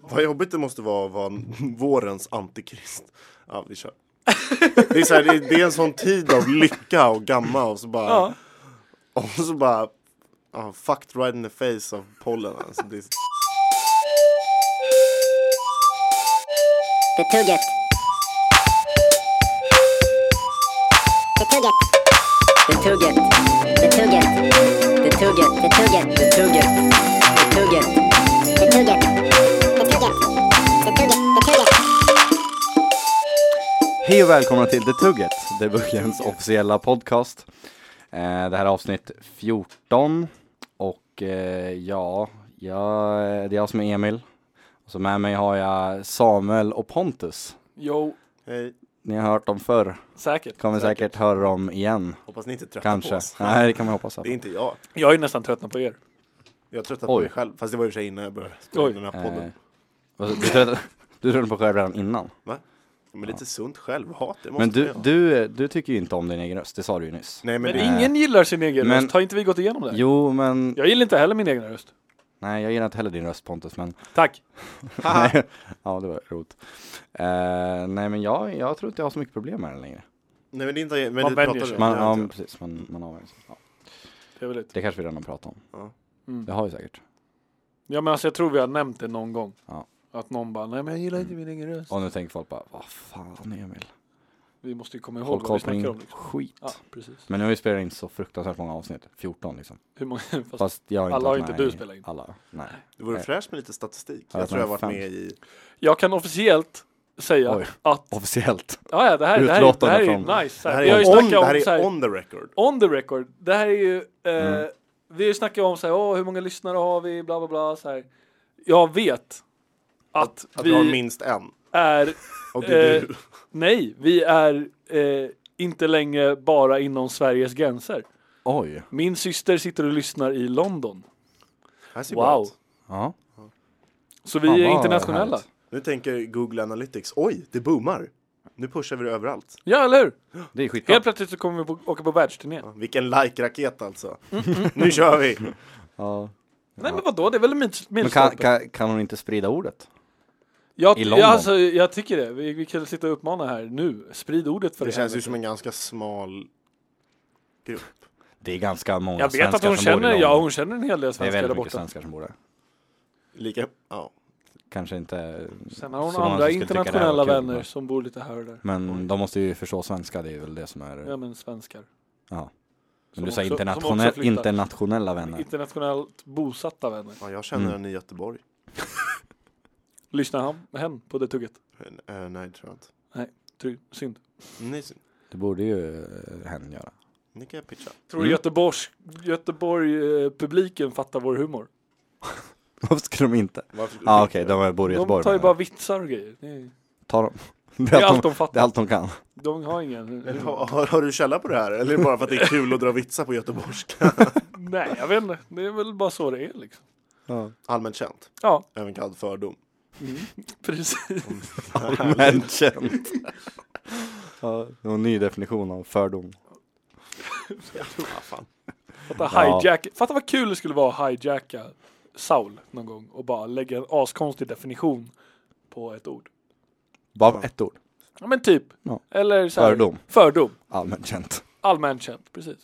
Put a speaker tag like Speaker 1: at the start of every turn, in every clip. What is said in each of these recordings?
Speaker 1: Vad jobbigt det måste vara att vara vårens antikrist. Ja, vi kör. Det är, så här, det, är, det är en sån tid av lycka och gamma och så bara...
Speaker 2: Ja.
Speaker 1: Och så bara... Ja, fucked right in the face av pollen. Alltså, det är,
Speaker 3: Betugget. Betugget. Betugget. Betugget. Betugget. Betugget. Betugget. Betugget. Betugget. Betugget. Betugget. Betugget.
Speaker 4: Hej och välkomna till The Tugget, Debuggens officiella podcast. Eh, Det här är avsnitt 14 och eh, ja, jag, eh, det är jag som är Emil. Och så med mig har jag Samuel och Pontus.
Speaker 2: Jo,
Speaker 1: hej,
Speaker 4: Ni har hört dem förr,
Speaker 2: säkert.
Speaker 4: kommer säkert, höra dem igen.
Speaker 1: hoppas ni inte är trötta på
Speaker 4: Kanske.
Speaker 1: oss.
Speaker 4: Nej, det kan man hoppas.
Speaker 1: Det är inte jag.
Speaker 2: Jag är nästan tröttnat på er.
Speaker 1: Jag är trött på
Speaker 4: Oj.
Speaker 1: mig själv. Fast det var i och för sig innan jag började spela
Speaker 2: Oj.
Speaker 1: in den här podden.
Speaker 4: Eh, vad sa- Du trodde, du trodde på själv redan innan.
Speaker 1: Men lite sunt självhat, det måste
Speaker 4: Men
Speaker 1: man
Speaker 4: du,
Speaker 1: ju ha.
Speaker 4: du, du tycker ju inte om din egen röst, det sa du ju nyss.
Speaker 1: Nej, men
Speaker 2: Men
Speaker 1: det,
Speaker 2: ingen gillar sin egen
Speaker 4: Men-
Speaker 2: röst. Har inte vi gått igenom det?
Speaker 4: Jo, men
Speaker 2: Jag gillar inte heller min egen röst.
Speaker 4: nej, jag gillar inte heller din röst Pontus, men
Speaker 2: Tack.
Speaker 4: Nej. ja, det var roligt. Eh, nej, men jag, jag tror inte jag har så mycket problem med den längre.
Speaker 1: nej, men det är inte... Men
Speaker 2: Man
Speaker 1: det
Speaker 2: vänjer
Speaker 1: pratar
Speaker 2: sig.
Speaker 1: vi om.
Speaker 4: Man,
Speaker 1: Det
Speaker 4: ja,
Speaker 1: har jag
Speaker 4: men
Speaker 1: inte.
Speaker 4: precis. Man, man har, ja,
Speaker 2: Trevligt.
Speaker 4: det kanske vi redan har pratat om.
Speaker 1: Ja.
Speaker 2: Mm.
Speaker 4: Det har vi säkert.
Speaker 2: Ja men alltså jag tror vi har nämnt det någon gång.
Speaker 4: Ja.
Speaker 2: Att någon bara, nej men jag gillar inte min egen röst.
Speaker 4: Och nu tänker folk bara, vad fan Emil?
Speaker 2: Vi måste ju komma ihåg
Speaker 4: Folk
Speaker 2: vad vi snackar
Speaker 4: koll på
Speaker 2: om.
Speaker 4: din
Speaker 2: Liksom.
Speaker 4: skit.
Speaker 2: Ja, precis.
Speaker 4: Men nu har vi spelat in så fruktansvärt många avsnitt, 14 liksom.
Speaker 2: Hur många, fast,
Speaker 4: Fast jag har inte
Speaker 2: alla har
Speaker 4: varit
Speaker 2: inte
Speaker 4: med
Speaker 2: du
Speaker 4: i
Speaker 2: spelat in.
Speaker 4: Alla, nej.
Speaker 1: Det vore
Speaker 4: Nej.
Speaker 1: fräscht med lite statistik.
Speaker 4: Ja,
Speaker 1: Jag tror jag har varit
Speaker 4: fem.
Speaker 1: med i...
Speaker 2: Jag kan officiellt säga
Speaker 4: Oj.
Speaker 2: att,
Speaker 4: Officiellt.
Speaker 2: ja ja det här, det här, är- det här
Speaker 4: Utlåtande
Speaker 2: är
Speaker 4: från-
Speaker 2: nice. Så
Speaker 1: Det
Speaker 2: här,
Speaker 1: här
Speaker 2: vi har ju
Speaker 1: är, on,
Speaker 2: snackat
Speaker 1: det
Speaker 2: om
Speaker 1: här
Speaker 2: så här,
Speaker 1: är on the record.
Speaker 2: on the record. Det här är ju, eh,
Speaker 4: Mm.
Speaker 2: vi har ju snackat om så här, åh hur många lyssnare har vi, bla bla bla. Så här. Jag vet att,
Speaker 1: Att vi har
Speaker 2: vi
Speaker 1: minst en.
Speaker 2: är
Speaker 1: Och det är
Speaker 2: Eh,
Speaker 1: du.
Speaker 2: Nej, vi är eh, inte längre bara inom Sveriges gränser.
Speaker 4: Oj.
Speaker 2: Min syster sitter och lyssnar i London.
Speaker 1: Här ser bra
Speaker 2: Wow.
Speaker 1: ut.
Speaker 4: Ja.
Speaker 2: Så vi
Speaker 4: Fan,
Speaker 2: är
Speaker 4: vad
Speaker 2: internationella.
Speaker 4: härligt.
Speaker 1: Nu tänker Google Analytics, oj, det boomar. Nu pushar vi det överallt.
Speaker 2: Ja, eller hur?
Speaker 4: Det är skitbra.
Speaker 2: Helt plötsligt så kommer vi på, åka på världsturné.
Speaker 1: Ja, Vilken like-raket alltså. Nu kör vi!
Speaker 4: Ja.
Speaker 2: Nej, men vadå? Det är väl en mil-
Speaker 4: Men kan,
Speaker 2: milstolpe?
Speaker 4: kan, kan hon inte sprida ordet?
Speaker 2: Jag,
Speaker 4: i
Speaker 2: jag,
Speaker 4: London?
Speaker 2: alltså, jag tycker det. Vi, vi kan sitta och uppmana här nu. Sprid ordet för
Speaker 1: Det
Speaker 2: det.
Speaker 1: känns ju som en ganska smal grupp.
Speaker 4: Det är ganska många
Speaker 2: jag vet
Speaker 4: svenskar
Speaker 2: att hon
Speaker 4: som bor i
Speaker 2: känner, ja,
Speaker 4: London.
Speaker 2: hon känner en hel del
Speaker 4: Det är
Speaker 2: svenskar där
Speaker 4: väldigt mycket
Speaker 2: borta.
Speaker 4: svenskar som bor där.
Speaker 1: Lika, ja.
Speaker 4: Kanske inte
Speaker 2: Sen har hon
Speaker 4: så många
Speaker 2: andra
Speaker 4: som skulle tycka det här var
Speaker 2: internationella
Speaker 4: kul,
Speaker 2: vänner
Speaker 4: men-
Speaker 2: som bor lite här och där.
Speaker 4: Men de måste ju förstå svenska, det är väl det som är...
Speaker 2: Ja, men svenskar.
Speaker 4: men
Speaker 2: som
Speaker 4: du sa
Speaker 2: också- som också
Speaker 4: internationell,
Speaker 2: flyttar.
Speaker 4: internationella vänner.
Speaker 2: Internationellt bosatta vänner.
Speaker 1: ja jag känner en i Göteborg.
Speaker 2: Lyssnar han hem på det tugget?
Speaker 1: Eh, nej, det tror jag inte.
Speaker 2: Ty- Synd.
Speaker 1: Ni,
Speaker 4: Det borde ju eh, hen göra.
Speaker 1: ni kan jag pitcha.
Speaker 2: Tror
Speaker 4: Mm.
Speaker 2: du Göteborgs, Göteborg-publiken fattar vår humor?
Speaker 4: Varför skulle de inte?
Speaker 1: Varför-
Speaker 4: Ja ah, okej, de bor i
Speaker 2: De
Speaker 4: Göteborg.
Speaker 2: tar ju
Speaker 4: menar
Speaker 2: bara
Speaker 4: jag.
Speaker 2: vitsar och grejer. Det är,
Speaker 4: Tar de. Det
Speaker 2: det
Speaker 4: är,
Speaker 2: är allt
Speaker 4: allt de,
Speaker 2: de
Speaker 4: det är
Speaker 2: fattar.
Speaker 4: allt de kan.
Speaker 2: De har ingen...
Speaker 1: Eller har, har- har du källa på det här? Eller är det bara för att det är kul att dra vitsar på göteborgska?
Speaker 2: Nej, jag vet inte. Det är väl bara så det är liksom.
Speaker 1: Allmänt känt.
Speaker 2: Ja,
Speaker 1: Även kallad fördom.
Speaker 2: precis.
Speaker 4: Men känt. Ja, det var en ny definition av fördom.
Speaker 1: Ja, fan.
Speaker 2: Fatta
Speaker 4: Ja.
Speaker 2: hijack. Fatta vad kul det skulle vara att hijacka Saul någon gång och bara lägga en askonstig definition på ett ord.
Speaker 4: Bara ett ord.
Speaker 2: Ja men typ.
Speaker 4: Ja.
Speaker 2: Eller så här,
Speaker 4: Fördom.
Speaker 2: Fördom.
Speaker 4: Allmänt känt.
Speaker 2: Allmänt känt, precis.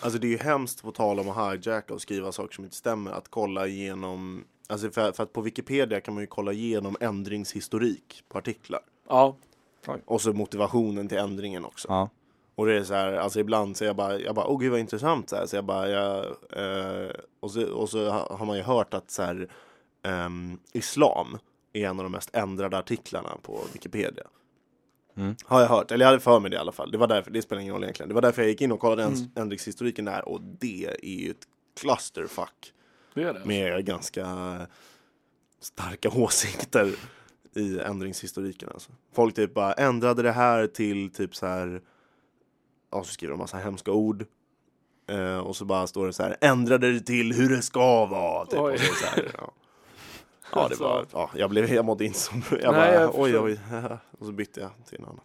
Speaker 1: Alltså det är ju hemskt på tal om att hijacka och skriva saker som inte stämmer, att kolla igenom Alltså för, för att på Wikipedia kan man ju kolla igenom ändringshistorik på artiklar.
Speaker 2: Ja,
Speaker 1: Och så motivationen till ändringen också.
Speaker 4: Ja.
Speaker 1: Och det är så här, alltså ibland så jag bara, jag bara, åh gud vad intressant så här. Så jag bara, jag, eh, och, så, och så ha- har man ju hört att så här, ehm, islam är en av de mest ändrade artiklarna på Wikipedia.
Speaker 4: Mm.
Speaker 1: Har jag hört, eller jag hade för mig det i alla fall. Det var därför, det spelar ingen roll egentligen. Det var därför jag gick in och kollade änd- ändringshistoriken där och det är ju ett clusterfuck
Speaker 2: det är det.
Speaker 1: med ganska starka åsikter i ändringshistoriken. Alltså. Folk typ bara ändrade det här till typ så här. Ja, så skriver de massa hemska ord. Eh, och så bara står det så här. Ändrade det till hur det ska vara. Typ.
Speaker 2: Oj. Alltså.
Speaker 1: Och så, så här, ja. ja, det var. Ja, jag blev. Jag mådde inte som. Jag
Speaker 2: Nej,
Speaker 1: bara
Speaker 2: jag
Speaker 1: oj,
Speaker 2: förstår.
Speaker 1: oj. Och så bytte jag till en annan.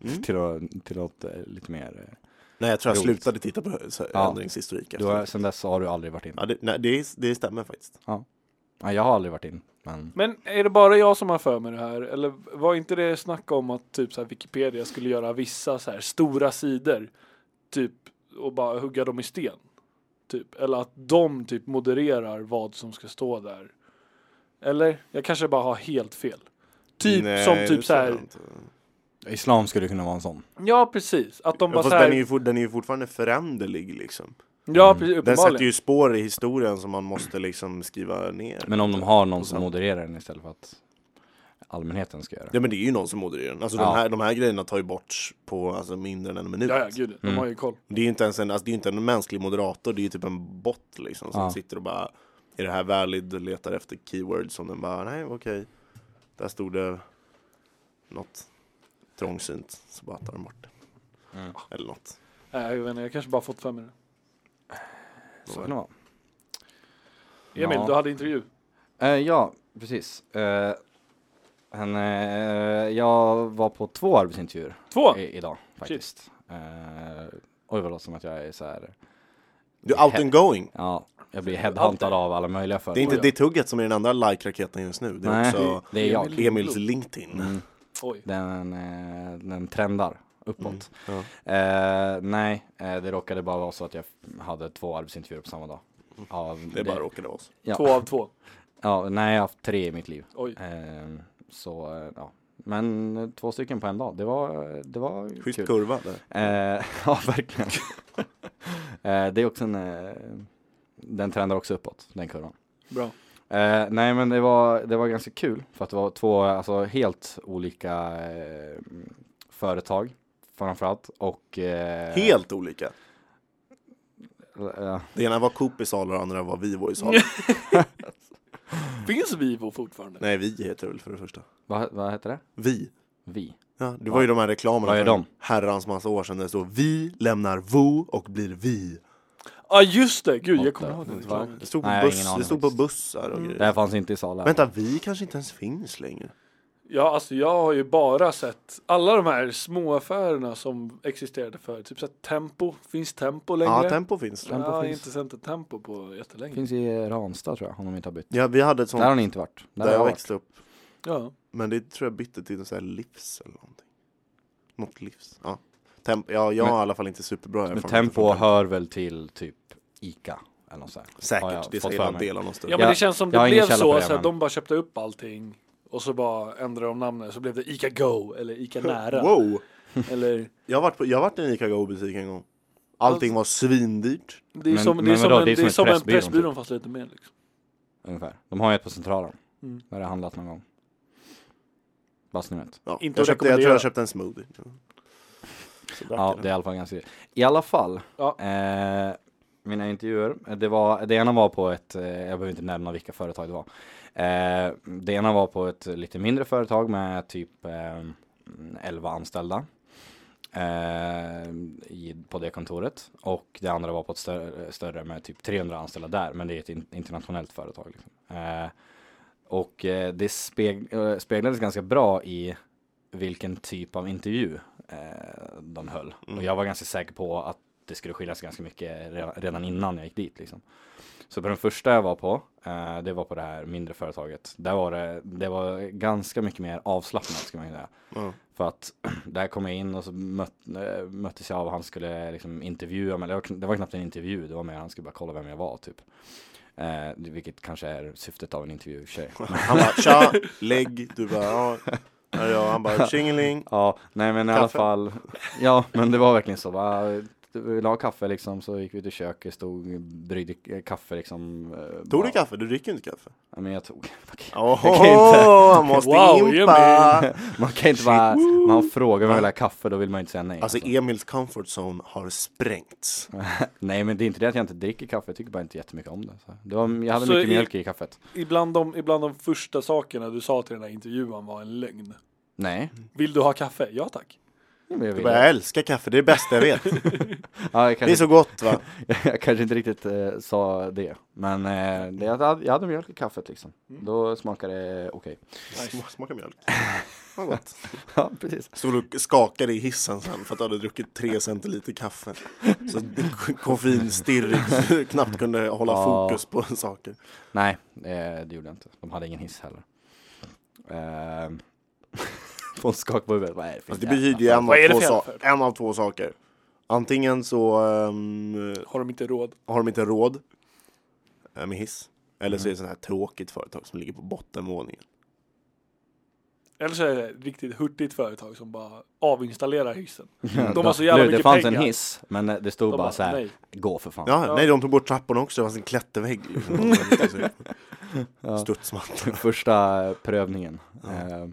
Speaker 2: Mm.
Speaker 4: Till, att- till något eh, lite mer... eh,
Speaker 1: Nej, jag tror jag
Speaker 4: Roligt.
Speaker 1: slutade titta på så här,
Speaker 4: Ja.
Speaker 1: ändringshistorik.
Speaker 4: Du
Speaker 1: efter
Speaker 4: har,
Speaker 1: det.
Speaker 4: sen dess har du aldrig varit inne.
Speaker 1: Ja, det, nej, det, det stämmer faktiskt.
Speaker 4: Ja. Ja, jag har aldrig varit in. Men
Speaker 2: Men är det bara jag som har för mig det här? Eller var inte det snack om att typ så här Wikipedia skulle göra vissa så här stora sidor typ och bara hugga dem i sten? Typ. Eller att de typ modererar vad som ska stå där. Eller? Jag kanske bara har helt fel. Typ
Speaker 1: Nej,
Speaker 2: som
Speaker 1: det
Speaker 2: typ så
Speaker 1: tror jag
Speaker 2: här.
Speaker 1: inte.
Speaker 4: islam skulle kunna vara en sån.
Speaker 2: Ja, precis. Att de bara
Speaker 1: Fast
Speaker 2: så här.
Speaker 1: den, är ju for, den är ju fortfarande föränderlig liksom.
Speaker 2: ja, precis,
Speaker 1: Den sätter
Speaker 2: uppenbarligen.
Speaker 1: ju spår i historien som man måste liksom skriva ner.
Speaker 4: Men om de har någon som
Speaker 1: sant.
Speaker 4: modererar den istället för att allmänheten ska göra det.
Speaker 1: Ja men det är ju någon som modererar den. Alltså
Speaker 4: Ja.
Speaker 1: de, här, de här grejerna tar ju bort på alltså, mindre än en minut.
Speaker 2: Ja, ja, gud.
Speaker 1: Mm.
Speaker 2: De har ju koll.
Speaker 1: Det är ju inte ens en, alltså, det är ju inte en mänsklig moderator, det är ju typ en bot liksom som
Speaker 4: Ja.
Speaker 1: sitter och bara Är det här valid? Och letar efter keywords som den bara, nej okej Där stod det något trångsynt, så bara tar den bort det.
Speaker 4: Mm.
Speaker 1: Eller något.
Speaker 2: Nej, jag vet inte. Jag kanske bara fått för mig det.
Speaker 4: Så kan det vara.
Speaker 2: Emil,
Speaker 4: Ja.
Speaker 2: du hade intervju.
Speaker 4: Eh, ja, precis. Eh, en, eh, jag var på två arbetsintervjuer
Speaker 2: Två!
Speaker 4: i, idag faktiskt. Eh, oj, vad låter som att jag är så här.
Speaker 1: Du är out and going!
Speaker 4: Ja, jag blir headhuntad av alla möjliga företag.
Speaker 1: Det är inte
Speaker 2: ja.
Speaker 1: ditt hugget som är den andra like-raketen just nu, det är
Speaker 4: Nej,
Speaker 1: också
Speaker 4: det är jag.
Speaker 2: Emil.
Speaker 1: Emils LinkedIn.
Speaker 4: Mm.
Speaker 2: Oj.
Speaker 4: Den, eh, den trendar uppåt.
Speaker 1: Ja.
Speaker 4: Eh, nej, eh, det råkade bara vara så att jag hade två arbetsintervjuer på samma dag. Ja,
Speaker 1: Det är bara råkade vara så.
Speaker 4: ja.
Speaker 2: Två av två.
Speaker 4: Ja, nej, jag har haft tre i mitt liv.
Speaker 2: Oj.
Speaker 4: Ehm, så, eh, ja. Men eh, två stycken på en dag, det var, eh, det var
Speaker 1: Schysst
Speaker 4: kul.
Speaker 1: kurva där.
Speaker 4: Eh, ja, verkligen. Eh, det är också en, eh, den trendar också uppåt, den kurvan.
Speaker 2: Bra.
Speaker 4: Eh, nej, men det var, det var ganska kul för att det var två alltså, helt olika eh, företag framförallt och... Eh,
Speaker 1: Helt olika!
Speaker 4: eh,
Speaker 1: Det ena var Coop i Sala och det andra var Vivo i Sala.
Speaker 2: Finns Vivo fortfarande?
Speaker 1: Nej, vi heter väl för det första.
Speaker 4: vad, vad heter det?
Speaker 1: Vi.
Speaker 4: Vi.
Speaker 1: Ja, det var ju de här reklamerna
Speaker 4: Vad är
Speaker 1: för
Speaker 4: de?
Speaker 1: en herrans massa år sedan där det stod Vi lämnar Vo och blir vi.
Speaker 2: Ja ah, just det, gud jag kommer
Speaker 4: Åtta.
Speaker 2: ihåg den
Speaker 4: Va?
Speaker 2: reklamen.
Speaker 1: Det stod på,
Speaker 4: Nej, jag har ingen
Speaker 1: buss,
Speaker 4: aning
Speaker 1: det stod på
Speaker 4: faktiskt. Mm.
Speaker 1: bussar och
Speaker 4: Det här
Speaker 1: grejer.
Speaker 4: fanns inte i Sala.
Speaker 1: Vänta, vi kanske inte ens finns längre.
Speaker 2: Ja alltså jag har ju bara sett alla de här små affärerna som existerade förut. Typ så här, Tempo, finns Tempo längre?
Speaker 1: Ja, Tempo finns.
Speaker 2: Jag
Speaker 1: det.
Speaker 4: Tempo
Speaker 2: har
Speaker 4: finns.
Speaker 2: inte sett ett Tempo på jättelänge.
Speaker 4: Finns i Ranstad tror jag, om de inte har bytt.
Speaker 1: Ja, vi hade ett sånt
Speaker 4: Där har
Speaker 1: där,
Speaker 4: ni inte varit. Där, har
Speaker 1: jag
Speaker 4: jag varit.
Speaker 1: växte upp.
Speaker 2: Ja.
Speaker 1: Men det tror jag bytte till en sån här livs eller någonting. Något livs. Ja. Temp, ja, jag har i alla fall inte superbra
Speaker 4: Men
Speaker 1: erfarenheter
Speaker 4: Tempo
Speaker 1: från
Speaker 4: hör väl till typ Ica eller något sånt. där.
Speaker 1: Säkert,
Speaker 4: har jag
Speaker 1: det är
Speaker 4: fått
Speaker 1: säkert
Speaker 4: för
Speaker 1: en
Speaker 4: mig.
Speaker 1: del av någon
Speaker 2: ja
Speaker 1: större.
Speaker 2: men
Speaker 4: Jag-
Speaker 2: det känns som
Speaker 4: jag har
Speaker 2: det
Speaker 4: ingen
Speaker 2: blev
Speaker 4: källa
Speaker 2: så,
Speaker 4: på det,
Speaker 2: så här,
Speaker 4: men-
Speaker 2: de bara köpte upp allting och så bara ändrade de namnet så blev det Ica Go eller Ica Nära.
Speaker 1: Wow!
Speaker 2: Eller,
Speaker 1: Jag har varit, på, jag har varit i en Ica Go-butik en gång. Allting var svindyrt.
Speaker 2: det är
Speaker 4: Men-
Speaker 2: som, det är
Speaker 4: men
Speaker 2: som
Speaker 4: vadå,
Speaker 2: en, det är som en
Speaker 4: Pressbyrån,
Speaker 2: Pressbyrån fast lite mer. Liksom.
Speaker 4: Ungefär. De har ju ett på Centralen.
Speaker 2: Mm.
Speaker 4: Där har jag handlat någon gång. Bara så ni vet.
Speaker 1: Ja.
Speaker 2: Inte
Speaker 1: jag,
Speaker 2: att
Speaker 1: köpte, jag tror
Speaker 2: rekommendera.
Speaker 1: jag köpte en smoothie. Så drack
Speaker 4: Ja,
Speaker 1: jag
Speaker 4: det
Speaker 1: den.
Speaker 4: är i alla fall ganska I alla fall.
Speaker 2: Ja.
Speaker 4: Eh, mina intervjuer. eh, Det, var, det ena var på ett, eh, jag behöver inte nämna vilka företag det var. Eh, det ena var på ett lite mindre företag med typ eh, 11 anställda. Eh, i, på det kontoret. Och det andra var på ett större, större med typ 300 anställda där. Men det är ett in, internationellt företag. Liksom. Eh, och eh, det speg, eh, speglades ganska bra i vilken typ av intervju eh, de höll. Och jag var ganska säker på att det skulle skiljas ganska mycket re- redan innan jag gick dit. Liksom. Så på den första jag var på, eh, det var på det här mindre företaget. Där var det, det var ganska mycket mer avslappnat ska man ju säga.
Speaker 1: Ja.
Speaker 4: För att där kom jag in och så möt, eh, möttes jag av han skulle liksom intervjua mig. Det var, kn- det var knappt en intervju, det var mer han skulle bara kolla vem jag var typ. Eh, vilket kanske är syftet av en intervju i och för sig.
Speaker 1: Han bara tja, lägg, du bara ja. Här är jag. Han bara tjingeling.
Speaker 4: Ja, nej men i alla
Speaker 1: Kaffe.
Speaker 4: fall. Ja, men det var verkligen så. Va? Vi la kaffe liksom, så gick vi till köket, stod, bryggde eh, kaffe liksom. eh,
Speaker 1: Tog
Speaker 4: bara-
Speaker 1: du kaffe? Du dricker ju inte kaffe.
Speaker 4: Ja, men jag tog. Man kan,
Speaker 1: Åh,
Speaker 4: kan inte-
Speaker 1: han måste
Speaker 2: Wow,
Speaker 1: impa!
Speaker 4: man kan inte bara, man frågar om man vill ha kaffe, då vill man ju inte säga nej.
Speaker 1: Alltså
Speaker 4: alltså.
Speaker 1: Emils comfort zone har sprängts.
Speaker 4: Nej, men det är inte det att jag inte dricker kaffe, jag tycker bara inte jättemycket om det. Så. det var, jag hade
Speaker 2: Så
Speaker 4: mycket
Speaker 2: i-
Speaker 4: mjölk i kaffet.
Speaker 2: Ibland, de, ibland de första sakerna du sa till den här intervjuan var en lögn.
Speaker 4: Nej,
Speaker 2: Vill du ha kaffe? Ja tack.
Speaker 4: Ja, men jag
Speaker 1: Du
Speaker 4: vill
Speaker 1: bara,
Speaker 4: det.
Speaker 1: jag älskar kaffe, det är det bästa jag vet.
Speaker 4: Ja,
Speaker 1: Det
Speaker 4: jag,
Speaker 1: är
Speaker 4: kanske,
Speaker 1: så gott va?
Speaker 4: jag kanske inte riktigt eh, sa det, men eh, det, jag, hade, jag hade mjölk i kaffet liksom.
Speaker 1: Mm.
Speaker 4: Då smakade det okej.
Speaker 1: Sma- Smaka mjölk. Vad gott.
Speaker 4: Ja, precis.
Speaker 1: Stod och skakade i hissen sen för att du hade druckit tre centiliter kaffe. Så k- koffeinstirrig, så knappt kunde hålla
Speaker 4: Ja.
Speaker 1: fokus på saker.
Speaker 4: Nej, eh, det gjorde jag inte. De hade ingen hiss heller. Eh, på en skak på huvudet, vad är det för
Speaker 1: Alltså, det
Speaker 4: jävla
Speaker 1: betyder ju en av,
Speaker 2: Vad är det
Speaker 1: två
Speaker 2: för jävla
Speaker 1: sa- en av två saker. Antingen så ehm,
Speaker 2: Har de inte råd?
Speaker 1: har de inte råd eh, med hiss. Eller
Speaker 4: Mm.
Speaker 1: så är det sådana här tråkigt företag som ligger på bottenvåningen.
Speaker 2: Eller så är det ett riktigt hurtigt företag som bara avinstallerar hissen.
Speaker 4: Ja,
Speaker 2: De har så jävla
Speaker 4: nu, Det
Speaker 2: mycket
Speaker 4: fanns
Speaker 2: pengar.
Speaker 4: en hiss, men eh, det stod
Speaker 2: De
Speaker 4: bara,
Speaker 2: bara,
Speaker 4: så här,
Speaker 2: nej.
Speaker 4: gå för fan.
Speaker 1: Ja,
Speaker 2: Ja.
Speaker 1: Nej, de tog bort trapporna också. Det fanns en klättervägg. Liksom.
Speaker 4: Ja.
Speaker 1: Studsmattan.
Speaker 4: Första eh, prövningen.
Speaker 1: Ja.
Speaker 4: Eh,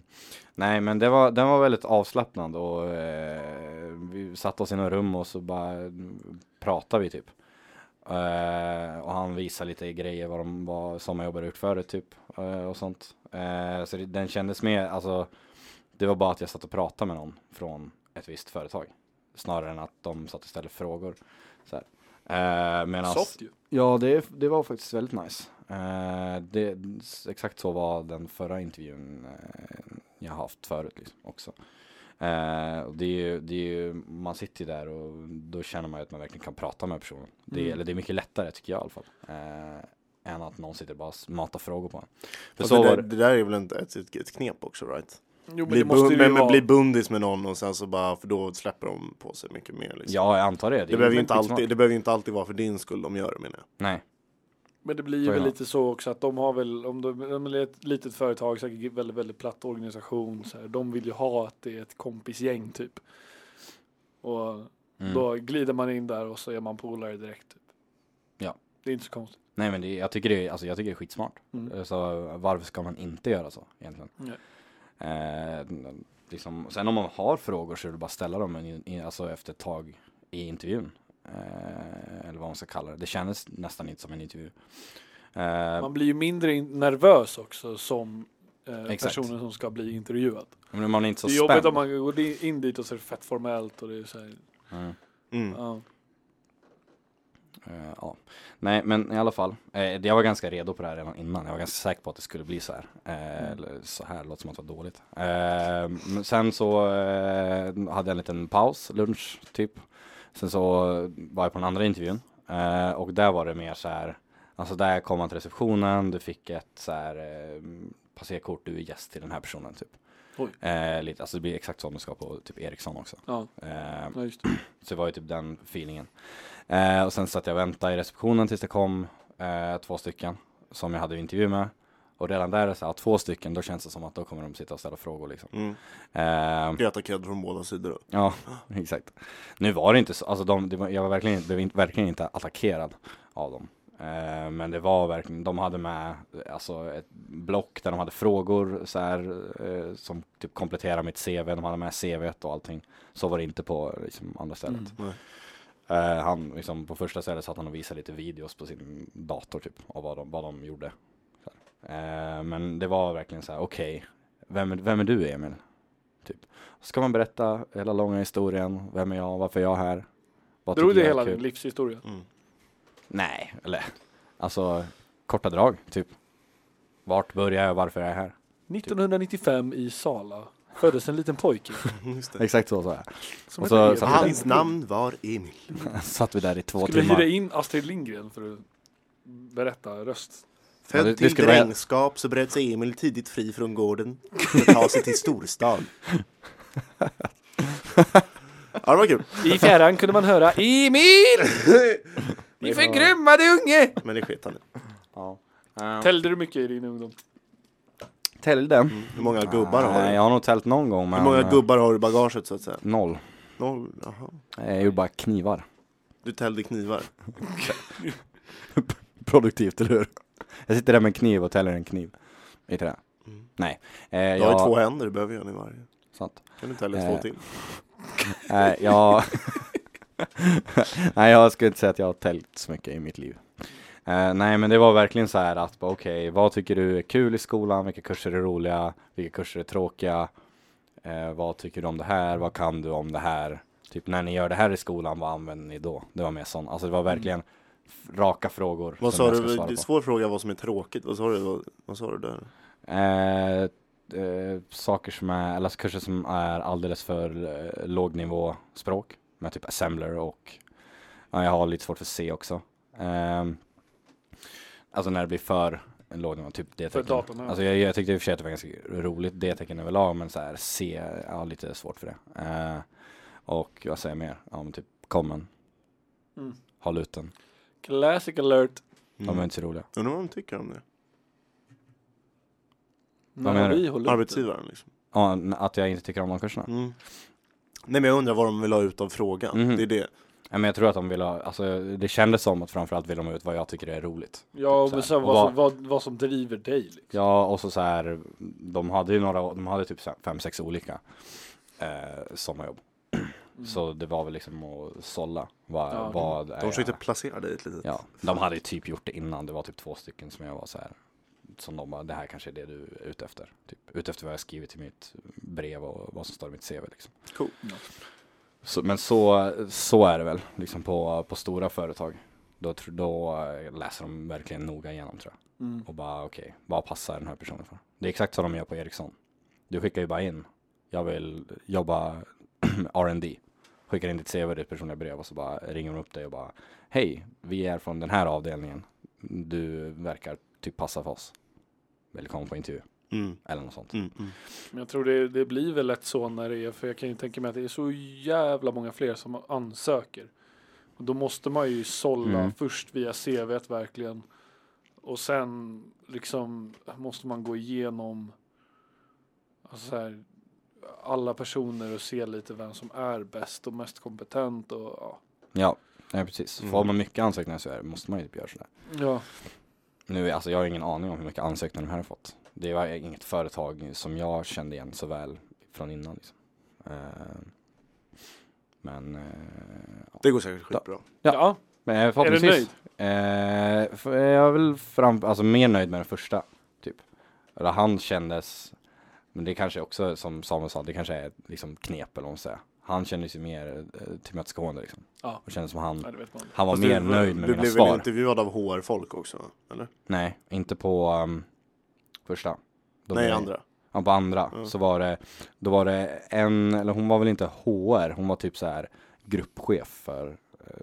Speaker 4: nej, men det var, den var väldigt avslappnad och eh, vi satte oss i något rum och så bara mm, pratade vi typ. Eh, och han visade lite grejer vad de var som jag jobbade utförde typ eh, och sånt. Eh, så det, den kändes mer, alltså det var bara att jag satt och pratade med någon från ett visst företag snarare än att de satt och ställde frågor. Så här. Eh, medans-
Speaker 2: Soft ju.
Speaker 4: Ja, det, det var faktiskt väldigt nice. Eh, det, s- exakt så var den förra intervjun eh, jag haft förut liksom, också. Eh, och det är ju, det är ju, man sitter ju där och då känner man ju att man verkligen kan prata med personen. Det, är-
Speaker 2: Mm.
Speaker 4: eller det är mycket lättare tycker jag i alla fall. Eh, än att någon sitter och bara s- matar frågor på en. För
Speaker 1: Fast
Speaker 4: så
Speaker 1: det,
Speaker 4: var
Speaker 1: där,
Speaker 4: det.
Speaker 1: det där är väl inte ett, ett, ett knep också right?
Speaker 2: Jo men
Speaker 1: Bli,
Speaker 2: det måste
Speaker 1: bund,
Speaker 2: det ju
Speaker 1: men, men
Speaker 2: vara.
Speaker 1: bli bundis med någon och sen så bara, för då släpper de på sig mycket mer liksom.
Speaker 4: Ja, jag antar det. är
Speaker 1: Det behöver, ju inte
Speaker 4: skitsmart.
Speaker 1: alltid, det behöver ju inte alltid vara för din skull de gör det menar jag.
Speaker 4: Nej.
Speaker 2: Men det blir ju
Speaker 4: Så är
Speaker 2: väl
Speaker 4: det.
Speaker 2: lite så också att de har väl, om de, om de är ett litet företag, säkert väldigt, väldigt platt organisation, så här, de vill ju ha att det är ett kompisgäng typ. Och
Speaker 4: Mm.
Speaker 2: då glider man in där och så är man polare direkt. Typ.
Speaker 4: Ja.
Speaker 2: Det är inte så konstigt.
Speaker 4: Nej men det, jag, tycker det, är- alltså, jag tycker det är skitsmart.
Speaker 2: Mm.
Speaker 4: Så varför ska man inte göra så egentligen?
Speaker 2: Nej.
Speaker 4: Eh, liksom, sen om man har frågor så är det bara att ställa dem in, in, alltså, efter ett tag i intervjun. Eh, eller vad man ska kalla det. Det kändes nästan inte som en intervju. Eh,
Speaker 2: Man blir ju mindre in- nervös också som eh,
Speaker 4: Exakt.
Speaker 2: personen som ska bli intervjuad.
Speaker 4: men man är inte så
Speaker 2: det är jobbigt
Speaker 4: spänd.
Speaker 2: om man går di- in dit och så är det fett formellt och det är så här,
Speaker 4: Mm.
Speaker 1: Mm.
Speaker 2: ja.
Speaker 4: Eh, ja. Nej men i alla fall, eh, jag var ganska redo på det här redan innan. Jag var ganska säker på att det skulle bli så här. Eh, Eller så här, låter som att det var dåligt. Eh, men sen så eh, hade jag en liten paus, lunch typ. Sen så var jag på den andra intervjun eh, och där var det mer så här, alltså där kom man till receptionen, du fick ett så här eh, passerkort, du är gäst till den här personen typ.
Speaker 2: Oj.
Speaker 4: Eh, lite, alltså det blir exakt så om du ska på typ Ericsson också.
Speaker 2: Ja,
Speaker 4: Eh,
Speaker 2: ja, just det.
Speaker 4: så det var ju typ den feelingen. Eh, och sen satt jag och väntade i receptionen tills det kom eh, två stycken som jag hade intervju med. Och redan där, är det så här, två stycken, då känns det som att då kommer de sitta och ställa frågor liksom.
Speaker 1: Mm.
Speaker 4: Eh,
Speaker 1: Bli attackerad från båda sidor. då.
Speaker 4: ja, exakt. Nu var det inte så, alltså de, det var, jag var verkligen, blev inte- verkligen inte attackerad av dem. Eh, men det var verkligen, de hade med alltså ett block där de hade frågor så här, eh, som typ kompletterar mitt CV, de hade med CVt och allting. Så var det inte på liksom, andra stället.
Speaker 2: Mm.
Speaker 4: Eh, han, liksom, på första stället satt han och visade lite videos på sin dator typ, av vad de, vad de gjorde. Så här. Eh, men det var verkligen så här, okej, vem, är- vem är du Emil? Typ. Så ska man berätta hela långa historien, vem är jag, varför är jag här? Vad
Speaker 2: Drog
Speaker 4: tycker
Speaker 2: det
Speaker 4: jag är
Speaker 2: hela
Speaker 4: kul? Typ.
Speaker 2: din livshistoria?
Speaker 1: Mm.
Speaker 4: Nej, eller alltså korta drag typ. Vart börjar jag, varför är jag här?
Speaker 2: 1995 i Sala föddes en liten pojke.
Speaker 1: Just det.
Speaker 4: Exakt så sa jag.
Speaker 2: Som
Speaker 4: Och
Speaker 2: heter
Speaker 4: så-
Speaker 2: Emil.
Speaker 4: så
Speaker 1: Hans namn var Emil.
Speaker 4: Satt vi där i två
Speaker 2: Skulle
Speaker 4: timmar.
Speaker 2: hyra in Astrid Lindgren för att berätta röst.
Speaker 1: Född
Speaker 4: det- det
Speaker 1: till
Speaker 4: skulle vara-
Speaker 1: drängskap så bröt sig Emil tidigt fri från gården för att ta sig till storstad. ja, det var kul.
Speaker 2: I fjärran kunde man höra Emil! Ni förgrymmade unge!
Speaker 1: Men det sket han i.
Speaker 4: Ja.
Speaker 2: Täljde du mycket i din ungdom?
Speaker 4: Täljde?
Speaker 1: Mm. Hur många gubbar har
Speaker 4: Nej,
Speaker 1: du?
Speaker 4: jag har nog tält någon gång men...
Speaker 1: Hur många
Speaker 4: eh,
Speaker 1: gubbar har du i bagaget så att säga?
Speaker 4: Noll.
Speaker 1: Noll? Jaha.
Speaker 4: Eh, Jag gjorde bara knivar.
Speaker 1: Du täljde knivar.
Speaker 4: Produktivt, eller hur? Jag sitter där med en kniv och täller en kniv. Vet du det?
Speaker 1: Mm.
Speaker 4: Nej. Eh, jag
Speaker 1: Du har ju två händer, du behöver ju en i varje.
Speaker 4: Sant.
Speaker 1: Kan du tälja två
Speaker 4: Eh.
Speaker 1: till?
Speaker 4: Eh, jag... nej, jag skulle inte säga att jag har täljt så mycket i mitt liv. Eh, nej, men det var verkligen så här att, bara, okej, vad tycker du är kul i skolan? Vilka kurser är roliga? Vilka kurser är tråkiga? Eh, vad tycker du om det här? Vad kan du om det här? Typ när ni gör det här i skolan, vad använder ni då? Det var mer sån, alltså det var verkligen f- raka frågor.
Speaker 1: Mm. Vad
Speaker 4: som
Speaker 1: sa
Speaker 4: jag ska
Speaker 1: du?
Speaker 4: svara
Speaker 1: Det är
Speaker 4: på.
Speaker 1: svår fråga vad som är tråkigt. Vad sa du, vad, vad sa du där? Mm.
Speaker 4: Eh, eh, saker som är, eller alltså kurser som är alldeles för eh, lågnivå språk med typ assembler och ja, jag har lite svårt för C också. Ehm, alltså när det blir för en lågnivå, typ
Speaker 2: För
Speaker 4: D-tecken.
Speaker 2: datorn. ja.
Speaker 4: Alltså jag, jag tyckte i och för sig att det var ganska roligt D-tecken överlag men så här C, ja lite svårt för det. Eh, och vad säger jag mer? Ja men typ common,
Speaker 2: Mm.
Speaker 4: håll ut den.
Speaker 2: Classic alert.
Speaker 4: De
Speaker 1: Mm.
Speaker 4: är inte så roliga.
Speaker 1: Undrar vad de tycker om det?
Speaker 4: Vad menar
Speaker 2: När
Speaker 4: du?
Speaker 2: vi håller upp det.
Speaker 1: Arbetsgivaren liksom.
Speaker 4: Ja, n- att jag inte tycker om de kurserna.
Speaker 1: Mm. Nej men jag undrar vad de vill ha ut av frågan.
Speaker 4: Mhm.
Speaker 1: Det är det.
Speaker 4: Ja, men jag tror att de vill ha, alltså det kändes som att framförallt vill de ha ut vad jag tycker är roligt.
Speaker 2: Ja,
Speaker 4: Så här.
Speaker 2: men sen
Speaker 4: Och
Speaker 2: vad, som, vad, vad som driver dig. Liksom.
Speaker 4: Ja, och så så här, de hade ju några, de hade typ så här fem, sex olika eh, sommarjobb.
Speaker 1: Mm.
Speaker 4: Så det var väl liksom att sålla, vad,
Speaker 2: Ja, de-
Speaker 4: vad är
Speaker 1: De försökte
Speaker 4: jag?
Speaker 1: placera dig lite.
Speaker 4: Ja, de hade ju typ gjort det innan, det var typ två stycken som jag var så här, som de bara, det här kanske är det du är ute efter. Typ, ute efter vad jag skrivit i mitt brev och vad som står i mitt CV liksom.
Speaker 1: Cool.
Speaker 2: Ja.
Speaker 4: Så, men så, så är det väl, liksom på, på stora företag. Då, tr- då eh, läser de verkligen noga igenom tror jag.
Speaker 2: Mm.
Speaker 4: Och bara okej, vad passar den här personen för? Det är exakt så de gör på Ericsson. Du skickar ju bara in, jag vill jobba med R&D Skickar in ditt CV, ditt personliga brev och så bara ringer de upp dig och bara Hej, vi är från den här avdelningen. Du verkar typ passa för oss. Välkommen på intervju,
Speaker 1: Mm.
Speaker 4: eller något sånt.
Speaker 1: Mm. Mm.
Speaker 2: Men jag tror det, det blir väl lätt så när det är, för jag kan ju tänka mig att det är så jävla många fler som ansöker. Och då måste man ju sålla
Speaker 4: Mm.
Speaker 2: först via CVt verkligen. Och sen liksom måste man gå igenom alltså så här, alla personer och se lite vem som är bäst och mest kompetent. Och, ja.
Speaker 4: Ja, nej, precis.
Speaker 1: Mm.
Speaker 4: Får man mycket ansökningar så är det, måste man ju typ göra sådär.
Speaker 2: Ja.
Speaker 4: Nu, alltså jag har ingen aning om hur mycket ansökningar de här har fått. Det var inget företag som jag kände igen så väl från innan. Liksom. Eh, men, eh, ja.
Speaker 1: Det går säkert skitbra.
Speaker 4: Ja.
Speaker 2: ja.
Speaker 4: men eh,
Speaker 2: Är du
Speaker 4: förhoppningsvis.
Speaker 2: nöjd?
Speaker 4: Eh, f- eh, jag är väl fram, alltså mer nöjd med den första, typ. Eller han kändes, men det kanske också som Samuel sa, det kanske är liksom knep eller vad man säger. Han kändes ju mer eh, tillmötesgående liksom.
Speaker 2: Ja.
Speaker 4: Och kändes som han,
Speaker 2: Nej, det vet man.
Speaker 4: han var
Speaker 1: Fast
Speaker 4: mer
Speaker 1: du,
Speaker 4: nöjd med
Speaker 1: Du
Speaker 4: mina
Speaker 1: blev
Speaker 4: svar.
Speaker 1: väl intervjuad av HR-folk också? Eller?
Speaker 4: Nej, inte på ehm, första. Då
Speaker 1: Nej,
Speaker 4: blev-
Speaker 1: andra.
Speaker 4: Ja, på andra
Speaker 1: Ja.
Speaker 4: så var det, då var det en, eller hon var väl inte HR, hon var typ så här gruppchef för eh,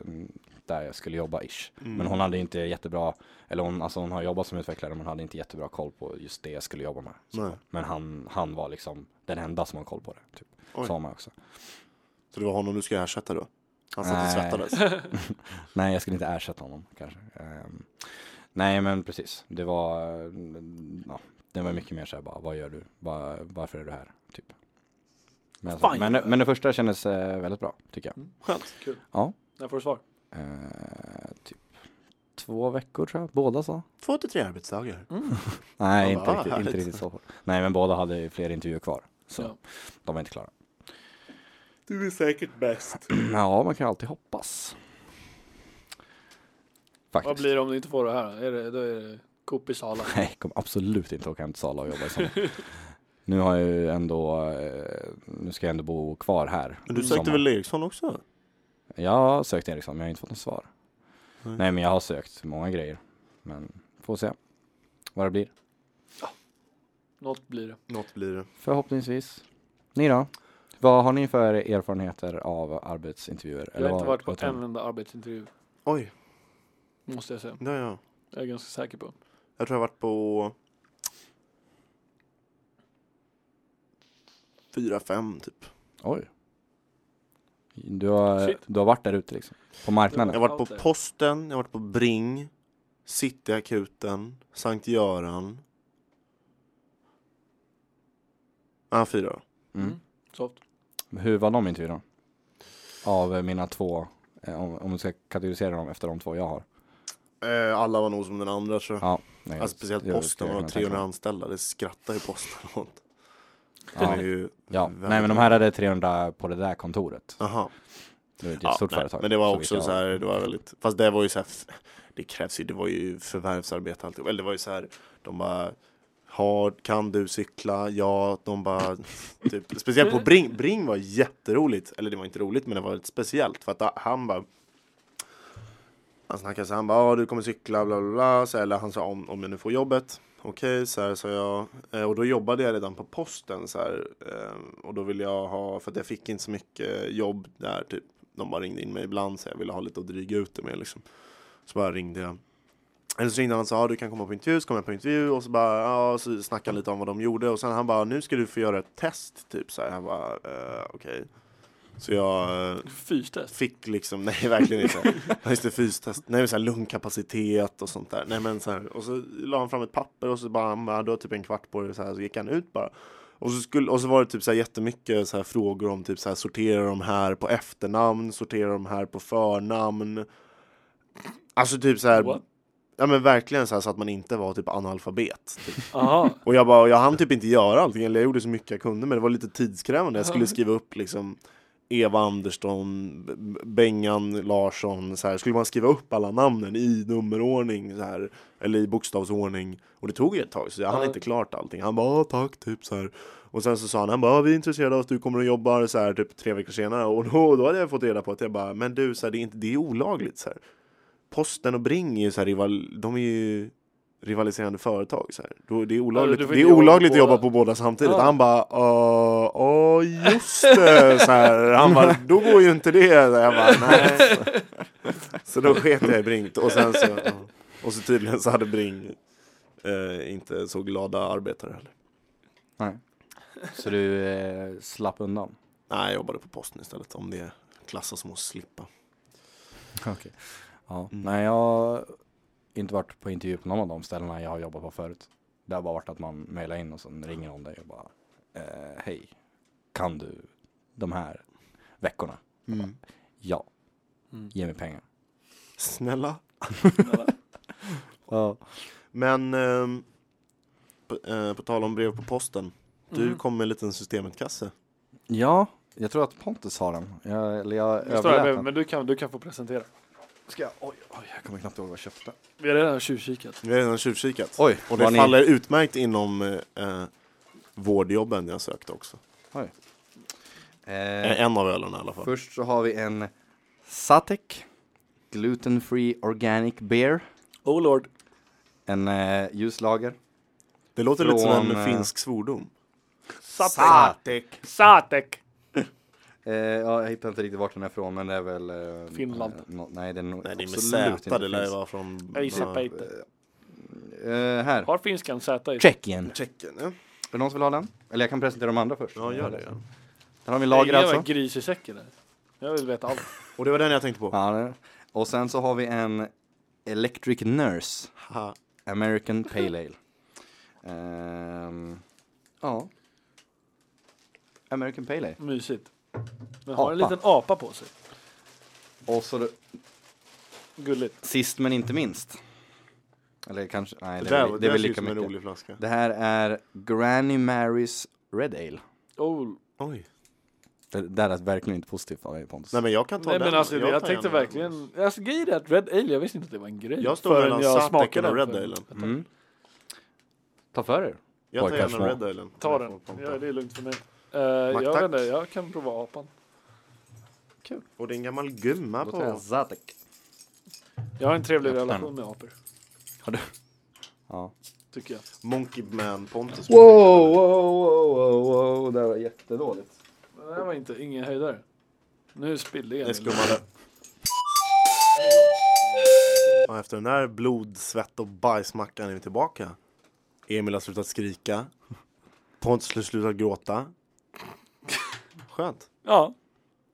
Speaker 4: där jag skulle jobba ish.
Speaker 1: Mm.
Speaker 4: Men hon hade inte jättebra, eller hon, alltså hon har jobbat som utvecklare men hade inte jättebra koll på just det jag skulle jobba med. Så.
Speaker 1: Nej.
Speaker 4: Men han, han var liksom den enda som har koll på det. Typ.
Speaker 1: Oj.
Speaker 4: Sa man också.
Speaker 1: Så det var honom du ska ersätta då? Han satt och
Speaker 4: Nej.
Speaker 1: svettades.
Speaker 4: Nej, jag skulle inte ersätta honom kanske. Ehm, nej, men precis. Det var, mm, ja, det var mycket mer så här bara, vad gör du? Var, varför är du här? Typ. Men, alltså,
Speaker 2: Fan,
Speaker 4: men,
Speaker 2: jag-
Speaker 4: men det första kändes eh, väldigt bra, tycker jag.
Speaker 1: Skönt.
Speaker 2: Kul.
Speaker 4: Ja.
Speaker 2: När får du svar?
Speaker 4: Eh, typ två veckor tror jag, båda sa.
Speaker 1: Två till tre arbetsdagar.
Speaker 4: Nej,
Speaker 1: Ja,
Speaker 4: inte,
Speaker 1: vad
Speaker 4: riktigt,
Speaker 1: härligt.
Speaker 4: inte riktigt så. Nej, men båda hade ju fler intervjuer kvar. Så
Speaker 2: Ja.
Speaker 4: de var inte klara.
Speaker 1: Du är säkert bäst.
Speaker 4: Ja, man kan ju alltid hoppas.
Speaker 2: Vad
Speaker 4: Faktiskt.
Speaker 2: blir det om du inte får det här? Är det, då är det Coop i Sala.
Speaker 4: Nej, jag kommer absolut inte åka hem till Sala och jobba i sommar. nu har jag ju ändå, eh, nu ska jag ändå bo kvar här.
Speaker 1: Men du
Speaker 4: i
Speaker 1: sökte
Speaker 4: sommar.
Speaker 1: väl Eriksson också?
Speaker 4: Jag har sökt Ericsson, men jag har inte fått något svar.
Speaker 1: Nej.
Speaker 4: Nej, men jag har sökt många grejer. Men får se vad det blir.
Speaker 2: Något blir det.
Speaker 1: Något blir det.
Speaker 4: Förhoppningsvis. Ni då? Vad har ni för erfarenheter av arbetsintervjuer?
Speaker 2: Jag har inte
Speaker 4: vad-
Speaker 2: varit på
Speaker 4: vad tror ni?
Speaker 2: en enda arbetsintervju.
Speaker 1: Oj,
Speaker 2: Måste jag säga.
Speaker 1: det har jag.
Speaker 2: Jag är ganska säker på.
Speaker 1: Jag tror jag har varit på fyra, fem typ.
Speaker 4: Oj. Du har,
Speaker 2: Shit.
Speaker 4: du har varit där ute liksom? På
Speaker 1: Jag
Speaker 4: marknaden?
Speaker 1: har varit på
Speaker 2: Allt där.
Speaker 1: Posten, jag har varit på Bring, Cityakuten, Sankt Göran. Ja, ah, fyra.
Speaker 4: Mm.
Speaker 2: Soft.
Speaker 4: Hur var de intervjuerna? Av eh, mina två, eh, om, om du ska kategorisera dem efter de två jag har.
Speaker 1: Eh, alla var nog som den andra tror jag.
Speaker 4: Ja, nej,
Speaker 1: Alltså speciellt
Speaker 4: det- det
Speaker 1: Posten,
Speaker 4: skulle jag
Speaker 1: de har
Speaker 4: kunna tänka
Speaker 1: 300
Speaker 4: mig.
Speaker 1: anställda, det skrattar ju Posten åt. De
Speaker 4: Ja,
Speaker 1: är ju...
Speaker 4: ja.
Speaker 1: väldigt
Speaker 4: Nej men de här hade 300 på det där kontoret.
Speaker 1: Aha.
Speaker 4: Det var ett
Speaker 1: Ja,
Speaker 4: jättestort
Speaker 1: nej,
Speaker 4: företag.
Speaker 1: Men det var
Speaker 4: så
Speaker 1: också
Speaker 4: vilka-
Speaker 1: så här, det var väldigt, fast det var ju så här, f- det krävs ju, det var ju förvärvsarbete alltihop. Eller det var ju så här, de bara har, kan du cykla? Ja, de bara... Typ, speciellt på Bring. Bring var jätteroligt. Eller det var inte roligt, men det var väldigt speciellt. För att han bara... Han snackade så här, han bara, "Ja, du kommer cykla, bla bla bla. Så, här, eller han sa, om, om jag nu får jobbet. Okej, så här sa jag. Eh, Och då jobbade jag redan på posten så här. eh, Och då ville jag ha, för att jag fick inte så mycket jobb där typ. De bara ringde in mig ibland så jag ville ha lite att dryga ut det med liksom. Så bara ringde jag. Eller så ringde han och sa, "Ja, du kan komma på intervju, så kom jag på intervju och så bara, ja, så snackade han lite om vad de gjorde och sen han bara, nu ska du få göra ett test typ så här. Jag bara, eh, okej. Så jag eh,
Speaker 2: Fyrtest.
Speaker 1: fick liksom, nej verkligen inte. Ja, Just det, fystest. Nej men så här lungkapacitet och sånt där. Nej men så här, och så la han fram ett papper och så bara, han bara, du har typ en kvart på dig så här, så gick han ut bara. Och så, skulle, och så var det typ så här jättemycket så här frågor om typ så här, sortera de här på efternamn, sortera de här på förnamn. Alltså typ så här,
Speaker 2: What?
Speaker 1: ja men verkligen så här så att man inte var typ analfabet. Typ.
Speaker 2: Aha.
Speaker 1: Och jag bara, jag hann typ inte göra allting, eller jag gjorde så mycket jag kunde men det var lite tidskrävande. Jag skulle skriva upp liksom Eva Andersson, B- B- Bengan Larsson, så här. skulle man skriva upp alla namnen i nummerordning så här, eller i bokstavsordning. Och det tog ju ett tag så jag hann
Speaker 2: Ja.
Speaker 1: inte klart allting. Han bara, "Ah, tack, typ så här. Och sen så sa han, han bara, "Ah, vi är intresserade av att du kommer och jobbar så här typ tre veckor senare. Och då, då hade jag fått reda på att jag bara, men du, så här, det, är inte, det är olagligt så här. Posten och Bring är ju så här, rival, de är ju rivaliserande företag. Så här. Då, det är olagligt,
Speaker 2: du får
Speaker 1: det är
Speaker 2: inte jobba
Speaker 1: olagligt
Speaker 2: på
Speaker 1: att jobba
Speaker 2: båda.
Speaker 1: på båda samtidigt.
Speaker 2: Ja.
Speaker 1: Han bara, "Ah, ja just det. Så här. Han bara, då går ju inte det. Så jag bara, nej. Så då sket jag i Bring. Och, sen så, ja. och så tydligen så hade Bring eh, inte så glada arbetare heller.
Speaker 4: Nej. Så du eh, slapp undan?
Speaker 1: Nej, jag jobbade på posten istället om det klassas som att slippa.
Speaker 4: Okej. Ja.
Speaker 1: Mm.
Speaker 4: Nej, jag har inte varit på intervju på någon av de ställena jag har jobbat på förut. Det har bara varit att man mejlar in och sen ringer någon dig och bara eh, Hej, kan du de här veckorna? Jag bara, Ja, ge mig pengar.
Speaker 1: Snälla.
Speaker 4: Ja.
Speaker 1: Men ehm, på, eh, på tal om brev på posten. Du
Speaker 2: Mm.
Speaker 1: kom med en liten systemetkasse.
Speaker 4: ja, jag tror att Pontus har den. Jag, eller jag
Speaker 2: Nu står jag
Speaker 4: överlät
Speaker 2: bredvid,
Speaker 4: den.
Speaker 2: men du kan, du kan få presentera.
Speaker 4: Ska jag, oj, oj, jag kommer knappt ihåg vad jag köpte.
Speaker 2: Vi har redan tjuvkikat.
Speaker 1: Vi har redan tjuvkikat.
Speaker 4: Oj,
Speaker 1: Och det
Speaker 4: var ni-
Speaker 1: faller utmärkt inom eh, eh, vårdjobben jag sökte också.
Speaker 4: Oj.
Speaker 1: Eh,
Speaker 4: Eh,
Speaker 1: En av ölen i alla fall.
Speaker 4: Först så har vi en Satek Gluten Free Organic Beer.
Speaker 2: Oh lord.
Speaker 4: En eh, ljuslager.
Speaker 1: Det låter lite som
Speaker 4: från,
Speaker 1: en
Speaker 4: eh,
Speaker 1: finsk svordom.
Speaker 4: Satek.
Speaker 2: Satek.
Speaker 4: Eh, ja, jag hittar inte riktigt vart den är från men det är väl... Eh,
Speaker 2: Finland.
Speaker 4: eh, nå- nej, det är nog
Speaker 1: Nej, det är med
Speaker 4: absolut
Speaker 1: Z. Det
Speaker 4: inte
Speaker 1: lär ju
Speaker 4: finns.
Speaker 1: vara från...
Speaker 2: Jag gissar
Speaker 1: några-
Speaker 2: på inte.
Speaker 4: Eh, här.
Speaker 2: Har finskan Z i sig?
Speaker 4: Tjeckien. Är
Speaker 1: Tjeckien, ja.
Speaker 4: det någon som vill ha den? Eller jag kan presentera de andra först.
Speaker 1: Ja, gör det. Ja.
Speaker 4: Här har vi en
Speaker 2: Jag
Speaker 4: lager
Speaker 2: är en
Speaker 4: alltså.
Speaker 2: gris i säcken här. Jag vill veta allt.
Speaker 1: Och det var den jag tänkte på.
Speaker 4: Ja, det är det. Och sen så har vi en Electric Nurse
Speaker 1: Haha.
Speaker 4: American Pale Ale. Ehm, ja. American Pale Ale.
Speaker 2: Mysigt. Men har en
Speaker 4: Apa.
Speaker 2: liten apa på sig.
Speaker 4: Och så det-
Speaker 2: Gulligt.
Speaker 4: sist men inte minst. Eller kanske, nej
Speaker 1: Det
Speaker 4: det, är
Speaker 1: där
Speaker 4: väl-
Speaker 1: var-
Speaker 4: det
Speaker 1: det
Speaker 4: är
Speaker 1: där
Speaker 4: väl
Speaker 1: ser ut
Speaker 4: lika
Speaker 1: som en
Speaker 4: mycket.
Speaker 1: rolig flaska.
Speaker 4: Det här är Granny Marys Red Ale.
Speaker 2: Oh.
Speaker 1: Oj.
Speaker 4: Det det där är verkligen inte positivt av dig Pontus.
Speaker 1: Nej men jag kan ta
Speaker 2: Nej
Speaker 1: den.
Speaker 2: men alltså
Speaker 1: tar
Speaker 2: jag, jag
Speaker 1: gärna
Speaker 2: tänkte
Speaker 1: den.
Speaker 2: verkligen, alltså grejen är att Red Ale, jag visste inte att det var en grej.
Speaker 1: Jag står
Speaker 2: förrän
Speaker 1: mellan
Speaker 2: jag
Speaker 1: Sateken
Speaker 2: smakade
Speaker 1: och
Speaker 2: den
Speaker 1: Red
Speaker 2: för-
Speaker 1: Ale.
Speaker 2: Vänta.
Speaker 4: Mm. Ta för er.
Speaker 1: Jag tar
Speaker 4: Pojkar
Speaker 1: gärna
Speaker 4: små.
Speaker 1: Red Island.
Speaker 2: Ta den, ja, det är lugnt för mig. Eh,
Speaker 1: Mac
Speaker 2: jag,
Speaker 1: tack.
Speaker 2: vet inte, jag kan prova apan.
Speaker 1: Och det är en gammal gumma
Speaker 4: Då tar jag
Speaker 1: på.
Speaker 4: Zatek.
Speaker 2: Jag har en trevlig
Speaker 4: Öppna den.
Speaker 2: relation med apor,
Speaker 4: Har du? Ja.
Speaker 2: tycker jag.
Speaker 1: Monkey Man Pontus.
Speaker 4: wow, wow, wow, det var jättedåligt.
Speaker 2: Men det här var inte, ingen höjdare. Nu spillde jag.
Speaker 1: Det skummade. Och efter den där blod, svett och bajsmackan är vi tillbaka. Emil har slutat skrika. Pontus har slutat gråta. Skönt.
Speaker 2: Ja,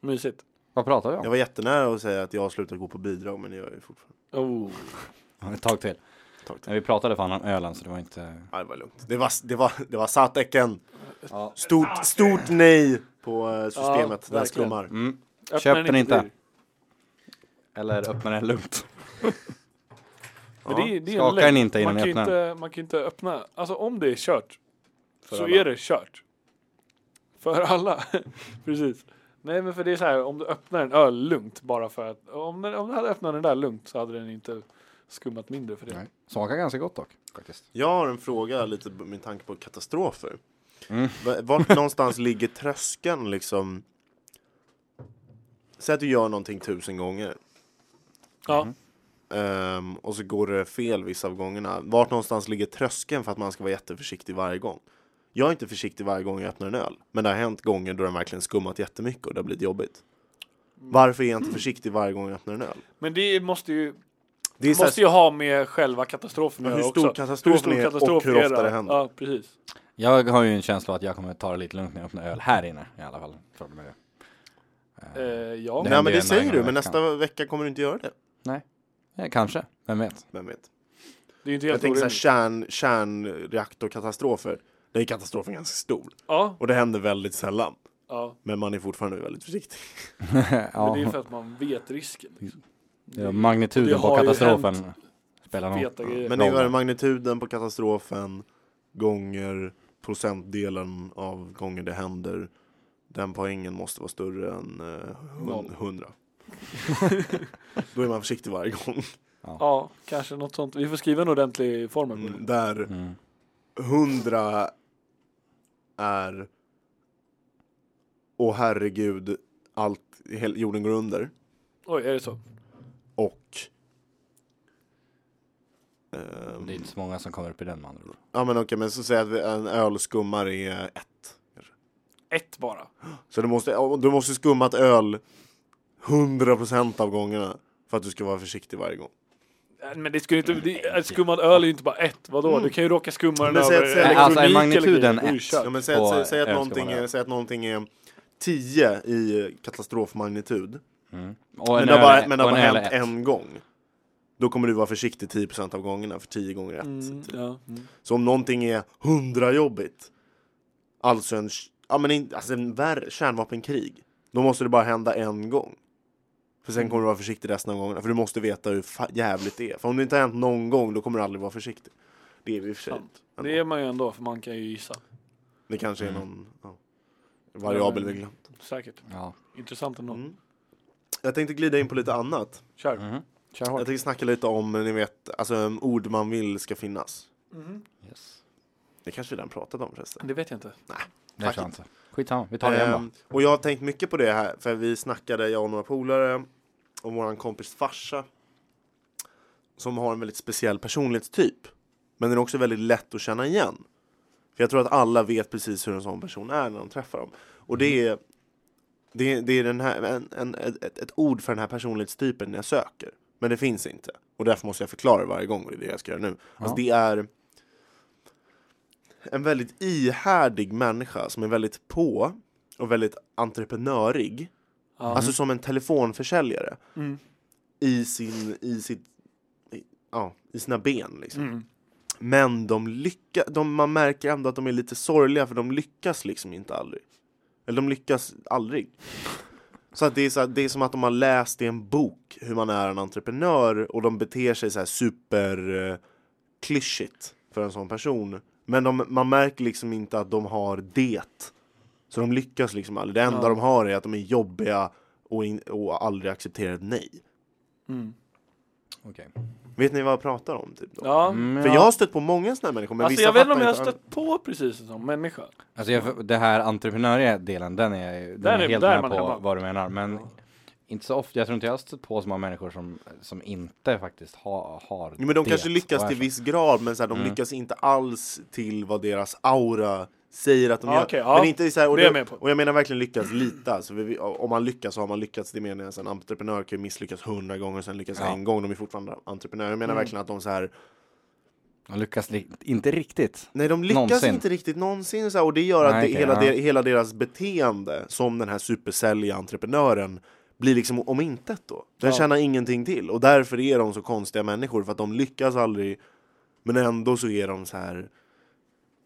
Speaker 2: mysigt.
Speaker 4: Vad pratar vi
Speaker 1: Jag
Speaker 4: om?
Speaker 1: var jättenära att säga att jag har slutat gå på bidrag men det gör jag ju fortfarande.
Speaker 2: Oh.
Speaker 4: Ett tag till.
Speaker 1: Tag till.
Speaker 4: Nej, vi pratade fan om ölen så det var inte...
Speaker 1: Ja, det var lugnt. Det var, det var, det var Satecken.
Speaker 4: Ja.
Speaker 1: Stort, stort nej på eh,
Speaker 2: Ja,
Speaker 1: systemet. Den
Speaker 2: verkligen.
Speaker 1: skummar.
Speaker 4: Mm.
Speaker 2: Öppna
Speaker 4: Köp den inte.
Speaker 2: dyr.
Speaker 4: Eller öppna den lugnt.
Speaker 2: Men
Speaker 1: Ja,
Speaker 2: det, är- det är en
Speaker 4: skaka
Speaker 2: länk.
Speaker 4: den inte innan
Speaker 2: man
Speaker 4: ni
Speaker 2: kan
Speaker 4: öppnar
Speaker 2: inte, man kan inte öppna, alltså om det är kört
Speaker 4: För
Speaker 2: så
Speaker 4: alla.
Speaker 2: är det kört. För alla, precis. Nej men för det är så här, om du öppnar en öl lugnt bara för att, om, den, om du hade öppnat den där lugnt så hade den inte skummat mindre för det.
Speaker 4: Nej. Smakar ganska gott dock, faktiskt.
Speaker 1: Jag har en fråga lite b- med tanke på katastrofer.
Speaker 4: Mm.
Speaker 1: V- Vart någonstans ligger tröskeln liksom? Säg att du gör någonting tusen gånger
Speaker 2: Ja,
Speaker 4: Mm-hmm.
Speaker 1: ehm, och så går det fel vissa av gångerna. Vart någonstans ligger tröskeln för att man ska vara jätteförsiktig varje gång? Jag är inte försiktig varje gång jag öppnar en öl, men det har hänt gånger då den verkligen skummat jättemycket och det har blivit jobbigt. Varför är jag inte försiktig varje gång jag öppnar en öl?
Speaker 2: men det måste ju,
Speaker 1: Det är så här-
Speaker 2: måste ju ha med själva katastrofen att
Speaker 1: Men hur
Speaker 2: göra
Speaker 1: stor
Speaker 2: också.
Speaker 1: katastrofen är och
Speaker 2: katastrofen
Speaker 1: hur ofta
Speaker 2: är,
Speaker 1: det händer.
Speaker 2: Ja, precis.
Speaker 4: Jag har ju en känsla att jag kommer ta det lite lugnt när jag öppnar öl här inne i alla fall. Tror du med det?
Speaker 2: Eh, ja.
Speaker 4: Nej.
Speaker 1: Nej
Speaker 4: händer
Speaker 1: men det
Speaker 4: ju en gång
Speaker 1: säger
Speaker 4: i
Speaker 1: du, men
Speaker 4: veckan.
Speaker 1: nästa vecka kommer du inte göra det.
Speaker 4: Ja, kanske, vem vet?
Speaker 1: Vem vet?
Speaker 2: det är ju inte
Speaker 1: Jag
Speaker 2: helt
Speaker 1: tänker såhär
Speaker 2: orimligt.
Speaker 1: kärn, kärnreaktorkatastrofer. Där är katastrofen ganska stor.
Speaker 2: ja,
Speaker 1: Och det händer väldigt sällan.
Speaker 2: ja.
Speaker 1: Men man är fortfarande väldigt försiktig.
Speaker 2: Men det är ju
Speaker 4: ja,
Speaker 2: för att man vet risken. Liksom.
Speaker 4: ja,
Speaker 2: det
Speaker 4: magnituden på
Speaker 2: har ju
Speaker 4: katastrofen spelar någon
Speaker 2: Feta grejer.
Speaker 1: Men det är ju magnituden på katastrofen gånger procentdelen av gånger det händer. Den poängen måste vara större än
Speaker 2: Noll.
Speaker 1: eh, 100. Då är man försiktig varje gång.
Speaker 2: Ja, kanske något sånt. Vi får skriva en ordentlig formel på det.
Speaker 1: Mm, Där
Speaker 4: Mm.
Speaker 1: 100 är Åh herregud, allt, hel, jorden går under
Speaker 2: Oj, är det så?
Speaker 1: och ehm,
Speaker 4: Det är inte så många som kommer upp i den med andra ord.
Speaker 1: Ja men okej, men så säger jag att en ölskummare är eh, ett.
Speaker 2: Ett bara.
Speaker 1: Så du måste, du måste skumma ett öl 100% av gångerna för att du ska vara försiktig varje gång.
Speaker 2: Äh, Men det skulle inte, det, äh, skummad öl är ju inte bara ett, vadå? Du kan ju råka skumma den
Speaker 1: Mm. Men säg
Speaker 2: över
Speaker 1: att- säg att-
Speaker 2: elektronik
Speaker 1: alltså,
Speaker 4: är
Speaker 2: eller
Speaker 4: magnituden
Speaker 2: grejer. Då är det
Speaker 4: ett?
Speaker 2: kört.
Speaker 1: Ja, men säg, att,
Speaker 4: På
Speaker 1: säg, säg, att
Speaker 4: ölskummare.
Speaker 1: någonting är, säg att någonting är 10 i katastrofmagnitud
Speaker 4: Och
Speaker 1: Men
Speaker 4: en
Speaker 1: det har
Speaker 4: öl
Speaker 1: bara,
Speaker 4: är-
Speaker 1: men det har
Speaker 4: och
Speaker 1: bara
Speaker 4: en öl är
Speaker 1: hänt
Speaker 4: ett.
Speaker 1: en gång. Då kommer du vara försiktig 10% av gångerna för 10 gånger rätt.
Speaker 2: Mm, ja. mm.
Speaker 1: Så om någonting är 100 jobbigt. Alltså en, ja, men in, alltså en värre kärnvapenkrig. Då måste det bara hända en gång. För sen kommer du vara försiktig resten av gångerna. För du måste veta hur fa- jävligt det är. För om det inte har hänt någon gång då kommer du aldrig vara försiktig. Det är vi i och för sig.
Speaker 2: Sant. Det är man ju ändå, för man kan ju gissa.
Speaker 1: Det kanske är någon ja, variabel vi glömt.
Speaker 2: Säkert.
Speaker 4: Ja.
Speaker 2: Intressant ändå.
Speaker 1: Mm. Jag tänkte glida in på lite annat.
Speaker 2: Kör.
Speaker 4: Mhm. Kör hårt.
Speaker 1: Jag tänkte snacka lite om, ni vet, alltså um, ord man vill ska finnas.
Speaker 4: Yes.
Speaker 1: Det kanske vi redan pratat om förresten.
Speaker 2: Det vet jag inte.
Speaker 4: Det tror
Speaker 1: Tack.
Speaker 4: jag inte. Skitsamma, vi tar det igen
Speaker 1: Ehm, och jag har tänkt mycket på det här, för vi snackade, jag och några polare, om våran kompis farsa. Som har en väldigt speciell personlighetstyp. Men den är också väldigt lätt att känna igen. För jag tror att alla vet precis hur en sån person är när de träffar dem. Och det
Speaker 4: Mm.
Speaker 1: är, det är, det är den här, en, en, ett, ett ord för den här personlighetstypen jag söker. Men det finns inte. Och därför måste jag förklara det varje gång och det är det jag ska göra nu. Alltså det är en väldigt ihärdig människa som är väldigt på och väldigt entreprenörig.
Speaker 2: Ja.
Speaker 1: Alltså som en telefonförsäljare.
Speaker 2: Mm.
Speaker 1: I, sin, i, sitt, i, ja, I sina ben liksom.
Speaker 2: Mm.
Speaker 1: Men de lyckas, de, man märker ändå att de är lite sorgliga för de lyckas liksom inte aldrig. Eller de lyckas aldrig. Så, att det, är så att det är som att de har läst i en bok hur man är en entreprenör och de beter sig så här super eh, klyschigt för en sån person. Men de, man märker liksom inte att de har det. Så de lyckas liksom aldrig. Det enda
Speaker 2: Ja.
Speaker 1: de har är att de är jobbiga och, in, och aldrig accepterar ett nej.
Speaker 2: Mm.
Speaker 4: då. Okej.
Speaker 1: Vet ni vad jag pratar om? Typ, då?
Speaker 2: Ja.
Speaker 4: Mm,
Speaker 1: För
Speaker 4: ja.
Speaker 1: jag har stött på många såna här människor. Men
Speaker 2: Alltså
Speaker 1: vissa
Speaker 2: jag vet inte om
Speaker 1: fattar
Speaker 2: jag har
Speaker 1: inte-
Speaker 2: stött på precis en sån människa.
Speaker 4: Alltså jag, det här entreprenöriella delen, den är, jag- den
Speaker 2: Där
Speaker 4: är
Speaker 2: är-
Speaker 4: helt
Speaker 2: där är
Speaker 4: med
Speaker 2: man
Speaker 4: på
Speaker 2: hemma.
Speaker 4: vad du menar. Men inte så ofta, jag tror inte jag har stött på så många människor som, som inte faktiskt ha, har
Speaker 1: Jo, men de
Speaker 4: det
Speaker 1: kanske lyckas
Speaker 4: och är
Speaker 1: till
Speaker 4: så.
Speaker 1: viss grad, men så här, de
Speaker 4: Mm.
Speaker 1: lyckas inte alls till vad deras aura säger att de
Speaker 2: Ja,
Speaker 1: gör.
Speaker 2: okej, ja.
Speaker 1: men inte så här, och,
Speaker 2: Det är jag med på.
Speaker 1: och jag menar verkligen lyckas lita. Så vi, om man lyckas så har man lyckats. Det menar jag. Så En entreprenör kan ju misslyckas hundra gånger och sen lyckas
Speaker 4: Ja.
Speaker 1: en gång. De är fortfarande entreprenörer. Jag menar
Speaker 2: Mm.
Speaker 1: verkligen att de så här,
Speaker 4: De lyckas li- inte riktigt.
Speaker 1: nej de lyckas
Speaker 4: Någonsin.
Speaker 1: inte riktigt någonsin. Så här, och det gör att
Speaker 4: Nej,
Speaker 1: det,
Speaker 4: okej,
Speaker 1: hela,
Speaker 4: ja.
Speaker 1: de, hela deras beteende som den här supersälja entreprenören blir liksom om intet då. Den
Speaker 2: Ja.
Speaker 1: tjänar ingenting till och därför är de så konstiga människor för att de lyckas aldrig men ändå så är de så här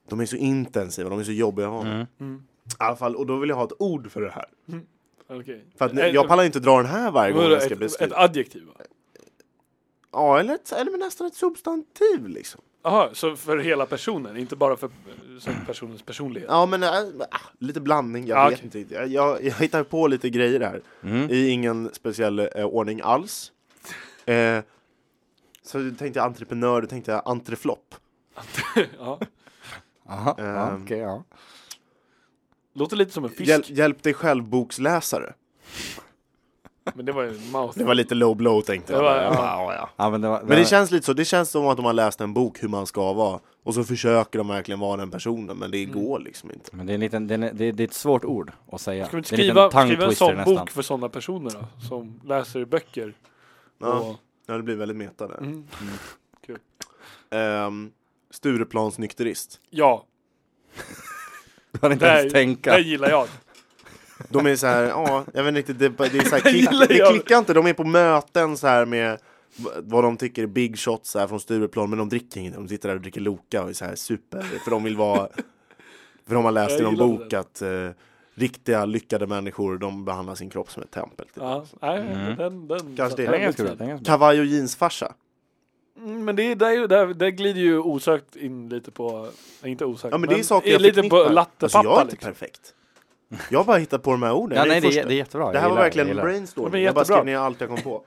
Speaker 1: de är så intensiva, de är så jobbiga att ha med.
Speaker 4: Mm.
Speaker 2: Mm.
Speaker 1: I alla fall, och då vill jag ha ett ord för det här.
Speaker 2: Okej.
Speaker 1: För att nu,
Speaker 2: Ett-
Speaker 1: jag pallar inte dra den här varje gång jag ska
Speaker 2: ett, ett
Speaker 1: beskriva.
Speaker 2: adjektiv va?
Speaker 1: Ja, eller, ett, eller nästan ett substantiv liksom.
Speaker 2: Jaha, så för hela personen, inte bara för som personens personlighet?
Speaker 1: Ja, men äh, ah, lite blandning, jag
Speaker 2: Ja,
Speaker 1: vet
Speaker 2: okej.
Speaker 1: inte riktigt. Jag, jag, jag hittar på lite grejer här.
Speaker 4: Mm.
Speaker 1: I ingen speciell eh, ordning alls. Eh, Så du tänkte entreprenör, du tänkte entreflopp.
Speaker 2: ja.
Speaker 4: Aha, ja,
Speaker 1: Ehm.
Speaker 4: okej, ja.
Speaker 2: Låter lite som en fisk,
Speaker 1: Hjäl hjälp dig själv boksläsare.
Speaker 2: men det var ju en mouth.
Speaker 1: Det var lite low blow tänkte jag.
Speaker 2: Det var-
Speaker 1: Jag
Speaker 2: ja.
Speaker 1: bara, "Ja, ja."
Speaker 4: ja men det var,
Speaker 1: Men det känns lite så, det känns som att de har läst en bok hur man ska vara och så försöker de verkligen vara den personen men
Speaker 2: Mm.
Speaker 1: det går liksom inte.
Speaker 4: men det, är en liten, det, är, det, är, det är ett svårt ord att säga.
Speaker 2: Ska vi inte
Speaker 4: Det är
Speaker 2: skriva,
Speaker 4: liten tongue
Speaker 2: skriva en
Speaker 4: twister
Speaker 2: sån bok för sådana personer då? Som läser böcker?
Speaker 1: Ja,
Speaker 2: Och,
Speaker 1: ja det blir väldigt meta där.
Speaker 2: mm,
Speaker 1: Ehm, Stureplansnykterist.
Speaker 2: ja,
Speaker 4: Du har inte ens tänka.
Speaker 2: den gillar jag.
Speaker 1: De är så här, ja, jag vet inte riktigt, det, är bara- det, är så här,
Speaker 2: Jag
Speaker 1: klick,
Speaker 2: gillar
Speaker 1: det
Speaker 2: jag.
Speaker 1: klickar inte. De är på möten så här med v- vad de tycker är big shots här från Stureplan, men de dricker inget. De sitter där och dricker Loka och är så här super, för de vill vara, för de har läst
Speaker 2: Jag
Speaker 1: i någon
Speaker 2: gillade
Speaker 1: bok att eh, riktiga lyckade människor, de behandlar sin kropp som ett tempel. Typ.
Speaker 2: Ja, nej,
Speaker 4: Mm.
Speaker 2: den, den,
Speaker 1: Kanske det.
Speaker 4: Den är
Speaker 2: den,
Speaker 4: ganska bra. Den är ganska bra.
Speaker 1: Kavaj och jeansfarsa.
Speaker 2: Mm, Men det är, där, är ju- där, där glider ju osökt in lite på, nej, inte osökt,
Speaker 1: Ja men det är saker
Speaker 2: i-
Speaker 1: jag
Speaker 2: lite på
Speaker 1: förknippar. Alltså,
Speaker 2: lattepappa
Speaker 1: jag är inte
Speaker 2: liksom.
Speaker 1: perfekt. Jag har bara hittat på de här orden.
Speaker 4: Ja,
Speaker 1: Jag är
Speaker 4: nej, det, är,
Speaker 1: första.
Speaker 4: det är jättebra.
Speaker 1: det
Speaker 4: Jag
Speaker 1: här var
Speaker 4: gillar-
Speaker 1: verkligen
Speaker 4: jag gillar.
Speaker 2: Ja,
Speaker 1: brainstorm.
Speaker 2: men
Speaker 1: Jag bara
Speaker 2: jättebra.
Speaker 1: skrev ner allt jag kom på.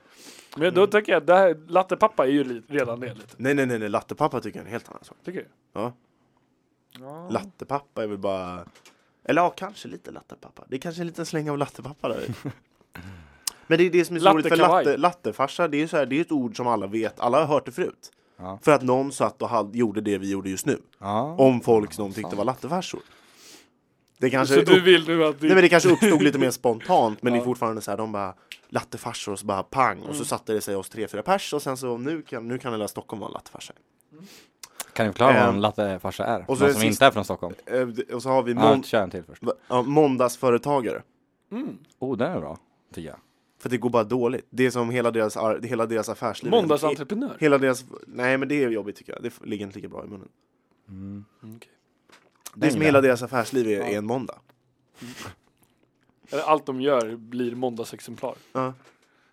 Speaker 2: Men
Speaker 1: Mm.
Speaker 2: då tänker jag, det här, lattepappa är ju li, redan det lite,
Speaker 1: Nej, nej, nej, nej. lattepappa tycker jag är en helt annan sak.
Speaker 2: tycker jag.
Speaker 1: Ja.
Speaker 2: Ja.
Speaker 1: Lattepappa är väl bara... Eller ja, kanske lite lattepappa. Det är kanske en liten släng av lattepappa där. Men det är det som är så roligt för
Speaker 2: Lattekavaj.
Speaker 1: latte, lattefarsa, det är ju så här, det är ett ord som alla vet, alla har hört det förut.
Speaker 4: Ja.
Speaker 1: För att någon satt och hade, gjorde det vi gjorde just nu.
Speaker 4: Ja.
Speaker 1: Om folk som de tyckte var lattefarsor. Alltså, Det kanske,
Speaker 2: Så du
Speaker 1: upp,
Speaker 2: vill nu att du...
Speaker 1: nej, men det kanske uppstod lite mer spontant, men det
Speaker 2: Ja.
Speaker 1: är fortfarande så här, de bara lattefarsor och så bara pang, och så satte det sig oss tre, fyra pers och sen så nu kan, nu kan hela Stockholm vara en lattefarsa.
Speaker 4: Kan du förklara vad en
Speaker 1: Ehm.
Speaker 4: lattefarsa är? Någon
Speaker 1: så
Speaker 4: som
Speaker 1: är det sist-
Speaker 4: inte är från Stockholm?
Speaker 1: Eh, det- Och så har vi
Speaker 4: Ja,
Speaker 1: mån,
Speaker 4: kör en till först.
Speaker 1: va- ja, måndagsföretagare.
Speaker 4: Oh, den är bra, tycker jag.
Speaker 1: För det går bara dåligt. Det är som hela deras, ar- hela deras affärsliv.
Speaker 2: Måndagsentreprenör?
Speaker 1: Hela deras, nej men det är jobbigt tycker jag. Det f- ligger inte lika bra i munnen.
Speaker 2: Okej.
Speaker 1: Det är som
Speaker 4: gillar
Speaker 1: hela
Speaker 4: jag.
Speaker 1: deras affärsliv är, är en måndag.
Speaker 2: Eller allt de gör blir måndagsexemplar.
Speaker 1: Ja,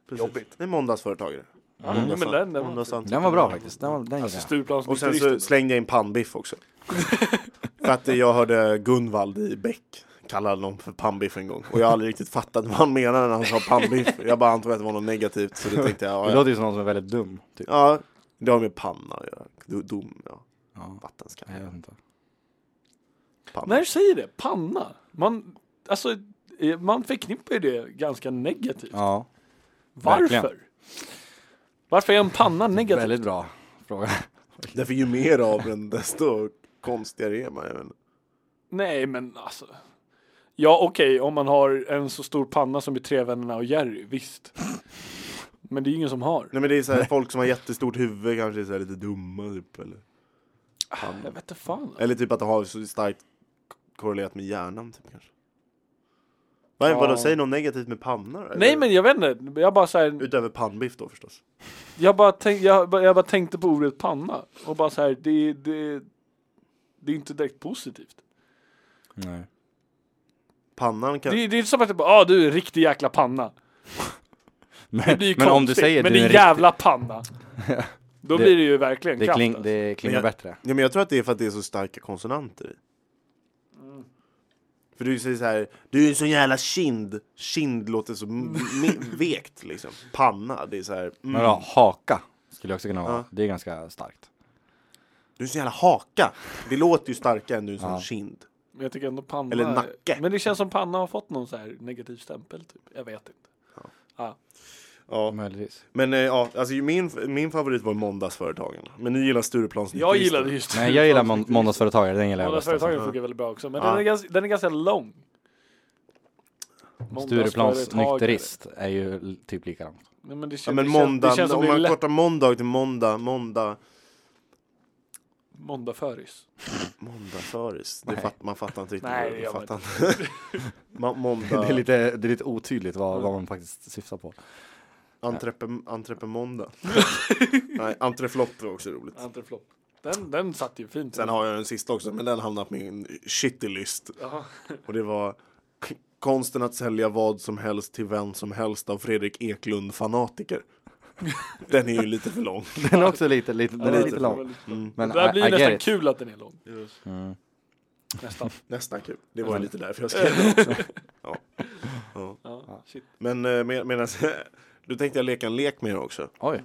Speaker 1: precis.
Speaker 2: Jobbigt.
Speaker 1: Det är måndagsföretagare.
Speaker 2: Ja,
Speaker 1: Måndags-
Speaker 2: men den, den var inte-
Speaker 1: måndagsentreprenör.
Speaker 4: Den var bra faktiskt. Den, var, den
Speaker 2: Alltså
Speaker 4: gillar jag.
Speaker 2: Stureplans
Speaker 1: Och sen så slängde jag in pannbiff också. för att jag hörde Gunvald i Bäck kalla någon för pannbiff en gång. Och jag har aldrig riktigt fattat vad han menade när han sa pannbiff. Jag bara antog att det var något negativt. Så då tänkte jag,
Speaker 4: Det
Speaker 1: ja, ja.
Speaker 4: låter ju som någon som är väldigt dum, typ.
Speaker 1: ja det har med panna att göra. Du- Dom, ja.
Speaker 4: Ja.
Speaker 1: Vattenskalle.
Speaker 4: Jag vet inte.
Speaker 1: Panna.
Speaker 2: När du säger det, panna. Man, alltså, eh, man förknippar ju det ganska negativt.
Speaker 4: Ja,
Speaker 2: Varför?
Speaker 4: verkligen.
Speaker 2: Varför är en panna negativ?
Speaker 4: väldigt bra fråga.
Speaker 1: Därför ju mer av den desto konstigare är man. Jag vet inte.
Speaker 2: Nej, men alltså. Ja, okej, om man har en så stor panna som i Trevännerna och Jerry, visst. Men det är ju ingen som har.
Speaker 1: Nej men det är så här, folk som har jättestort huvud kanske är så här lite dumma typ. Eller,
Speaker 2: Jag vet inte fan.
Speaker 1: eller typ att de har så starkt k- korrelerat med hjärnan typ kanske. Vad
Speaker 2: Ja.
Speaker 1: vadå, säger något negativt med pannor? eller?
Speaker 2: Nej, men jag vet inte. Jag bara, så här,
Speaker 1: Utöver pannbiff då förstås.
Speaker 2: jag, bara tänk, jag, bara- jag bara tänkte på ordet panna och bara så här, det, det, det är inte direkt positivt.
Speaker 4: Nej.
Speaker 1: Pannan kan...
Speaker 2: Det, det är som att jag bara, ah, du är en riktig jäkla panna. Det
Speaker 4: Men,
Speaker 2: blir ju
Speaker 4: men om du
Speaker 2: konstigt,
Speaker 4: säger
Speaker 2: men
Speaker 4: du
Speaker 2: det
Speaker 4: är
Speaker 2: är
Speaker 4: en
Speaker 2: jävla panna. Då
Speaker 4: Det-
Speaker 2: blir det ju verkligen
Speaker 4: riktig- det,
Speaker 2: kraft.
Speaker 4: kling,
Speaker 2: alltså.
Speaker 4: det klingar
Speaker 1: Men-
Speaker 4: bättre.
Speaker 1: Ja men jag tror att det är för att det är så starka konsonanter i.
Speaker 2: Mm.
Speaker 1: För du säger så här, du är en sån jävla kind. Kind låter så m- m- vekt liksom. Panna, det är så här.
Speaker 4: Men
Speaker 1: Mm.
Speaker 4: ja, haka skulle jag också kunna vara.
Speaker 1: Ja.
Speaker 4: Det är ganska starkt.
Speaker 1: Du är en sån jävla haka. Det låter ju starkare än du är en sån
Speaker 4: Ja.
Speaker 1: kind.
Speaker 2: Men jag tycker ändå panna.
Speaker 1: Eller nacke.
Speaker 2: Men det känns som panna har fått någon så här negativ stämpel typ. Jag vet inte.
Speaker 1: Ja,
Speaker 4: Möjligtvis.
Speaker 1: men eh, ja, alltså ju min, min favorit var måndagsföretagen. Men ni gillar Stureplans
Speaker 2: Jag gillade just
Speaker 4: Nej, jag gillar månd- måndagsföretagare. Den gillar jag bäst. Alltså.
Speaker 2: Måndagsföretagen funkar väldigt bra också. Men
Speaker 1: Ja.
Speaker 2: den, är ganska, den är ganska lång.
Speaker 4: Stureplans
Speaker 2: Måndagsföretagare.
Speaker 4: nykterist är ju l- typ likadant.
Speaker 2: Nej, men det känns,
Speaker 1: Ja, men
Speaker 2: det känns,
Speaker 1: måndag,
Speaker 2: det känns som
Speaker 1: om
Speaker 2: det är
Speaker 1: man
Speaker 2: lätt.
Speaker 1: kortar måndag till måndag, måndag,
Speaker 2: Måndagföris.
Speaker 1: måndagföris. Det
Speaker 4: Nej.
Speaker 1: fatt, man fattar inte riktigt.
Speaker 2: Nej,
Speaker 1: vad-
Speaker 2: det gör
Speaker 1: man
Speaker 2: man
Speaker 1: fattar inte. Ma- måndag,
Speaker 4: Det, är lite, det är lite otydligt vad, vad man faktiskt syftar på.
Speaker 1: entrepe, entrepemåndag. Nej, entreflopp var också roligt.
Speaker 2: Antreflopp. Den, den satt ju fint.
Speaker 1: Sen har jag den sista också, men den hamnade på min shitty list.
Speaker 2: Jaha.
Speaker 1: Och det var k- Konsten att sälja vad som helst till vem som helst av Fredrik Eklund fanatiker. Den är ju lite för lång.
Speaker 4: Den är också lite, lite,
Speaker 2: Ja,
Speaker 4: den är lite lång.
Speaker 2: väldigt-
Speaker 1: Mm.
Speaker 4: Men
Speaker 2: det där blir
Speaker 4: I, I
Speaker 2: ju
Speaker 4: get
Speaker 2: nästan
Speaker 4: it.
Speaker 2: kul att den är lång.
Speaker 4: Mm.
Speaker 2: Nästan.
Speaker 1: Nästan kul. Det var ju
Speaker 4: Men-
Speaker 1: lite därför jag skrev det också. Ja. Ja.
Speaker 2: Ja, shit.
Speaker 1: alltså,
Speaker 2: Mm.
Speaker 1: Men eh, med, medan du tänkte jag leka en lek med er också.
Speaker 4: Oj.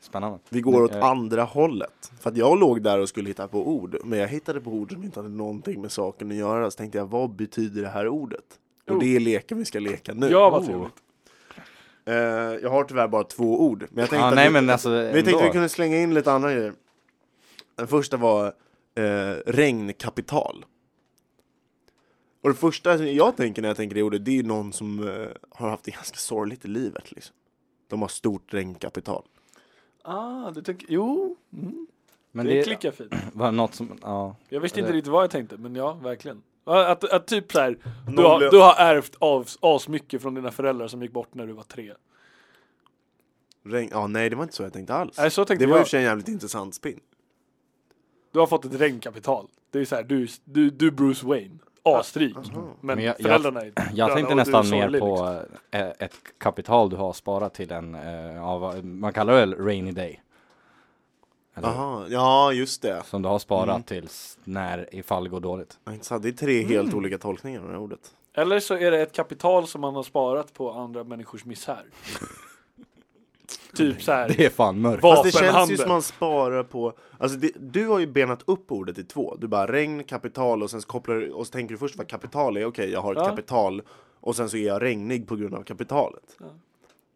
Speaker 4: Spännande.
Speaker 1: Vi går åt
Speaker 4: Eh,
Speaker 1: andra hållet. För att jag låg där och skulle hitta på ord, men jag hittade på ord som inte hade någonting med saken att göra. Så tänkte jag, vad betyder det här ordet?
Speaker 2: Oh.
Speaker 1: Och det är leken vi ska leka nu.
Speaker 2: Ja, vad
Speaker 4: Oh.
Speaker 2: trevligt.
Speaker 1: Eh, jag har tyvärr bara två ord, men jag tänkte,
Speaker 4: Ja,
Speaker 1: att,
Speaker 4: nej
Speaker 1: vi,
Speaker 4: men alltså
Speaker 1: men jag tänkte att vi
Speaker 4: ändå.
Speaker 1: kunde slänga in lite andra grejer. Den första var eh, regnkapital. Och det första som jag tänker när jag tänker det ordet, det är ju någon som eh, har haft det ganska sorgligt i livet. Liksom. De har stort regnkapital.
Speaker 2: Ah, du tänker, jo. Mm.
Speaker 4: Men
Speaker 2: det,
Speaker 4: det
Speaker 2: klickar fint.
Speaker 4: var något som, ja.
Speaker 2: Jag visste
Speaker 4: Ja,
Speaker 2: inte
Speaker 4: det-
Speaker 2: riktigt vad jag tänkte, men ja, verkligen. Ja, Att, att typ så här, du
Speaker 1: Någon
Speaker 2: har,
Speaker 1: lö-
Speaker 2: du har ärvt av, asmycket från dina föräldrar som gick bort när du var tre.
Speaker 1: Regn... Ja, nej, det var inte så jag tänkte alls.
Speaker 2: Nej, så tänkte
Speaker 1: det var i
Speaker 2: jag.
Speaker 1: och för sig en jävligt intressant spin.
Speaker 2: Du har fått ett regnkapital. Det är så här, du, du, du är Bruce Wayne. Asrik. Men,
Speaker 4: Men jag- jag-
Speaker 2: föräldrarna är
Speaker 4: Jag
Speaker 2: döda
Speaker 4: tänkte
Speaker 2: och du är
Speaker 4: nästan mer
Speaker 2: sorglig,
Speaker 4: på
Speaker 2: liksom.
Speaker 4: eh, ett kapital du har sparat till en, eh, ja, vad- man kallar det väl rainy day? Eller,
Speaker 1: Aha, ja, just det.
Speaker 4: Som du har sparat
Speaker 1: Mm.
Speaker 4: tills när ifall det går dåligt.
Speaker 1: Ja, Intressant. Det är tre helt olika tolkningar av det här ordet.
Speaker 2: Eller så är det ett kapital som man har sparat på andra människors misär. typ så här.
Speaker 4: Det är fan mörkt.
Speaker 2: Vad-
Speaker 1: Fast Alltså, det känns ju
Speaker 2: Vapenhandel.
Speaker 1: som man sparar på... Alltså det, du har ju benat upp ordet i två. Du bara regn, kapital och sen så kopplar du, och så tänker du först vad kapital är. Okej, jag har ett
Speaker 2: Ja.
Speaker 1: kapital och sen så är jag regnig på grund av kapitalet.
Speaker 2: Ja.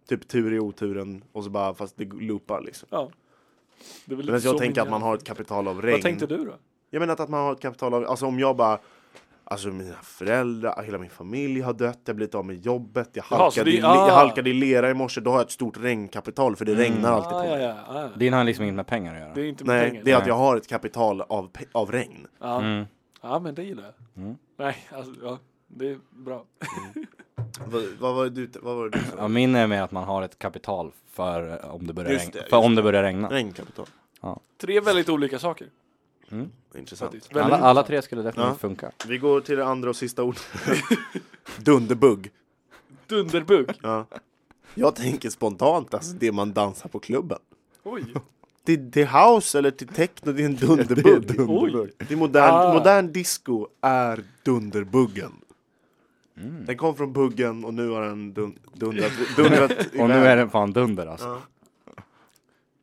Speaker 1: Typ tur i oturen och så bara fast det loopar liksom.
Speaker 2: Ja. Det är väl
Speaker 1: Men
Speaker 2: lite
Speaker 1: jag
Speaker 2: så
Speaker 1: tänker
Speaker 2: min
Speaker 1: att man
Speaker 2: hjärna
Speaker 1: har ett kapital av regn.
Speaker 2: Vad tänkte du då?
Speaker 1: Jag menar att- att man har ett kapital av, alltså om jag bara Alltså mina föräldrar, hela min familj har dött, jag har blivit av med jobbet, jag
Speaker 2: Jaha, så
Speaker 1: halkade,
Speaker 2: det-
Speaker 1: i, le-
Speaker 2: ah.
Speaker 1: jag halkade i lera i morse, då har jag ett stort regnkapital för det regnar alltid på
Speaker 2: Ah,
Speaker 1: mig.
Speaker 2: ja, ja, ah, ja.
Speaker 4: Din har liksom inte med pengar att göra.
Speaker 2: Det är inte med
Speaker 1: Nej,
Speaker 2: pengar.
Speaker 1: det är att
Speaker 4: Nej.
Speaker 1: jag har ett kapital av, pe- av regn.
Speaker 2: Ja.
Speaker 4: Mm.
Speaker 2: ja, men det gillar jag.
Speaker 4: Mm.
Speaker 2: Nej, alltså, ja. Det är bra.
Speaker 1: Vad, vad var det du, vad var det du
Speaker 4: Ja,
Speaker 1: sa?
Speaker 4: min är mer att man har ett kapital för eh, om det börjar,
Speaker 1: Just
Speaker 4: regn-
Speaker 1: det, just
Speaker 4: för om det börjar regna.
Speaker 1: Regnkapital.
Speaker 2: Tre väldigt olika saker.
Speaker 1: Intressant.
Speaker 2: Faktiskt. Väldigt
Speaker 4: Alla,
Speaker 2: intressant.
Speaker 4: alla tre skulle definitivt
Speaker 1: Ja.
Speaker 4: funka.
Speaker 1: Vi går till det andra och sista ordet. Dunderbugg.
Speaker 2: Dunderbuk.
Speaker 1: Ja. Jag tänker spontant, alltså det man dansar på klubben.
Speaker 2: Oj.
Speaker 1: Till, till house eller till techno, det är en dunderbugg.
Speaker 4: Det är dunderbugg.
Speaker 1: Oj. Det är modern,
Speaker 2: Ah.
Speaker 1: modern disco är dunderbuggen. Den kom från buggen och nu har den dun, dundrat, dundrat
Speaker 4: Mm. Och nu är den fan dunder alltså.
Speaker 1: Ja.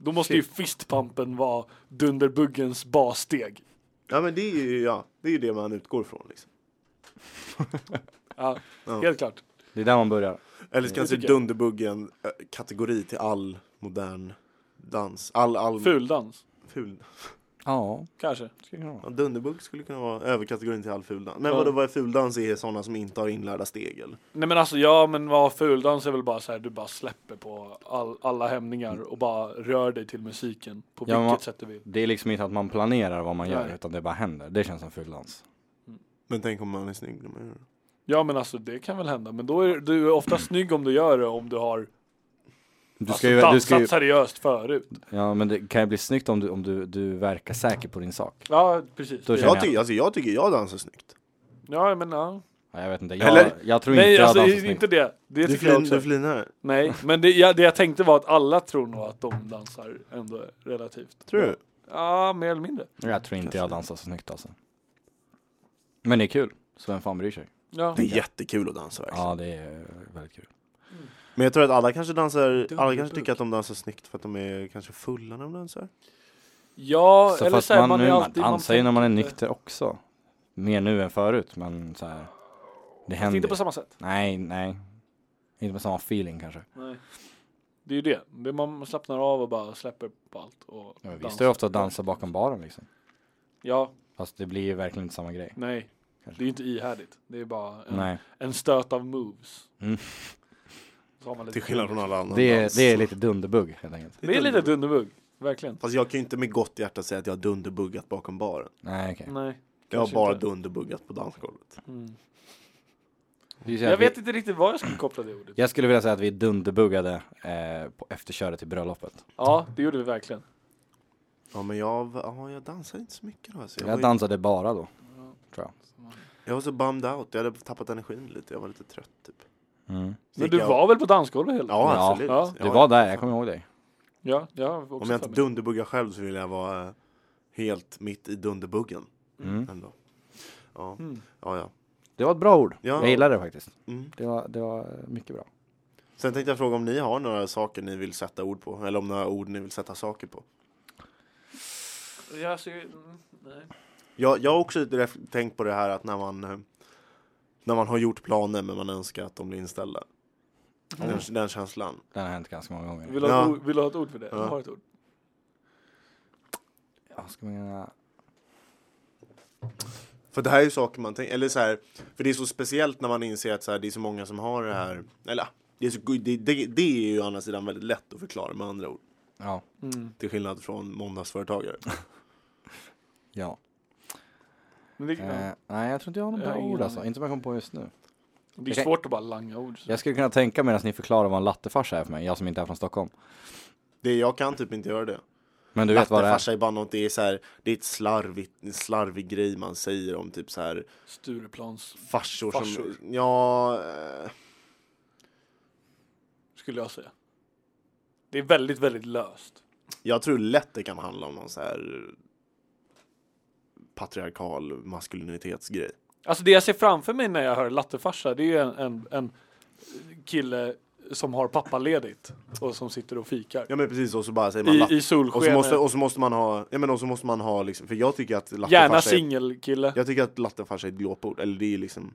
Speaker 2: Då måste ju fistpumpen vara dunderbuggens bassteg.
Speaker 1: Ja men det är ju ja, det, är ju det man utgår från. Liksom.
Speaker 2: Ja,
Speaker 1: Ja.
Speaker 2: helt klart.
Speaker 4: Det är där man börjar.
Speaker 1: Eller så kanske
Speaker 2: Mm. tycker jag.
Speaker 1: dunderbuggen eh, kategori till all modern dans. All, all
Speaker 2: Fuldans,
Speaker 1: ful.
Speaker 4: Ja,
Speaker 2: kanske.
Speaker 4: skulle kunna vara.
Speaker 1: Ja, dunderbugg skulle kunna vara överkategorin till all fuldans. Men
Speaker 2: Ja.
Speaker 1: vadå, vad är fuldans? är sådana som inte har inlärda steg eller?
Speaker 2: Nej men alltså ja, men vad fuldans är väl bara så här, du bara släpper på all, alla hämningar och bara rör dig till musiken på
Speaker 4: Ja, men
Speaker 2: vilket
Speaker 4: vad-
Speaker 2: sätt du vill.
Speaker 4: Det är liksom inte att man planerar vad man gör
Speaker 2: Nej.
Speaker 4: utan det bara händer. Det känns som fulldans.
Speaker 1: Men tänk om man är snygg när man gör det.
Speaker 2: Ja men alltså det kan väl hända, men då är du är ofta snygg om du gör det om du har
Speaker 4: Du
Speaker 2: alltså,
Speaker 4: ska ju,
Speaker 2: dansat
Speaker 4: du ska ju,
Speaker 2: seriöst förut.
Speaker 4: ja men det kan ju bli snyggt om du, om du, du verkar säker på din sak.
Speaker 2: Ja precis.
Speaker 4: Då
Speaker 2: Det-
Speaker 4: känner
Speaker 1: Jag tycker, alltså, jag tycker jag dansar snyggt.
Speaker 2: Ja men ja.
Speaker 4: Ja, jag vet inte, jag,
Speaker 1: Eller-
Speaker 4: jag tror
Speaker 2: Nej
Speaker 4: inte
Speaker 2: alltså
Speaker 4: jag
Speaker 2: i-
Speaker 4: dansar snyggt.
Speaker 2: inte det. Det
Speaker 1: Du,
Speaker 2: tycker jag
Speaker 1: flin,
Speaker 2: också.
Speaker 1: du flinar?
Speaker 2: Nej men det, ja, det jag tänkte var att alla tror nog att de dansar ändå relativt.
Speaker 1: Tror du?
Speaker 2: Ja mer eller mindre.
Speaker 4: Jag tror inte jag
Speaker 1: Kanske.
Speaker 4: dansar så snyggt alltså. Men det är kul, så vem fan bryr sig?
Speaker 2: Ja.
Speaker 1: Det är jättekul att dansa verkligen.
Speaker 4: Ja, det är väldigt kul.
Speaker 1: Men jag tror att alla kanske dansar, alla kanske
Speaker 2: Dunderbugg.
Speaker 1: tycker att de dansar snyggt för att de är kanske fulla när de dansar.
Speaker 2: Ja,
Speaker 4: Så
Speaker 2: eller
Speaker 4: fast
Speaker 2: så här,
Speaker 4: man, nu,
Speaker 2: är
Speaker 4: man
Speaker 2: alltid-
Speaker 4: dansar ju när man är
Speaker 2: tänker inte-
Speaker 4: nykter också. Mer nu än förut, men så här. Det
Speaker 2: Fast
Speaker 4: händer
Speaker 2: inte
Speaker 4: ju.
Speaker 2: på samma sätt.
Speaker 4: Nej, nej. Inte med samma feeling kanske.
Speaker 2: Nej. Det är ju det. det. är Man slappnar av och bara släpper på allt. Och
Speaker 4: Ja, Vi
Speaker 2: dansar.
Speaker 4: står ju ofta och dansar bakom baren liksom.
Speaker 2: Ja,
Speaker 4: Fast det blir ju verkligen inte samma grej.
Speaker 2: nej.
Speaker 4: Kanske.
Speaker 2: Det är ju inte ihärdigt. Det är bara en,
Speaker 4: Nej,
Speaker 2: en stöt av moves.
Speaker 4: Mm.
Speaker 2: Så har man lite
Speaker 1: Till skillnad från alla andra
Speaker 4: det är,
Speaker 1: dans.
Speaker 4: det är lite dunderbugg helt enkelt.
Speaker 2: Det är lite dunderbugg. Verkligen.
Speaker 1: Fast jag kan ju inte med gott hjärta säga att jag har dunderbuggat bakom baren.
Speaker 4: Nej, okej.
Speaker 2: Nej.
Speaker 1: Jag har
Speaker 2: kanske
Speaker 1: bara
Speaker 2: inte.
Speaker 1: dunderbuggat på dansgolvet.
Speaker 2: Mm.
Speaker 4: Det är så här
Speaker 2: Jag
Speaker 4: vi-
Speaker 2: vet inte riktigt vad jag skulle koppla det ordet.
Speaker 4: Jag skulle vilja säga att vi är dunderbuggade eh, på efterköret till bröllopet.
Speaker 2: Ja, det gjorde vi verkligen.
Speaker 1: Ja men jag, ja, jag dansar inte så mycket då. Alltså. Jag,
Speaker 4: Jag
Speaker 1: var,
Speaker 4: dansade bara då. Tror
Speaker 1: jag var så bummed out, jag hade tappat energin lite, jag var lite trött typ.
Speaker 4: jag. Mm.
Speaker 2: Men
Speaker 1: Gick
Speaker 2: du
Speaker 1: jag-
Speaker 2: var väl på dansgolvet hela
Speaker 1: Ja,
Speaker 4: Ja.
Speaker 1: absolut.
Speaker 2: Ja.
Speaker 4: Du var där, jag kommer ihåg dig.
Speaker 2: Ja, jag har också
Speaker 1: Om jag inte
Speaker 2: för mig.
Speaker 1: dunderbuggar själv så vill jag vara eh, helt mitt i dunderbuggen.
Speaker 4: Mm.
Speaker 1: Ändå. Ja,
Speaker 2: Mm.
Speaker 1: ja, ja.
Speaker 4: Det var ett bra ord.
Speaker 1: Ja.
Speaker 4: Jag gillar det faktiskt.
Speaker 1: Mm.
Speaker 4: Det var, det var mycket bra.
Speaker 1: Sen tänkte jag fråga om ni har några saker ni vill sätta ord på, eller om några ord ni vill sätta saker på.
Speaker 2: Ja, alltså, mm, nej.
Speaker 1: Jag, jag har också ref- tänkt på det här att när man, eh, när man har gjort planer men man önskar att de blir inställda. Den, den känslan.
Speaker 4: Den har hänt ganska många gånger.
Speaker 2: Vill, du ha ett
Speaker 1: Ja.
Speaker 2: ord- vill du ha ett ord för det?
Speaker 1: Ja.
Speaker 2: Jag har ett ord.
Speaker 4: Ja, ska man göra...
Speaker 1: För det här är ju saker man tänker, eller så här, för det är så speciellt när man inser att så här, det är så många som har det här, eller det är, så, det, det, det är ju å andra sidan väldigt lätt att förklara med andra ord.
Speaker 4: Ja.
Speaker 2: Mm.
Speaker 1: Till skillnad från måndagsföretagare.
Speaker 4: Ja.
Speaker 2: Men det,
Speaker 4: Eh, nej, jag tror inte jag har något
Speaker 2: Jag har
Speaker 4: bra
Speaker 2: ingen
Speaker 4: ord alltså.
Speaker 2: aning.
Speaker 4: Inte som jag kom på just nu.
Speaker 2: det är
Speaker 4: okej.
Speaker 2: svårt att bara langa ord. Så.
Speaker 4: Jag skulle kunna tänka medan ni förklarar vad en lattefarsa är för mig, jag som inte är från Stockholm.
Speaker 1: Det, jag kan typ inte göra det.
Speaker 4: Men du vet vad det är?
Speaker 1: Lattefarsa är bara något, det är så här, det är ett slarvigt, en slarvig grej man säger om typ så här
Speaker 2: Stureplans
Speaker 1: farsor,
Speaker 2: Farsor.
Speaker 1: som, ja, eh,
Speaker 2: skulle jag säga. Det är väldigt, väldigt löst.
Speaker 1: jag tror lätt det kan handla om någon så här patriarkal maskulinitetsgrej.
Speaker 2: Alltså det jag ser framför mig när jag hör lattefarsa, det är ju en, en, en kille som har pappaledigt och som sitter och fikar.
Speaker 1: Ja men precis, och så bara säger man latte-
Speaker 2: I, i
Speaker 1: Och så,
Speaker 2: solskenet.
Speaker 1: måste, och så måste man ha, ja men och så måste man ha liksom, för jag tycker att
Speaker 2: Gärna
Speaker 1: lattefarsa är,
Speaker 2: singelkille.
Speaker 1: jag tycker att lattefarsa är ett glåpord, eller det är liksom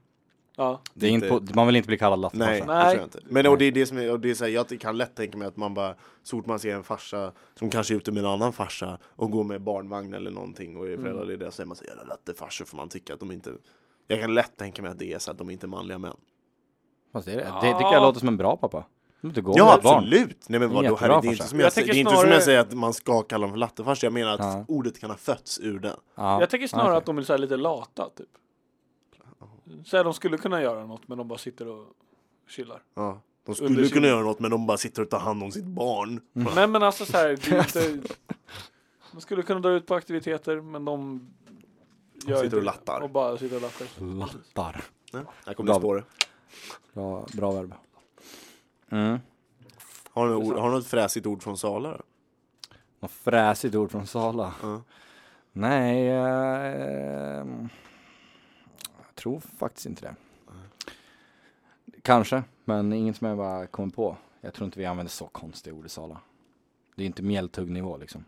Speaker 2: Ja.
Speaker 4: Det är inte, på, man vill inte bli kallad
Speaker 1: Nej,
Speaker 4: lattefarsa.
Speaker 1: det tror
Speaker 2: Nej.
Speaker 1: jag inte. Men och det är det som är, och det är så här, jag kan lätt tänka mig att man bara Så fort man ser en farsa som kanske är ute med en annan farsa och går med barnvagn eller någonting
Speaker 4: Mm.
Speaker 1: och är föräldralediga så är man så här, jävla lattefarsor får man tycka att de inte Jag kan lätt tänka mig att det är så att de inte är manliga män
Speaker 4: Fast det, är det. det tycker jag låter som en bra pappa. Du inte gå med
Speaker 1: Ja
Speaker 4: ett barn.
Speaker 1: absolut! Nej men vadå
Speaker 4: Jättebra
Speaker 1: herre, det är
Speaker 4: farsa.
Speaker 1: inte som jag,
Speaker 2: Jag
Speaker 1: säger,
Speaker 2: tänker
Speaker 1: det är inte som jag
Speaker 2: snarare-
Speaker 1: säger att man ska kalla dem för lattefarsor, jag menar att
Speaker 4: Ja.
Speaker 1: ordet kan ha fötts ur den
Speaker 4: Ja.
Speaker 2: Jag tänker snarare
Speaker 4: Okej.
Speaker 2: att de är så här lite lata typ. Så här, de skulle kunna göra något men de bara sitter och chillar.
Speaker 1: ja. De
Speaker 2: Under
Speaker 1: skulle
Speaker 2: sin-
Speaker 1: kunna göra något men de bara sitter och tar hand om sitt barn
Speaker 2: Nej men alltså så här, det är inte, de skulle kunna dra ut på aktiviteter men de gör
Speaker 1: sitter
Speaker 2: inte
Speaker 1: och
Speaker 2: det.
Speaker 1: lattar.
Speaker 2: Och bara sitter och lattar.
Speaker 4: Lattar.
Speaker 1: Nej, Här kommer det
Speaker 4: Bra.
Speaker 1: spåret
Speaker 4: Bra, bra verb. Mm.
Speaker 1: Har du, ord, har du något fräsigt ord från Sala då?
Speaker 4: Något fräsigt ord från Sala.
Speaker 1: Ja.
Speaker 4: Nej, eh, jag tror faktiskt inte det. Kanske, men inget som jag bara kom på. Jag tror inte vi använder så konstiga ord i Sala. Det är inte mjältuggnivå liksom.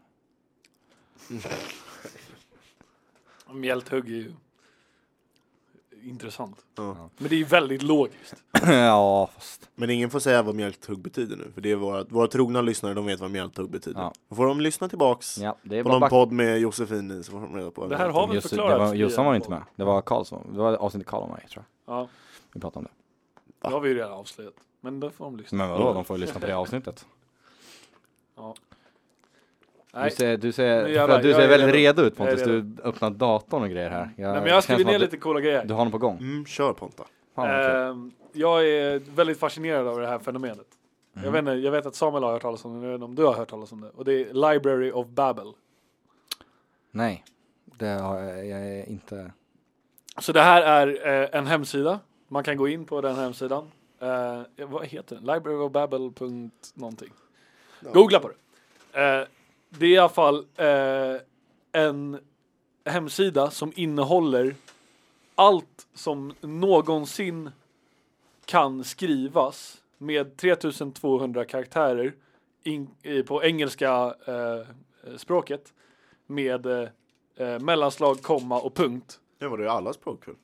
Speaker 2: Mjälthugg är ju intressant.
Speaker 1: Ja.
Speaker 2: Men det är ju väldigt logiskt.
Speaker 4: ja, fast.
Speaker 1: Men ingen får säga vad mjälktugg betyder nu, för det är våra, våra trogna lyssnare, de vet vad mjälktugg betyder.
Speaker 4: Ja.
Speaker 1: Och får de lyssna tillbaks
Speaker 4: Ja, det är
Speaker 1: på
Speaker 4: bara
Speaker 1: någon
Speaker 4: back-
Speaker 1: podd med Josefin i, så får de reda på vad
Speaker 2: Det
Speaker 1: mjälktugg är.
Speaker 2: här har vi
Speaker 4: Just, det, det
Speaker 2: förklarat
Speaker 4: var,
Speaker 2: i
Speaker 4: Jossan
Speaker 2: en
Speaker 4: var inte
Speaker 2: podd.
Speaker 4: med. Det var Karlsson. Det var avsnittet Karl och mig tror jag.
Speaker 2: Ja,
Speaker 4: Vi pratade om det.
Speaker 2: det har vi ju redan avslöjat. Men då får de lyssna.
Speaker 4: Men vadå, de får ju lyssna på det avsnittet. Du
Speaker 2: Nej.
Speaker 4: ser, du
Speaker 2: Nu
Speaker 4: ser,
Speaker 2: jävlar,
Speaker 4: för att du
Speaker 2: jag
Speaker 4: ser
Speaker 2: är
Speaker 4: väldigt
Speaker 2: redo.
Speaker 4: redo ut
Speaker 2: Jag är
Speaker 4: Pontus. Du öppnar datorn och grejer här.
Speaker 2: Nej, men
Speaker 4: det
Speaker 2: jag har
Speaker 4: känns
Speaker 2: skrivit
Speaker 4: som
Speaker 2: ner
Speaker 4: att
Speaker 2: lite coola grejer.
Speaker 4: Du, du har något på gång.
Speaker 1: Mm, kör Ponta.
Speaker 4: Fan, vad kul.
Speaker 2: Ehm, jag är väldigt fascinerad av det här fenomenet. Jag,
Speaker 4: Mm.
Speaker 2: vet inte, jag vet att Samuel har hört talas om det, men jag vet inte om du har hört talas om det. Och det är Library of Babel.
Speaker 4: Nej, det har jag, jag är inte.
Speaker 2: Så det här är eh, en hemsida. Man kan gå in på den hemsidan. Eh, vad heter den? Libraryofbabel. någonting. Googla på det. Eh, det är i alla fall eh, en hemsida som innehåller allt som någonsin kan skrivas med 3200 karaktärer in, i, på engelska eh, språket med eh, eh, mellanslag, komma och punkt.
Speaker 1: Det var det ju alla språk väl,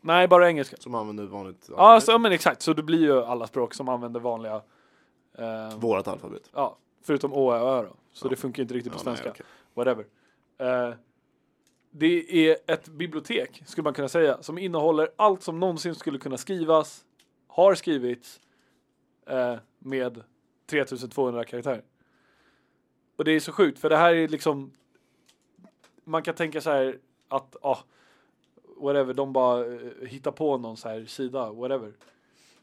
Speaker 2: Nej, bara engelska.
Speaker 1: som använder vanligt
Speaker 2: Ja, alltså, ja, men exakt. Så det blir ju alla språk som använder vanliga... ehm,
Speaker 1: Vårat alfabet.
Speaker 2: ja, förutom å, ä, ö då. Så det funkar inte riktigt på
Speaker 1: Ja,
Speaker 2: svenska.
Speaker 1: nej, okej.
Speaker 2: Whatever. Eh, det är ett bibliotek, skulle man kunna säga, som innehåller allt som någonsin skulle kunna skrivas, har skrivits, eh, med 3200 karaktärer. Och det är så sjukt, för det här är liksom... Man kan tänka så här att, ja, whatever, de bara eh, hittar på någon så här sida, whatever,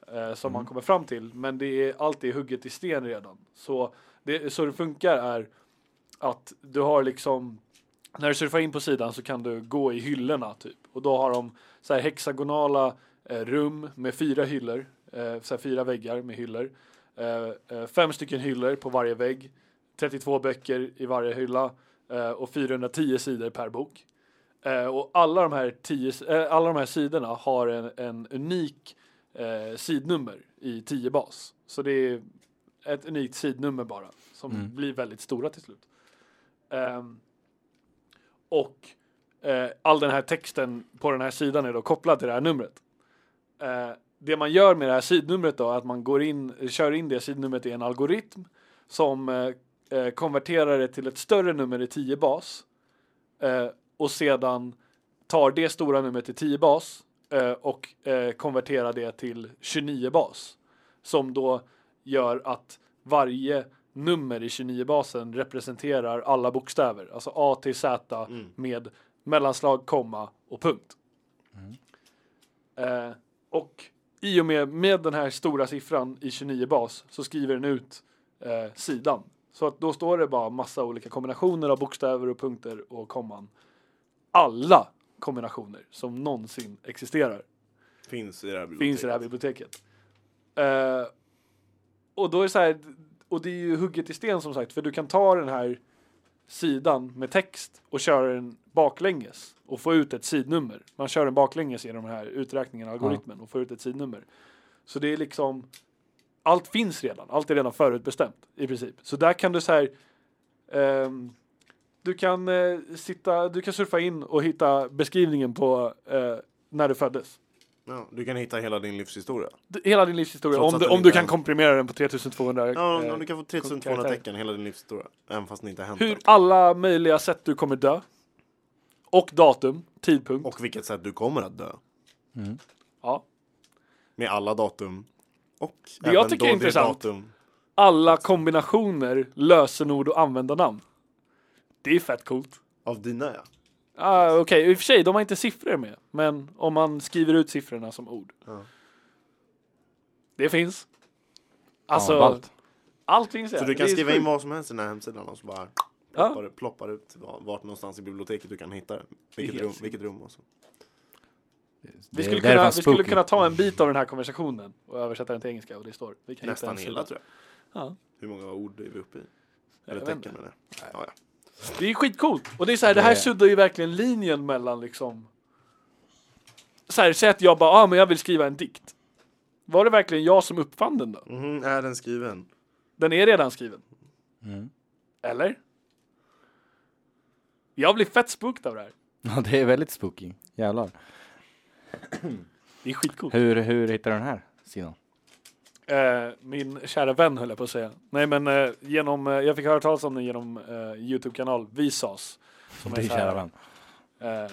Speaker 2: eh, som man kommer fram till. Men det är allt är hugget i sten redan. Så det, så det funkar är att du har liksom, när du surfar in på sidan så kan du gå i hyllorna typ. Och då har de så här hexagonala eh, rum med fyra hyllor, eh, så här fyra väggar med hyllor. Eh, eh, fem stycken hyllor på varje vägg, 32 böcker i varje hylla eh, och 410 sidor per bok. Eh, och alla de, här tio, eh, alla de här sidorna har en, en unik eh, sidnummer i 10 bas. Så det är ett unikt sidnummer bara som
Speaker 4: Mm.
Speaker 2: blir väldigt stora till slut. Ehm, och eh, all den här texten på den här sidan är då kopplad till det här numret. Eh, det man gör med det här sidnumret då är att man går in, kör in det sidnumret i en algoritm som eh, eh, konverterar det till ett större nummer i 10 bas eh, och sedan tar det stora numret i 10 bas eh, och eh, konverterar det till 29 bas som då gör att varje nummer i 29-basen representerar alla bokstäver, alltså A till Z
Speaker 1: Mm.
Speaker 2: med mellanslag, komma och punkt. Eh, och i och med, med den här stora siffran i 29-bas så skriver den ut eh, sidan. Så att då står det bara massa olika kombinationer av bokstäver och punkter och komman. Alla kombinationer som någonsin existerar
Speaker 1: Finns i det här biblioteket.
Speaker 2: finns i det här biblioteket. Eh, och då är det så här, och det är ju hugget i sten som sagt, för du kan ta den här sidan med text och köra den baklänges och få ut ett sidnummer. Man kör den baklänges genom den här uträkningen, algoritmen, och får ut ett sidnummer. Så det är liksom, allt finns redan, allt är redan förutbestämt i princip. Så där kan du så här, ehm, du kan eh, sitta, du kan surfa in och hitta beskrivningen på eh, när du föddes.
Speaker 1: Ja, du kan hitta hela din livshistoria.
Speaker 2: D- Hela din livshistoria,
Speaker 1: Trots
Speaker 2: om
Speaker 1: att
Speaker 2: du,
Speaker 1: den
Speaker 2: om du
Speaker 1: inte
Speaker 2: kan
Speaker 1: är-
Speaker 2: komprimera den på 3200
Speaker 1: Ja, om,
Speaker 2: eh,
Speaker 1: om du kan få 3200
Speaker 2: karaktär.
Speaker 1: tecken hela din livshistoria. Även fast den inte har hänt
Speaker 2: Hur
Speaker 1: än.
Speaker 2: alla möjliga sätt du kommer dö. Och datum, tidpunkt.
Speaker 1: Och vilket sätt du kommer att dö.
Speaker 2: Ja.
Speaker 1: Med alla datum. Och
Speaker 2: Det
Speaker 1: även
Speaker 2: jag tycker
Speaker 1: då
Speaker 2: är intressant.
Speaker 1: datum.
Speaker 2: Alla kombinationer, lösenord och användarnamn. Det är fett coolt.
Speaker 1: Av dina ja.
Speaker 2: Ah, Okej, i och för sig, de har inte siffror med. Men om man skriver ut siffrorna som ord.
Speaker 1: Ja.
Speaker 2: Det finns. Alltså,
Speaker 4: Ja, ballt.
Speaker 2: allt finns där.
Speaker 1: Så du
Speaker 2: Det
Speaker 1: kan
Speaker 2: är
Speaker 1: skriva in
Speaker 2: sjukt.
Speaker 1: vad som helst i den här hemsidan och så bara ploppar, det- ploppar ut var- vart någonstans i biblioteket du kan hitta det. Vilket
Speaker 2: helt
Speaker 1: rum, vilket rum och så.
Speaker 4: Det
Speaker 2: vi
Speaker 4: är
Speaker 2: skulle,
Speaker 4: därför
Speaker 2: kunna, vi
Speaker 4: spooky.
Speaker 2: skulle kunna ta en bit av den här konversationen och översätta den till engelska och det står. Vi kan hitta
Speaker 1: Nästan
Speaker 2: en sida.
Speaker 1: hela tror jag.
Speaker 2: Ja.
Speaker 1: Hur många ord är vi uppe i?
Speaker 2: Jag
Speaker 1: Eller
Speaker 2: vet
Speaker 1: tecken
Speaker 2: inte.
Speaker 1: menar jag. Ja, ja.
Speaker 2: Det är skitcoolt. Och det är så här, det här
Speaker 4: Det-
Speaker 2: suddar ju verkligen linjen mellan liksom. Så här, säg att jag bara, ah, men jag vill skriva en dikt. Var det verkligen jag som uppfann den då?
Speaker 1: Mhm, är den skriven?
Speaker 2: Den är redan skriven.
Speaker 4: Mm.
Speaker 2: Eller? Jag blir fett spooked av det här.
Speaker 4: Ja, det är väldigt spooky. Jävlar.
Speaker 2: Det är skitcoolt.
Speaker 4: Hur, hur hittar du den här sidan?
Speaker 2: Eh, min kära vän höll jag på att säga. Nej men eh, genom, eh, jag fick höra talas om den genom eh, Youtube-kanal Visas. Som
Speaker 4: Din
Speaker 2: så här-
Speaker 4: kära vän.
Speaker 2: Eh,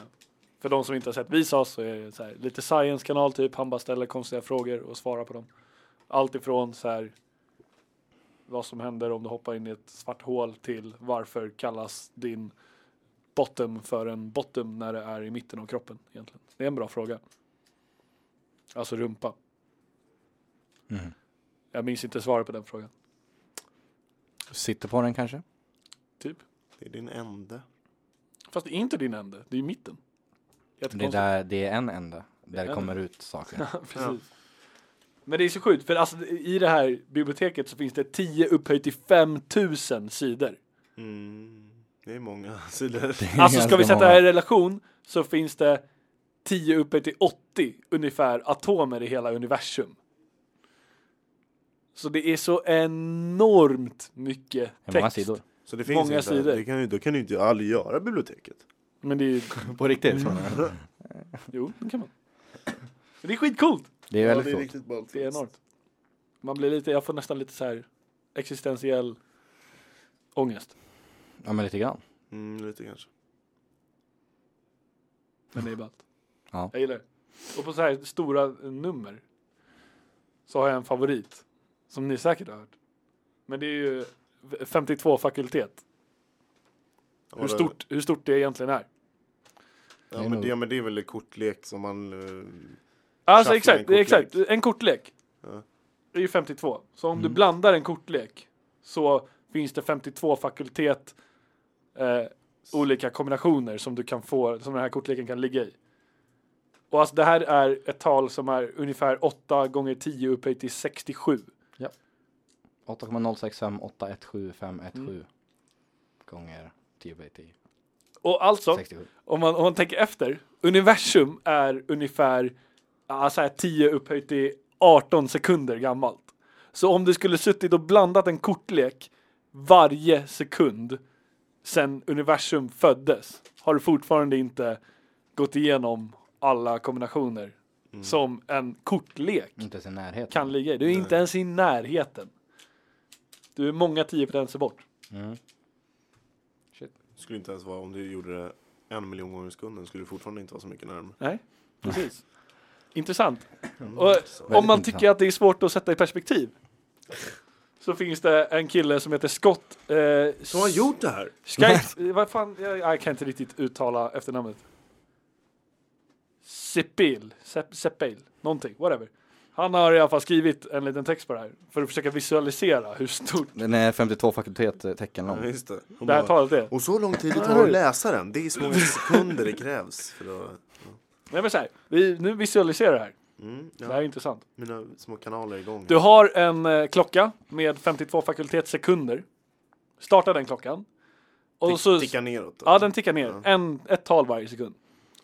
Speaker 2: för de som inte har sett Visas så är det så här, lite science-kanal typ. Han bara ställer konstiga frågor och svarar på dem. Allt ifrån så här vad som händer om du hoppar in i ett svart hål till varför kallas din bottom för en bottom när det är i mitten av kroppen egentligen. Det är en bra fråga. Alltså rumpa.
Speaker 4: Mm.
Speaker 2: Jag minns inte svaret på den frågan.
Speaker 4: Sitter på den kanske?
Speaker 2: Typ.
Speaker 1: Det är din ände.
Speaker 2: Fast det är inte din ände, det är ju mitten.
Speaker 4: Det är,
Speaker 2: Jättekonstigt.
Speaker 4: där, det är en ände där det
Speaker 2: en
Speaker 4: kommer ut saker.
Speaker 2: Precis. Men det är så sjukt, för alltså, i det här biblioteket så finns det 10 upphöjt till 5000 sidor.
Speaker 1: Mm, det är många sidor.
Speaker 4: Det är
Speaker 2: Alltså ska
Speaker 4: ganska
Speaker 2: vi sätta det
Speaker 4: många.
Speaker 2: här i relation så finns det 10 upphöjt till 80 ungefär atomer i hela universum. Så det är så enormt mycket
Speaker 4: Hur
Speaker 2: text.
Speaker 4: många sidor?
Speaker 1: Så det finns
Speaker 2: Många
Speaker 1: inte,
Speaker 2: sidor.
Speaker 1: Det kan, ju- då kan du inte aldrig göra biblioteket.
Speaker 2: Men det är,
Speaker 4: På riktigt?
Speaker 2: Mm. jo, det kan man. Men det är skitcoolt.
Speaker 4: Det är väldigt coolt.
Speaker 1: riktigt ballt.
Speaker 2: Det är enormt. Man blir lite, jag får nästan lite så här existentiell ångest.
Speaker 4: Ja, men lite grann.
Speaker 1: Mm, lite kanske.
Speaker 2: Men det är ballt.
Speaker 4: Ja.
Speaker 2: Jag gillar det. Och på så här stora nummer så har jag en favorit som ni säkert har hört. Men det är ju 52 fakultet. Hur
Speaker 1: Ja,
Speaker 2: stort, hur stort det egentligen är.
Speaker 1: det-
Speaker 4: Det
Speaker 1: Ja
Speaker 4: är
Speaker 1: men
Speaker 4: nog-
Speaker 1: det, ja, men det är väl en kortlek som man... eh,
Speaker 2: Alltså
Speaker 1: Shuffle
Speaker 2: exakt,
Speaker 1: en
Speaker 2: det är
Speaker 1: kortlek.
Speaker 2: exakt. En kortlek.
Speaker 1: Ja. Mm.
Speaker 2: Det är ju 52. Så om du blandar en kortlek så finns det 52 fakultet eh, olika kombinationer som du kan få, som den här kortleken kan ligga i. Och alltså det här är ett tal som är ungefär 8 gånger 10 upphöjt till 67.
Speaker 4: 8,06581717 gånger 10 by 10.
Speaker 2: Och alltså,
Speaker 4: 67.
Speaker 2: om man, om man tänker efter, universum är ungefär ja, så här 10 upphöjt till 18 sekunder gammalt. Så om du skulle suttit och blandat en kortlek varje sekund sen universum föddes har du fortfarande inte gått igenom alla kombinationer som en kortlek
Speaker 4: Inte ens i närheten.
Speaker 2: kan ligga i. Du är inte ens i närheten. Du är många tioputenser bort.
Speaker 4: Mm.
Speaker 1: Skulle inte ens vara, om du gjorde det en miljon gånger i sekunden skulle du fortfarande inte vara så mycket närmare.
Speaker 2: Nej, precis. Intressant.
Speaker 1: Mm.
Speaker 2: Och om man
Speaker 4: intressant.
Speaker 2: tycker att det är svårt att sätta i perspektiv så finns det en kille som heter Scott eh,
Speaker 1: Som har gjort det här?
Speaker 2: Skype, eh, vad fan, jag, jag kan inte riktigt uttala efternamnet. Sepil, Sep- Sepil, någonting, whatever. Han har i alla fall skrivit en liten text på det här för att försöka visualisera hur stort
Speaker 4: Den är 52 fakultet eh, tecken
Speaker 1: Ja,
Speaker 4: lång.
Speaker 1: just det. Och,
Speaker 2: det här
Speaker 1: bara,
Speaker 2: talet är.
Speaker 1: och så lång tid det tar att läsa den. Det är så många sekunder det krävs. För att,
Speaker 2: Nej men så här, vi, nu visualiserar det här.
Speaker 1: mm,
Speaker 2: Det här
Speaker 1: ja,
Speaker 2: är intressant.
Speaker 1: mina små kanaler är igång.
Speaker 2: Du har en eh, klocka med 52 fakultetssekunder. Starta den klockan. Och
Speaker 1: Tick-
Speaker 2: så,
Speaker 1: Tickar neråt.
Speaker 2: ja, den tickar ner. En, ett tal varje sekund.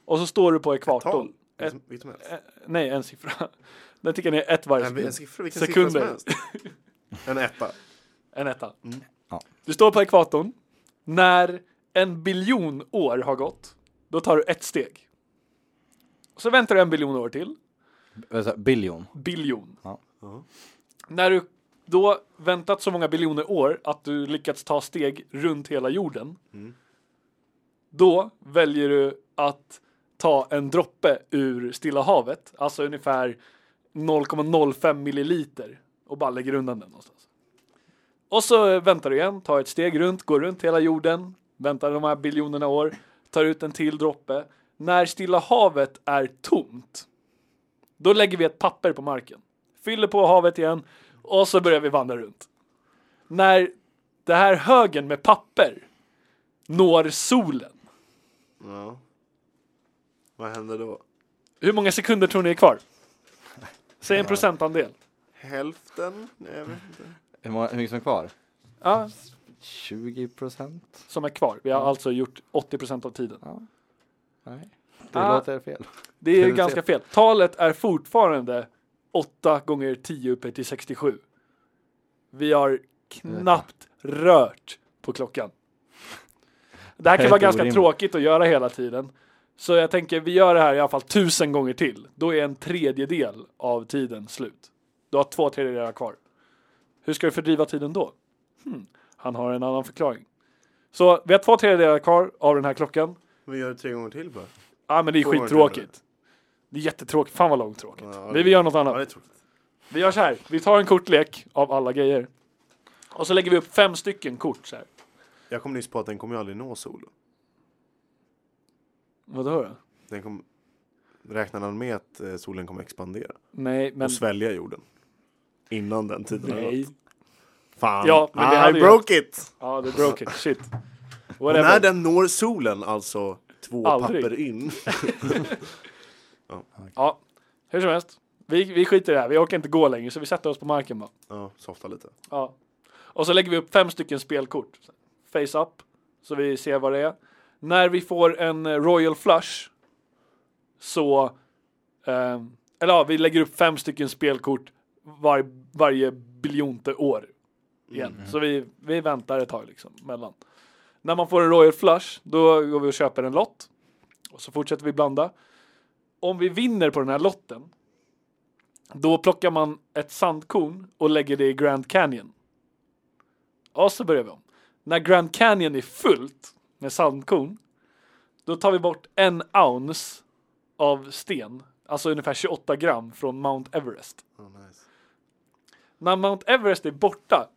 Speaker 2: Och så står du på ekvatorn.
Speaker 1: Tal. Vilket vilket som helst.
Speaker 2: Eh, Nej, en siffra. Den tickar ner ett varje
Speaker 1: En, en
Speaker 2: sekund.
Speaker 1: siffra, vilken siffra
Speaker 2: Sekunder.
Speaker 1: som helst. En etta.
Speaker 2: En etta.
Speaker 1: Mm.
Speaker 4: Ja.
Speaker 2: Du står på ekvatorn. När en biljon år har gått, då tar du ett steg. Så väntar du en biljon år till.
Speaker 4: Alltså, biljon.
Speaker 2: biljon.
Speaker 4: Ja.
Speaker 2: När du då väntat så många biljoner år att du lyckats ta steg runt hela jorden. Då väljer du att ta en droppe ur Stilla havet, alltså ungefär 0,05 milliliter och bara lägger undan den någonstans. Och så väntar du igen, tar ett steg runt, går runt hela jorden, väntar de här biljonerna år, tar ut en till droppe. När Stilla havet är tomt, då lägger vi ett papper på marken, fyller på havet igen och så börjar vi vandra runt. När det här högen med papper når solen,
Speaker 1: Ja. Vad händer då?
Speaker 2: hur många sekunder tror ni är kvar? Säg en procentandel.
Speaker 1: Hälften? Nej, jag vet inte.
Speaker 4: Hur många- hur mycket som är kvar?
Speaker 2: Ja,
Speaker 4: 20 procent?
Speaker 2: som är kvar. Vi har alltså gjort 80 procent av tiden.
Speaker 4: Nej, det
Speaker 2: Ah.
Speaker 4: låter fel.
Speaker 2: Det är ju
Speaker 4: Prioritet.
Speaker 2: ganska fel. Talet är fortfarande 8 gånger 10 uppe till 67. Vi har knappt rört på klockan. Det här
Speaker 4: Det
Speaker 2: kan vara
Speaker 4: är helt
Speaker 2: ganska
Speaker 4: orimligt.
Speaker 2: tråkigt att göra hela tiden. Så jag tänker vi gör det här i alla fall tusen gånger till. Då är en tredjedel av tiden slut. Du har två tredjedelar kvar. Hur ska du fördriva tiden då? Hmm. Han har en annan förklaring. Så vi har två tredjedelar kvar av den här klockan.
Speaker 1: Vi gör det tre gånger till bara.
Speaker 2: Ja men det är
Speaker 1: Två gånger
Speaker 2: skittråkigt. Det är jättetråkigt. Fan vad långtråkigt.
Speaker 1: Ja,
Speaker 2: Vi vill göra något
Speaker 1: Ja, det är
Speaker 2: annat.
Speaker 1: tråkigt.
Speaker 2: Vi gör så här. Vi tar en kortlek av alla grejer. Och så lägger vi upp fem stycken kort så här.
Speaker 1: Jag kom nyss på att den kommer ju aldrig nå solen.
Speaker 2: Vadå då?
Speaker 1: Den kom... Räknar han med att eh, solen kommer expandera
Speaker 2: Nej men...
Speaker 1: och svälja jorden? Innan den tiden har
Speaker 2: Nej.
Speaker 1: gått. Fan, Ah,
Speaker 2: Ja, men det
Speaker 1: I
Speaker 2: hade ju-
Speaker 1: broke it!
Speaker 2: Ja det broke it. Shit.
Speaker 1: Och när
Speaker 2: Whatever.
Speaker 1: den når solen, alltså två
Speaker 2: Aldrig.
Speaker 1: papper in.
Speaker 2: Ja. Hur som helst. Vi, vi skiter i det här. Vi orkar inte gå längre så vi sätter oss på marken bara.
Speaker 1: Ja, softa lite.
Speaker 2: Ja. Och så lägger vi upp fem stycken spelkort. Face up. Så vi ser vad det är. När vi får en eh, Royal Flush så... ehm, eller ja, vi lägger upp fem stycken spelkort var, varje biljonte år. Igen. Så vi, vi väntar ett tag liksom mellan. När man får en Royal Flush då går vi och köper en lott. Och så fortsätter vi blanda. Om vi vinner på den här lotten då plockar man ett sandkorn och lägger det i Grand Canyon. Och så börjar vi om. När Grand Canyon är fullt med sandkorn, då tar vi bort en ounce av sten, alltså ungefär 28 gram från Mount Everest.
Speaker 1: Oh, nice.
Speaker 2: När Mount Everest är borta,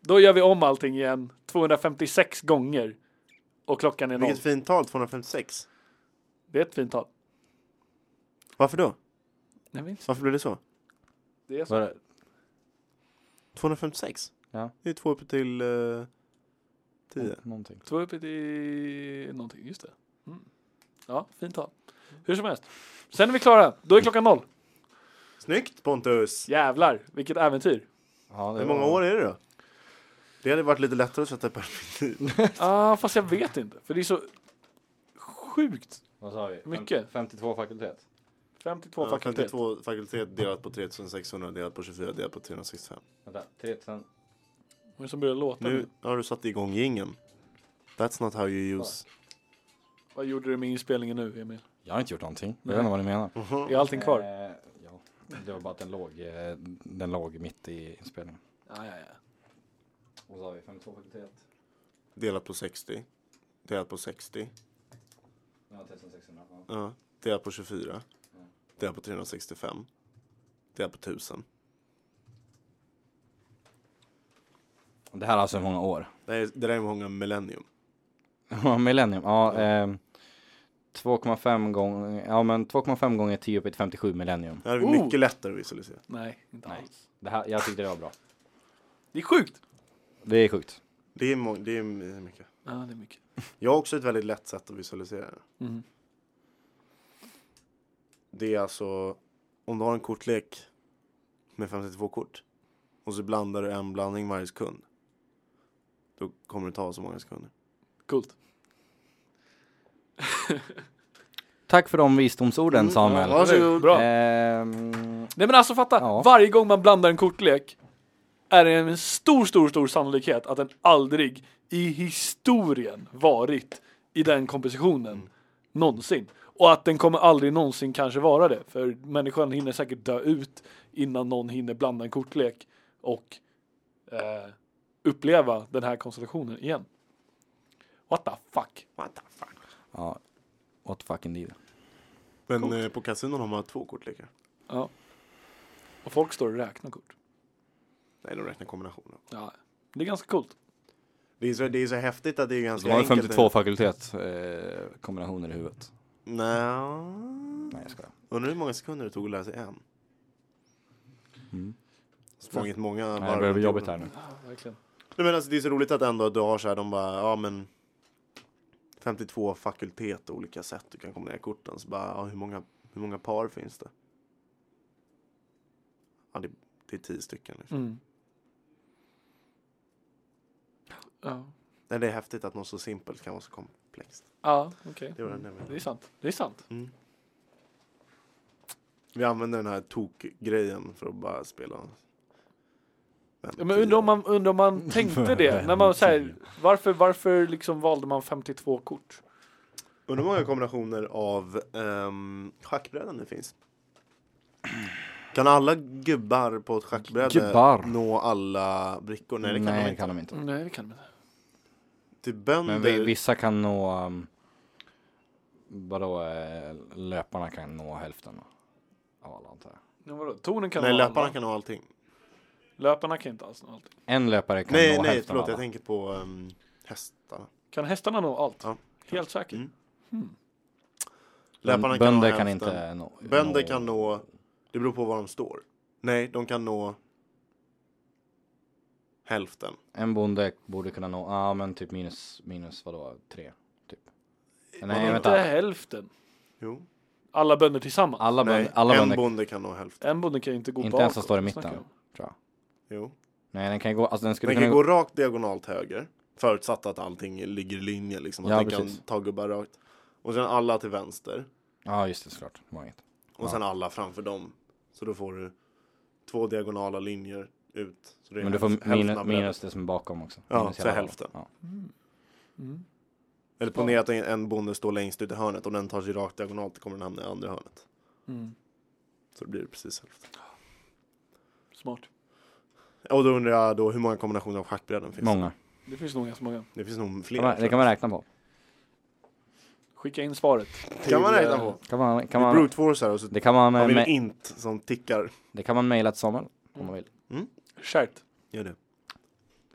Speaker 2: då gör vi om allting igen 256 gånger och klockan är noll.
Speaker 1: Vilket fint tal, 256.
Speaker 2: Det är ett fint tal.
Speaker 1: Varför då?
Speaker 2: Nej, men
Speaker 1: Varför blev det så?
Speaker 2: Det är så.
Speaker 4: Var,
Speaker 1: 256?
Speaker 4: Ja.
Speaker 1: Det är två upp till eh, 10.
Speaker 4: någonting.
Speaker 2: Två uppe till någonting, just det. Mm. Ja, fint tal. Hur som helst. Sen är vi klara. Då är klockan noll.
Speaker 1: Snyggt Pontus!
Speaker 2: Jävlar, vilket äventyr.
Speaker 4: Ja, det
Speaker 1: Hur många
Speaker 4: var-
Speaker 1: år är det då? Det hade varit lite lättare att sätta i perspektiv.
Speaker 2: Ah, fast jag vet inte, för det är så sjukt.
Speaker 4: Vad sa vi?
Speaker 2: Mycket.
Speaker 4: 52 fakultet.
Speaker 2: 52
Speaker 1: Ja,
Speaker 2: fakultet.
Speaker 1: 52 fakultet delat på 3600 delat på 24 delat på 365.
Speaker 4: Vänta, 3000.
Speaker 2: Vad är det som börjar låta nu?
Speaker 1: Nu har du satt igång jingeln. That's not how you use...
Speaker 2: Vad gjorde du med inspelningen nu Emil?
Speaker 4: Jag har inte gjort någonting. Jag
Speaker 2: Nej.
Speaker 4: vet inte vad ni menar.
Speaker 2: Är allting kvar?
Speaker 4: Eh, ja. Det var bara att den låg, eh, den låg mitt i inspelningen.
Speaker 2: Ja, ja, ja.
Speaker 4: Och så har vi 52 fakultet.
Speaker 1: Delat på 60. Delat på 60.
Speaker 4: Ja, 1600.
Speaker 1: Ja. Delat på 24. Delat på 365. Delat på 1000.
Speaker 4: Det här är alltså hur många år?
Speaker 1: Det, här är, det där är många millennium.
Speaker 4: Ja, Millennium, ja. ehm, 2,5 gånger, ja men 2,5 gånger 10 upp till 57 millennium.
Speaker 1: Det här är
Speaker 2: Oh!
Speaker 1: mycket lättare att visualisera.
Speaker 2: Nej, inte
Speaker 4: Nej.
Speaker 2: alls.
Speaker 4: Det här, jag tyckte det var bra.
Speaker 2: Det är sjukt!
Speaker 4: Det är sjukt.
Speaker 1: Det är, må- det är mycket.
Speaker 2: Ja, det är mycket.
Speaker 1: Jag har också ett väldigt lätt sätt att visualisera det.
Speaker 2: Mhm.
Speaker 1: Det är alltså om du har en kortlek med 52 kort och så blandar du en blandning varje sekund. Då kommer det ta så många sekunder.
Speaker 2: Coolt.
Speaker 4: Tack för de visdomsorden Samuel.
Speaker 1: Mm, ja, varsågod.
Speaker 4: Eh,
Speaker 2: Bra.
Speaker 4: Ehm,
Speaker 2: Nej men alltså fatta,
Speaker 4: Ja.
Speaker 2: varje gång man blandar en kortlek är det en stor, stor, stor sannolikhet att den aldrig i historien varit i den kompositionen någonsin. Och att den kommer aldrig någonsin kanske vara det, för människan hinner säkert dö ut innan någon hinner blanda en kortlek och eh, uppleva den här konstellationen igen. What the fuck?
Speaker 1: What the fuck?
Speaker 4: ja, what the fuck indeed.
Speaker 1: Men eh, på kasinon har man två kortlekar.
Speaker 2: Ja. Och folk står och räknar kort.
Speaker 1: Nej, de räknar kombinationer.
Speaker 2: Ja. Det är ganska coolt.
Speaker 1: Det är, så, det är så häftigt att det är ganska
Speaker 4: De har ju
Speaker 1: enkelt.
Speaker 4: 52 fakultet, eh, kombinationer i huvudet.
Speaker 1: Nej.
Speaker 4: Nej jag skojar.
Speaker 1: Undrar hur många sekunder det tog att lära sig en.
Speaker 4: Mm.
Speaker 1: Språnget många
Speaker 4: Nej,
Speaker 1: varv
Speaker 4: det börjar bli
Speaker 1: runt
Speaker 4: jobbigt
Speaker 1: jorden.
Speaker 4: här nu.
Speaker 2: Ja, verkligen.
Speaker 1: Nej, men alltså, det är så roligt att ändå du har så här, de bara, ja men 52 fakultet och olika sätt du kan kombinera korten. Så bara, ja, hur, många, hur många par finns det? Ja, det, det är tio stycken. Liksom.
Speaker 2: Mm. Ja,
Speaker 1: Nej, det är häftigt att något så simpelt kan vara så komplext.
Speaker 2: ja okej.
Speaker 1: Det var den jag menade.
Speaker 2: Det är sant. Det är sant.
Speaker 1: Mm. Vi använder den här tokgrejen för att bara spela. Men,
Speaker 2: Ja, Men undrar om man, undrar om man tänkte det. När man, så här, varför varför liksom valde man 52 kort?
Speaker 1: Undrar hur många kombinationer av um, schackbrädan det finns. Kan alla gubbar på ett schackbräde
Speaker 4: Gubbar.
Speaker 1: nå alla brickor? Nej, det kan
Speaker 4: Nej,
Speaker 1: de
Speaker 4: det
Speaker 1: inte.
Speaker 4: kan de inte.
Speaker 2: Nej, det kan man inte.
Speaker 1: Till bönder,
Speaker 4: Men vi, vissa kan nå, um, vadå, eh, löparna kan nå hälften av alla antar jag.
Speaker 2: Ja, vadå? Tonen kan
Speaker 1: nej,
Speaker 2: nå
Speaker 1: löparna
Speaker 2: alla.
Speaker 1: kan nå allting.
Speaker 2: Löparna kan inte alls nå allting.
Speaker 4: En löpare kan
Speaker 1: nej,
Speaker 4: nå
Speaker 1: nej,
Speaker 4: hälften
Speaker 1: förlåt,
Speaker 4: av alla.
Speaker 1: jag tänker på um, hästarna.
Speaker 2: Kan hästarna nå allt?
Speaker 1: Ja.
Speaker 2: Helt säkert.
Speaker 1: Mm.
Speaker 4: Men
Speaker 1: Löparna
Speaker 4: Hmm. Bönder
Speaker 1: nå
Speaker 4: kan
Speaker 1: hälften.
Speaker 4: inte nå.
Speaker 1: Bönder
Speaker 4: nå-
Speaker 1: kan nå, det beror på var de står. Nej, de kan nå hälften.
Speaker 4: En bonde borde kunna nå, ja ah, men typ minus, minus vadå, tre? Typ. Nej
Speaker 1: Eh, vadå?
Speaker 2: inte
Speaker 4: vänta,
Speaker 2: hälften.
Speaker 1: Jo.
Speaker 2: Alla bönder tillsammans.
Speaker 4: alla
Speaker 1: Nej,
Speaker 4: bönder, alla
Speaker 1: en
Speaker 4: bönder,
Speaker 1: bonde kan nå hälften.
Speaker 2: En bonde kan ju inte gå
Speaker 4: Inte
Speaker 2: bakåt.
Speaker 4: ens som står i
Speaker 2: vad snackar
Speaker 4: mitten.
Speaker 2: jag om?
Speaker 4: tror jag.
Speaker 1: Jo.
Speaker 4: Nej den kan ju gå, alltså den skulle
Speaker 1: Den
Speaker 4: kunna
Speaker 1: kan gå rakt diagonalt höger. Förutsatt att allting ligger i linje liksom. Att
Speaker 4: Ja,
Speaker 1: den
Speaker 4: precis.
Speaker 1: kan ta gubbar rakt. Och sen alla till vänster.
Speaker 4: Ja just det såklart, Det var inget.
Speaker 1: Och sen alla framför dem. Så då får du två diagonala linjer ut. Så det är
Speaker 4: Men du får
Speaker 1: hälf- hälften
Speaker 4: minus,
Speaker 1: av bredden.
Speaker 4: minus det som är bakom också.
Speaker 1: Ja,
Speaker 4: minus
Speaker 1: så
Speaker 4: hela
Speaker 1: hälften.
Speaker 4: raden.
Speaker 2: Mm.
Speaker 1: Eller ponera att en- en bonde står längst ut i hörnet. Om den tar sig rakt diagonalt kommer den hamna i andra hörnet.
Speaker 2: Mm.
Speaker 1: Så då blir det precis hälften.
Speaker 2: Smart.
Speaker 1: Och då undrar jag då hur många kombinationer av schackbrädan
Speaker 4: Ja.
Speaker 1: finns det?
Speaker 4: Många.
Speaker 2: Det finns nog ganska många.
Speaker 1: Det finns nog fler.
Speaker 4: Kan man, det kan man räkna på.
Speaker 2: Skicka in svaret.
Speaker 1: Kan man
Speaker 2: till,
Speaker 1: räkna
Speaker 2: eh,
Speaker 1: på.
Speaker 4: Kan man, kan
Speaker 1: Vi
Speaker 4: man,
Speaker 1: brute forcear och så
Speaker 4: det kan man,
Speaker 1: har
Speaker 4: eh,
Speaker 1: vi en
Speaker 4: me-
Speaker 1: int som tickar.
Speaker 4: det kan man mejla till Samuel
Speaker 1: Mm.
Speaker 4: om man vill.
Speaker 2: Kärt.
Speaker 1: Gör det.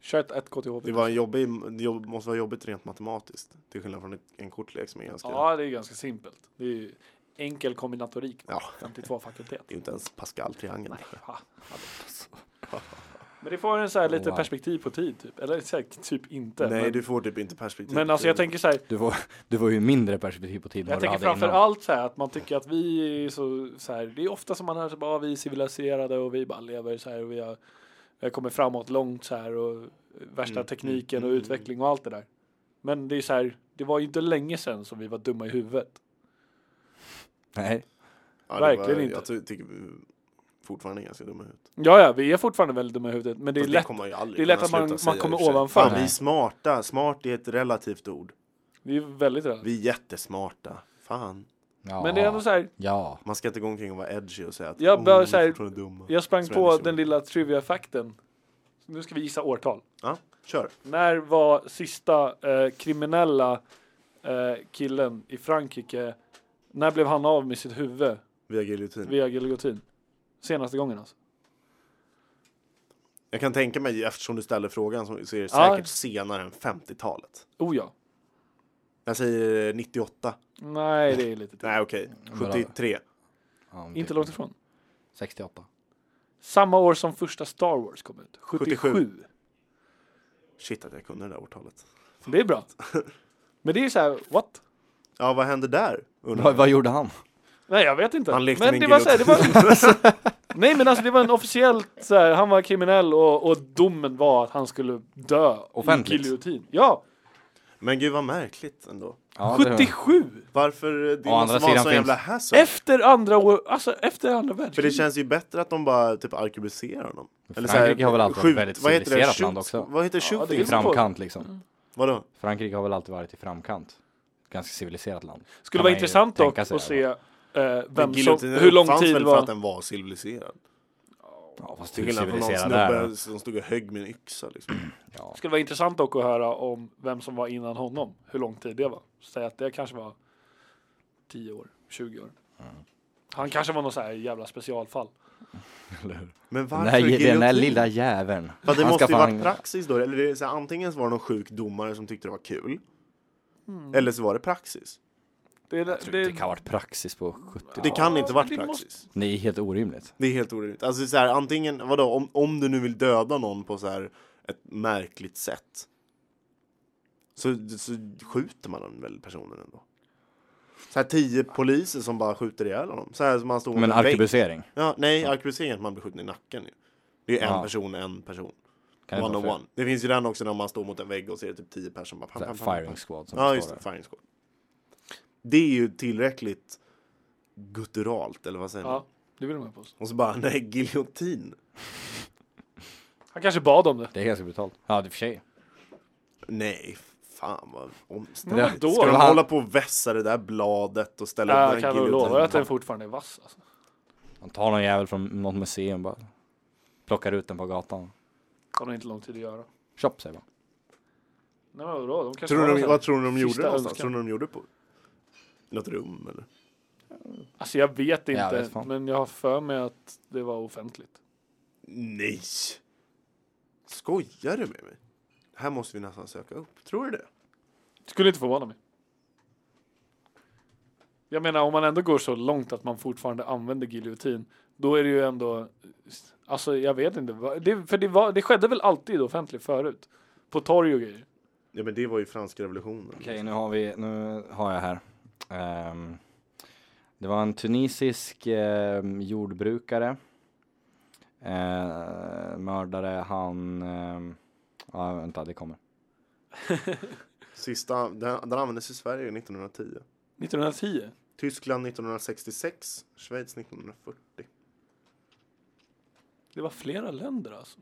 Speaker 2: Kärt 1 KTH.
Speaker 1: Det var en jobbig, det jobb- måste vara jobbigt rent matematiskt. Till skillnad från ett- en kortlek som är ganska...
Speaker 2: Ja, det är ganska simpelt. Det är ju enkel kombinatorik.
Speaker 1: Ja.
Speaker 2: 52 fakultet.
Speaker 1: Det är ju inte ens Pascal-triangeln.
Speaker 2: Ha, men det får en så här lite
Speaker 4: Wow.
Speaker 2: perspektiv på tid typ. Eller säkert typ inte.
Speaker 1: Nej,
Speaker 2: men,
Speaker 1: du får typ inte perspektiv.
Speaker 2: men alltså jag tänker så här.
Speaker 4: Du får, du får ju mindre perspektiv på tiden än
Speaker 2: Jag
Speaker 4: vad du
Speaker 2: tänker
Speaker 4: hade
Speaker 2: framför
Speaker 4: innan.
Speaker 2: allt så här att man tycker att vi är så, så här. Det är ofta som man hör så bara, "Ah, vi är civiliserade och vi bara lever så här och vi har, vi har kommit framåt långt så här och värsta
Speaker 1: Mm,
Speaker 2: tekniken
Speaker 1: mm,
Speaker 2: och
Speaker 1: mm,
Speaker 2: utveckling och allt det där. Men det är så här. Det var ju inte länge sedan som vi var dumma i huvudet.
Speaker 4: Nej,
Speaker 1: Ja, det
Speaker 2: Verkligen
Speaker 1: var,
Speaker 2: inte.
Speaker 1: Jag ty- tycker vi fortfarande är ganska dumma ut.
Speaker 2: Ja, ja, vi är fortfarande väldigt dumma i huvudet. Men det är
Speaker 1: Fast
Speaker 2: lätt.
Speaker 1: kommer man ju aldrig
Speaker 2: det är lätt
Speaker 1: kunna
Speaker 2: att man-
Speaker 1: sluta
Speaker 2: man
Speaker 1: säga i och
Speaker 2: kommer
Speaker 1: för sig.
Speaker 2: ovanför.
Speaker 1: Fan, vi är
Speaker 4: Nej.
Speaker 1: smarta. Smart är ett relativt ord.
Speaker 2: Vi är väldigt rädda.
Speaker 1: Vi är jättesmarta. Fan.
Speaker 4: Ja.
Speaker 2: Men det är ändå så här.
Speaker 4: Ja.
Speaker 1: Man ska inte gå omkring och vara edgy och säga att
Speaker 2: Jag
Speaker 1: "Åh,
Speaker 2: bör
Speaker 1: vi är
Speaker 2: säga-
Speaker 1: fortfarande dumma.
Speaker 2: Jag sprang
Speaker 1: Så
Speaker 2: på
Speaker 1: är det
Speaker 2: den lilla trivia-fakten. Nu ska vi gissa årtal.
Speaker 1: Ja, kör.
Speaker 2: När var sista eh, kriminella eh, killen i Frankrike, när blev han av med sitt huvud
Speaker 1: Via giljotin.
Speaker 2: via giljotin? Senaste gången alltså.
Speaker 1: Jag kan tänka mig, eftersom du ställer frågan, så så är det
Speaker 2: Ja.
Speaker 1: säkert senare än 50-talet.
Speaker 2: Oh ja.
Speaker 1: Jag säger 98.
Speaker 2: Nej, det är lite till.
Speaker 1: Nej,
Speaker 4: Mm,
Speaker 1: okej. 73.
Speaker 4: ja men
Speaker 2: Inte
Speaker 4: typ
Speaker 2: långt ifrån.
Speaker 4: 68.
Speaker 2: Samma år som första Star Wars kom ut. 77.
Speaker 1: 77. Shit att jag kunde det där årtalet.
Speaker 2: Det är bra. Men det är så här, what?
Speaker 1: Ja, vad hände där? Undrar
Speaker 4: Vad,
Speaker 1: jag.
Speaker 4: vad gjorde han?
Speaker 2: Nej, jag vet inte.
Speaker 1: Han lekte
Speaker 2: men
Speaker 1: med
Speaker 2: det
Speaker 1: en
Speaker 2: var så här, det var Nej, men alltså det var en officiellt så här, han var kriminell och, och domen var att han skulle dö i
Speaker 4: Offentligt.
Speaker 2: giljotin. Ja,
Speaker 1: Men gud vad märkligt ändå.
Speaker 4: Ja, det-
Speaker 2: 77!
Speaker 1: Varför eh, det
Speaker 4: Å andra
Speaker 1: måste vara en
Speaker 4: sidan
Speaker 1: sån
Speaker 4: finns-
Speaker 1: jävla hassle?
Speaker 2: Efter andra år, alltså efter andra
Speaker 1: För det
Speaker 2: världskriget.
Speaker 1: känns ju bättre att de bara typ arkebuserar honom.
Speaker 4: Frankrike har väl alltid varit
Speaker 1: skjut-
Speaker 4: väldigt
Speaker 1: vad heter det?
Speaker 4: civiliserat
Speaker 1: Shoot-
Speaker 4: land också.
Speaker 1: Vad heter
Speaker 2: Ja,
Speaker 1: shooting?
Speaker 2: det
Speaker 4: I
Speaker 2: är bra.
Speaker 4: framkant liksom.
Speaker 1: Vadå?
Speaker 4: Frankrike har väl alltid varit i framkant. Ganska civiliserat land.
Speaker 2: Skulle
Speaker 4: Kan
Speaker 2: vara
Speaker 4: man ju
Speaker 2: intressant dock
Speaker 4: tänka sig
Speaker 2: att
Speaker 4: det,
Speaker 2: se
Speaker 4: va?
Speaker 2: eh, vem som,
Speaker 1: Giljotinen
Speaker 2: hur lång
Speaker 1: uppfanns
Speaker 2: tid
Speaker 1: väl
Speaker 2: var...
Speaker 1: för att den var civiliserad?
Speaker 4: Ja, fast
Speaker 1: Till
Speaker 4: hur
Speaker 1: skillnad från någon
Speaker 4: civiliserad
Speaker 1: snubbe
Speaker 4: är det?
Speaker 1: som stod och högg med en yxa liksom.
Speaker 4: Ja.
Speaker 2: skulle vara intressant dock att höra om vem som var innan honom, hur lång tid det var. Säg att det kanske var 10 år, 20 år.
Speaker 4: Mm.
Speaker 2: Han kanske var någon så här jävla specialfall.
Speaker 4: Eller hur?
Speaker 1: Men varför
Speaker 4: Den här, den där
Speaker 1: giljotin?
Speaker 4: lilla jäveln.
Speaker 1: Ja, det
Speaker 4: Han
Speaker 1: måste
Speaker 4: ska
Speaker 1: ju
Speaker 4: fan-
Speaker 1: varit praxis då. Eller det är så här, antingen så var det någon sjuk domare som tyckte det var kul.
Speaker 2: Mm.
Speaker 1: Eller så var det praxis.
Speaker 2: Det, är-
Speaker 4: Jag tror
Speaker 2: det,
Speaker 4: inte Det kan ha varit praxis på 70
Speaker 1: Det kan inte varit
Speaker 2: det måste-
Speaker 1: praxis.
Speaker 4: Det är helt orimligt.
Speaker 1: Det är helt orimligt. Alltså så här, antingen, vadå, om, om du nu vill döda någon på så här ett märkligt sätt. Så, så skjuter man väl personen ändå. Så här tio poliser som bara skjuter ihjäl honom. Så här som han stod mot
Speaker 4: Men
Speaker 1: en vägg.
Speaker 4: arkebusering.
Speaker 1: Ja, nej, arkebusering är att man blir skjuten i nacken ju. Det är ju en
Speaker 4: Ja.
Speaker 1: person, en person.
Speaker 4: Kan det
Speaker 1: one
Speaker 4: vara
Speaker 1: on
Speaker 4: fel?
Speaker 1: one. Det finns ju den också när man står mot en vägg och ser det typ tio personer bara pam,
Speaker 4: Så här,
Speaker 1: pam, pam, pam,
Speaker 4: Firing
Speaker 1: pam.
Speaker 4: squad som
Speaker 1: Ja,
Speaker 4: ja,
Speaker 1: just
Speaker 4: står
Speaker 1: det,
Speaker 4: där.
Speaker 1: firing squad. Det är ju tillräckligt gutturalt, eller vad säger man?
Speaker 2: ja, det vill man på.
Speaker 1: Och så bara, nej, giljotin.
Speaker 2: Han kanske bad om det.
Speaker 4: Det är ganska brutalt. Ja, det är för sig.
Speaker 1: Nej, fan vad
Speaker 2: Men
Speaker 1: omständigt.
Speaker 2: vadå?
Speaker 1: Ska de
Speaker 4: Han-
Speaker 1: hålla på och vässa det där bladet och ställa upp
Speaker 2: Jag
Speaker 1: den
Speaker 2: kan
Speaker 1: här
Speaker 2: nog lova att den
Speaker 1: giljotinen?
Speaker 2: fortfarande är vass. Alltså.
Speaker 4: Man tar någon jävel från något museum bara. Plockar ut den på gatan.
Speaker 2: Det har nog inte lång tid att göra.
Speaker 4: Chop säger man.
Speaker 2: Nej, men vadå? De kanske har
Speaker 1: Tror
Speaker 2: en
Speaker 1: de,
Speaker 2: sån-
Speaker 1: vad tror ni de gjorde
Speaker 2: Sista
Speaker 1: någonstans?
Speaker 2: önskan.
Speaker 1: Tror ni de gjorde på något rum eller?
Speaker 2: Alltså jag vet inte,
Speaker 4: Jag vet fan.
Speaker 2: men jag har för mig att det var offentligt.
Speaker 1: Nej! Skojar du med mig? Det här måste vi nästan söka upp. Tror du det?
Speaker 2: Skulle inte förvåna mig. Jag menar, om man ändå går så långt att man fortfarande använder giljotin, då är det ju ändå... Alltså, jag vet inte. va- Det, för det, var, det skedde väl alltid offentligt förut? På torg och grejer.
Speaker 1: Ja men det var ju franska revolutionen.
Speaker 4: Okej, nu har vi, nu har jag här. Ehm, det var en tunisisk ehm, jordbrukare. Eh, mördare, han... ehm, ja, vänta, det kommer.
Speaker 1: Sista, den, den användes i Sverige 1910.
Speaker 2: 1910?
Speaker 1: Tyskland 1966, Schweiz 1940.
Speaker 2: Det var flera länder alltså.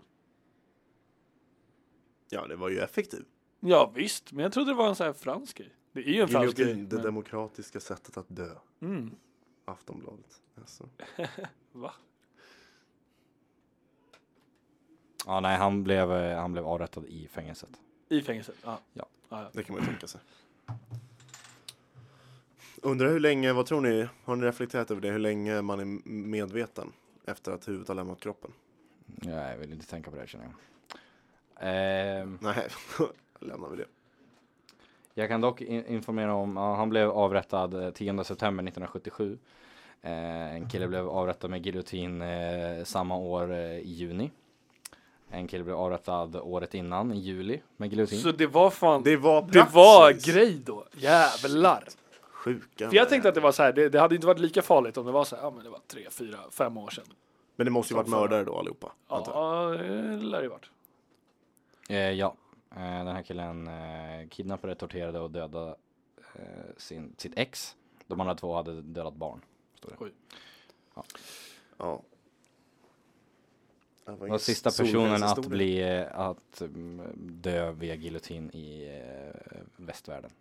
Speaker 1: Ja, det var ju effektivt.
Speaker 2: Ja visst, men jag trodde det var en sån här fransk grej. Det är ju en fransk grej.
Speaker 1: Giljotin, det
Speaker 2: Men...
Speaker 1: demokratiska sättet att dö.
Speaker 2: Mm.
Speaker 1: Aftonbladet. Alltså.
Speaker 2: Va?
Speaker 4: Ja, nej, han blev, eh, han blev avrättad i fängelset.
Speaker 2: I fängelset? Ja.
Speaker 4: Ja.
Speaker 2: ja.
Speaker 1: Det kan man ju tänka sig. Undrar hur länge, vad tror ni? Har ni reflekterat över det? Hur länge man är m- medveten efter att huvudet har lämnat kroppen?
Speaker 4: Ja, jag vill inte tänka på det här, känner jag. Ehm,
Speaker 1: Nej, lämnar vi det.
Speaker 4: jag kan dock in- informera om, ja, han blev avrättad eh, 10 september 1977. Eh, en kille blev avrättad med giljotin eh, samma år eh, i juni. En kille blev avrättad året innan, i juli, med giljotin.
Speaker 2: Så det var fan...
Speaker 1: Det var
Speaker 2: Det
Speaker 1: praxis.
Speaker 2: var grej då. Jävlar.
Speaker 1: Sjuka.
Speaker 2: För jag tänkte att det var så här, det, det hade inte varit lika farligt om det var så här, ja men det var tre, fyra, fem år sedan.
Speaker 1: Men det måste ju varit mördare då allihopa. antar jag.
Speaker 2: Ja, det lär det varit.
Speaker 4: Eh, ja, eh, den här killen eh, kidnappade, torterade och dödade eh, sin, sitt ex. De andra två hade dödat barn. Stod det.
Speaker 2: Oj.
Speaker 1: Ja. Det var
Speaker 4: Det var
Speaker 1: ingen
Speaker 4: sista personen att
Speaker 1: solskenshistoria.
Speaker 4: bli, eh, att mm, dö via giljotin i eh, västvärlden.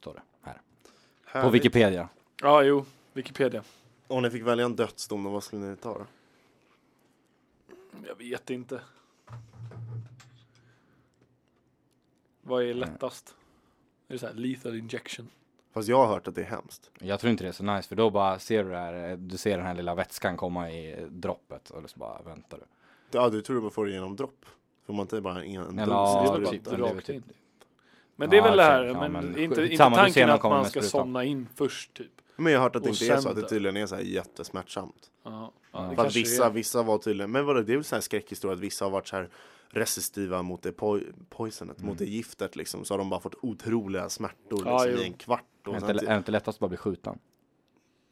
Speaker 4: Står det här. På
Speaker 1: Härligt.
Speaker 4: Wikipedia.
Speaker 2: Ja, jo. Wikipedia.
Speaker 1: Om ni fick välja en dödsdom, då, vad skulle ni ta då?
Speaker 2: Jag vet inte. Vad är lättast? Är det så här lethal injection?
Speaker 1: Fast jag har hört att det är hemskt.
Speaker 4: Jag tror inte det är så nice för då bara ser du det här, eh, du ser den här lilla vätskan komma i eh, droppet och så bara väntar du.
Speaker 1: Ja, du tror man får det genom dropp. Får man inte bara en en
Speaker 4: Eller,
Speaker 1: dos?
Speaker 4: ja,
Speaker 2: det är
Speaker 1: Ja,
Speaker 2: väl
Speaker 4: typ.
Speaker 2: bara
Speaker 4: det är väl
Speaker 2: rakt
Speaker 4: typ-
Speaker 2: in. Men det är
Speaker 4: Ja,
Speaker 2: väl det här,
Speaker 4: exakt. Ja,
Speaker 2: men,
Speaker 4: men
Speaker 2: inte,
Speaker 4: skit-
Speaker 2: inte
Speaker 4: samma, du ser
Speaker 2: tanken
Speaker 4: någon
Speaker 2: att
Speaker 4: komma
Speaker 2: man
Speaker 4: med
Speaker 2: ska
Speaker 4: sprutan.
Speaker 2: somna in först typ.
Speaker 1: Men jag har hört att det
Speaker 2: Och
Speaker 1: inte är så,
Speaker 2: sen
Speaker 1: att det
Speaker 2: dö.
Speaker 1: tydligen är så här jättesmärtsamt.
Speaker 2: Ja,
Speaker 4: Ja.
Speaker 2: det
Speaker 1: För att
Speaker 2: kanske
Speaker 1: vissa,
Speaker 2: är.
Speaker 1: vissa var tydligen, men vadå, det är väl så här skräckhistoria att vissa har varit så här resistiva mot det poj- poisonet, mot det giftet liksom. Så har de bara fått otroliga smärtor
Speaker 2: Ja,
Speaker 1: liksom,
Speaker 2: jo.
Speaker 1: i en kvart.
Speaker 4: Är
Speaker 1: Och
Speaker 4: det
Speaker 1: sen
Speaker 4: inte,
Speaker 1: till-
Speaker 4: är det inte lättast att bara bli skjuten?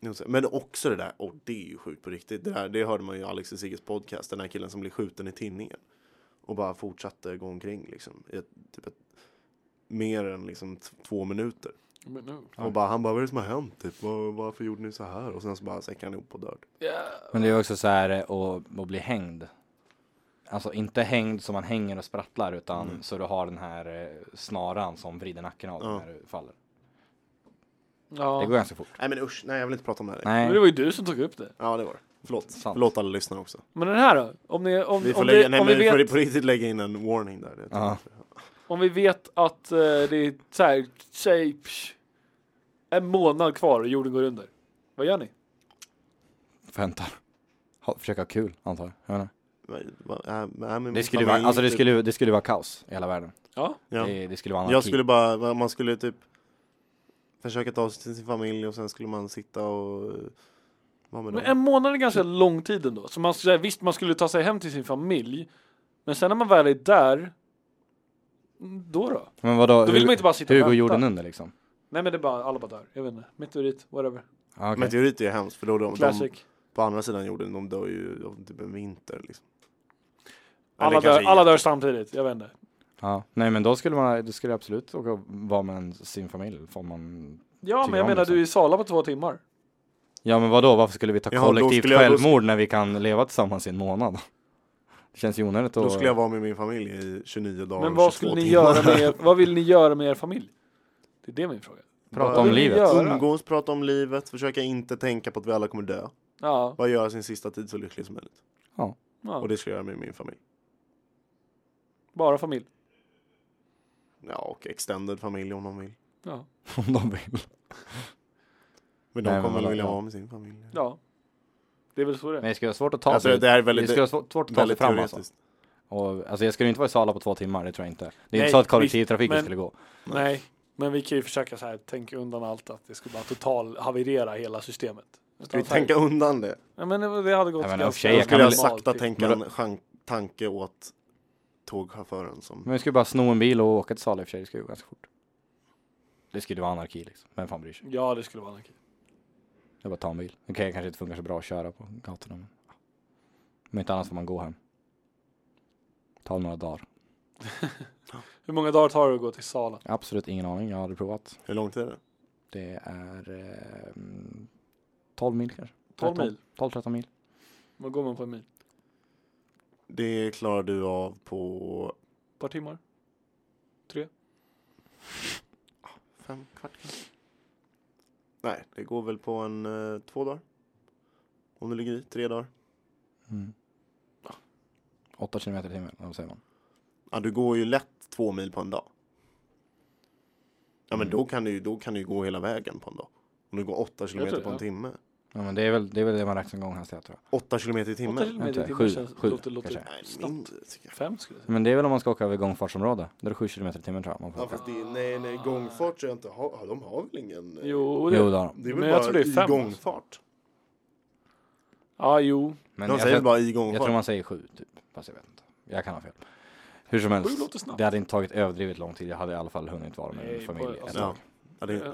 Speaker 1: Jo, så- Men också det där, och det är ju sjukt på riktigt. Det, där, det hörde man ju i Alex och Sigges podcast, den här killen som blev skjuten i tinningen. Och bara fortsatte gå omkring liksom. I ett, typ ett, mer än liksom t- två minuter.
Speaker 2: Men nu.
Speaker 1: Och bara, han bara, vad är det som har hänt? Typ, var, varför gjorde ni så här? Och sen så bara säckade han ihop och dör.
Speaker 2: Ja.
Speaker 4: Men det är också så här eh, att, att bli hängd. Alltså inte hängd som man hänger och sprattlar utan
Speaker 2: Mm.
Speaker 4: så du har den här eh, snaran som vrider nacken av dig
Speaker 1: Ja.
Speaker 4: när du faller.
Speaker 2: Ja.
Speaker 4: Det går ganska fort.
Speaker 1: Nej men usch, nej jag vill inte prata om det här.
Speaker 4: Nej.
Speaker 2: Men det var ju du som tog upp det.
Speaker 1: Ja det var det. Förlåt.
Speaker 4: Sant.
Speaker 1: Förlåt alla lyssnare också.
Speaker 2: Men den här då? Om, ni, om,
Speaker 1: Vi får,
Speaker 2: om,
Speaker 1: lägga,
Speaker 2: det,
Speaker 1: nej,
Speaker 2: om,
Speaker 1: men
Speaker 2: vi
Speaker 1: vi får
Speaker 2: vet,
Speaker 1: på riktigt lägga in en warning där. Det- typ-
Speaker 4: Ja.
Speaker 2: om vi vet att eh, det är så här, säg, psh, en månad kvar och jorden går under. Vad gör ni?
Speaker 4: Väntar. Ha, försöka ha kul antar jag. jag. menar.
Speaker 1: Men- va- äh, men- men-
Speaker 4: Det skulle
Speaker 1: man-
Speaker 4: vara, alltså det skulle, det skulle vara kaos i hela världen.
Speaker 2: Ja,
Speaker 1: Ja.
Speaker 4: Det, det skulle vara anarki.
Speaker 1: Jag skulle bara, man skulle typ försöka ta sig till sin familj och sen skulle man sitta och eh, vara med
Speaker 2: men
Speaker 1: dem.
Speaker 2: en månad är ganska lång tid ändå. Så man, så här, visst, man skulle ta sig hem till sin familj, men sen när man väl är där, då då?
Speaker 4: Men vadå?
Speaker 2: Då vill
Speaker 4: hur-
Speaker 2: man inte bara sitta och
Speaker 4: Hur går
Speaker 2: vänta.
Speaker 4: jorden under liksom?
Speaker 2: Nej men det är bara, alla bara dör. Jag vet inte. Meteorit, whatever.
Speaker 4: Ah, okej.
Speaker 1: Meteoriter är ju hemskt för då de, de
Speaker 2: Classic.
Speaker 1: på andra sidan jorden, de dör ju av typ en vinter liksom. Eller
Speaker 2: Alla
Speaker 1: kanske
Speaker 2: dör,
Speaker 1: i-
Speaker 2: alla dör samtidigt, jag vet inte.
Speaker 4: Ja. Nej men då skulle man, då skulle jag absolut åka och vara med en, sin familj. Får man...
Speaker 2: Ja,
Speaker 4: Tycker
Speaker 2: men jag
Speaker 4: om
Speaker 2: menar
Speaker 4: det,
Speaker 2: du är i Sala på två timmar.
Speaker 4: Ja men vadå, varför skulle vi ta
Speaker 1: Ja, då
Speaker 4: kollektivt
Speaker 1: skulle jag- då sk-
Speaker 4: självmord när vi kan leva tillsammans i en månad? Det känns ju onödigt att...
Speaker 1: Då skulle jag vara med min familj i 29 dagar
Speaker 2: Men
Speaker 1: och
Speaker 2: vad
Speaker 1: 22
Speaker 2: skulle ni
Speaker 1: timmar.
Speaker 2: göra med er, vad vill ni göra med er familj? Det är det min fråga.
Speaker 4: Prata
Speaker 1: Vad
Speaker 4: om
Speaker 1: vill ni
Speaker 4: livet.
Speaker 2: göra?
Speaker 1: Umgås, prata om livet, försöka inte tänka på att vi alla kommer dö.
Speaker 2: Ja,
Speaker 1: Bara göra sin sista tid så lycklig som möjligt.
Speaker 2: ja
Speaker 1: Och det skulle jag göra med min familj.
Speaker 2: bara familj.
Speaker 1: Ja, och extended familj om de vill.
Speaker 2: Ja,
Speaker 4: Om de vill.
Speaker 1: Men de
Speaker 4: Nej, men
Speaker 1: kommer väl
Speaker 4: vadå,
Speaker 1: vilja
Speaker 4: ja.
Speaker 1: vara med sin familj.
Speaker 2: ja. Det är väl så det
Speaker 4: Men
Speaker 2: är.
Speaker 4: det skulle vara svårt att ta
Speaker 1: Alltså
Speaker 4: sig
Speaker 1: det här är
Speaker 4: Det
Speaker 1: väldigt,
Speaker 4: skulle vara svårt svårt att ta sig
Speaker 1: väldigt
Speaker 4: fram alltså.
Speaker 1: teoretiskt.
Speaker 4: Och, alltså jag skulle inte vara i Sala på två timmar, det tror jag inte. Det är
Speaker 2: Nej,
Speaker 4: inte så att kollektivtrafiken
Speaker 2: visst, men-
Speaker 4: skulle gå.
Speaker 2: Nej, men vi kan ju försöka så här, tänka undan allt att det skulle bara total haverera hela systemet.
Speaker 1: Ska vi
Speaker 2: Utan så här-
Speaker 1: tänka undan det?
Speaker 2: Ja, men det det hade gått
Speaker 4: Nej, men i och
Speaker 2: ganska
Speaker 4: för sig,
Speaker 1: Jag
Speaker 4: jag kan
Speaker 1: skulle ha
Speaker 4: väl-
Speaker 1: sakta
Speaker 2: normalt.
Speaker 1: tänka
Speaker 4: Men
Speaker 1: en chan- tanke åt tågchauffören som...
Speaker 4: Men vi skulle bara sno en bil och åka till Sala i och för sig, det skulle gå ganska fort. Det skulle vara anarki liksom, vem fan bryr sig?
Speaker 2: Ja, det skulle vara anarki.
Speaker 4: Jag bara ta en bil. Okej, det kanske inte funkar så bra att köra på gatorna. Men, ja. men inte annars får man gå hem. Ta några dagar.
Speaker 2: Hur många dagar tar det att gå till Sala?
Speaker 4: Absolut ingen aning, jag har aldrig provat.
Speaker 1: Hur långt är det?
Speaker 4: Det är eh, mm, 12 mil kanske?
Speaker 2: 12
Speaker 4: 13,
Speaker 2: mil?
Speaker 4: 12-13 mil.
Speaker 2: Vad går man på en mil?
Speaker 1: Det klarar du av på...
Speaker 2: Ett par timmar? Tre?
Speaker 1: Fem, kvart kanske? Nej, det går väl på en eh, två dagar. Om du ligger i, tre dagar.
Speaker 4: Mm. 8 kilometer i timmen, vad säger man?
Speaker 1: Ja, du går ju lätt två mil på en dag. Ja, men
Speaker 4: Mm.
Speaker 1: då kan du ju då kan du ju gå hela vägen på en dag. Om du går åtta kilometer
Speaker 2: tror-
Speaker 1: på en
Speaker 2: ja.
Speaker 1: timme.
Speaker 4: Ja, men det är väl det, är väl det man räknar gånghastighet tror jag.
Speaker 1: Åtta kilometer i
Speaker 2: Åtta
Speaker 1: timmen?
Speaker 2: kilometer i
Speaker 4: Vänta,
Speaker 2: timmen
Speaker 4: sju-
Speaker 2: känns...
Speaker 4: sju
Speaker 2: låter, låter
Speaker 4: kanske.
Speaker 1: Nej,
Speaker 2: snabbt.
Speaker 1: mindre tycker jag.
Speaker 2: Fem skulle jag säga.
Speaker 4: Men det är väl om man ska åka över gångfartsområde. Då är det 7 kilometer i timmen tror jag. Man får
Speaker 1: Ja,
Speaker 4: åka.
Speaker 1: fast det, nej, nej, gångfart tror jag inte har, de har väl ingen... eh,
Speaker 2: Jo, det...
Speaker 4: Jo, då.
Speaker 1: Det är väl
Speaker 2: Men
Speaker 1: bara
Speaker 2: jag tror det är fem,
Speaker 1: i gångfart.
Speaker 2: Ja, jo.
Speaker 4: Men
Speaker 1: De
Speaker 4: jag,
Speaker 1: säger väl
Speaker 4: tror-
Speaker 1: bara i
Speaker 4: jag tror
Speaker 1: gångfart.
Speaker 4: man säger 7 typ. Fast jag vet inte. Jag kan ha fel. Hur som
Speaker 2: Sju
Speaker 4: helst,
Speaker 2: låter snabbt.
Speaker 4: det hade inte tagit överdrivet lång tid. Jag hade i alla fall hunnit vara med
Speaker 2: Nej,
Speaker 4: min familj
Speaker 2: bara-
Speaker 4: ett
Speaker 2: alltså-
Speaker 4: tag.
Speaker 1: Ja. Ja, det,
Speaker 2: Ja.
Speaker 1: ja.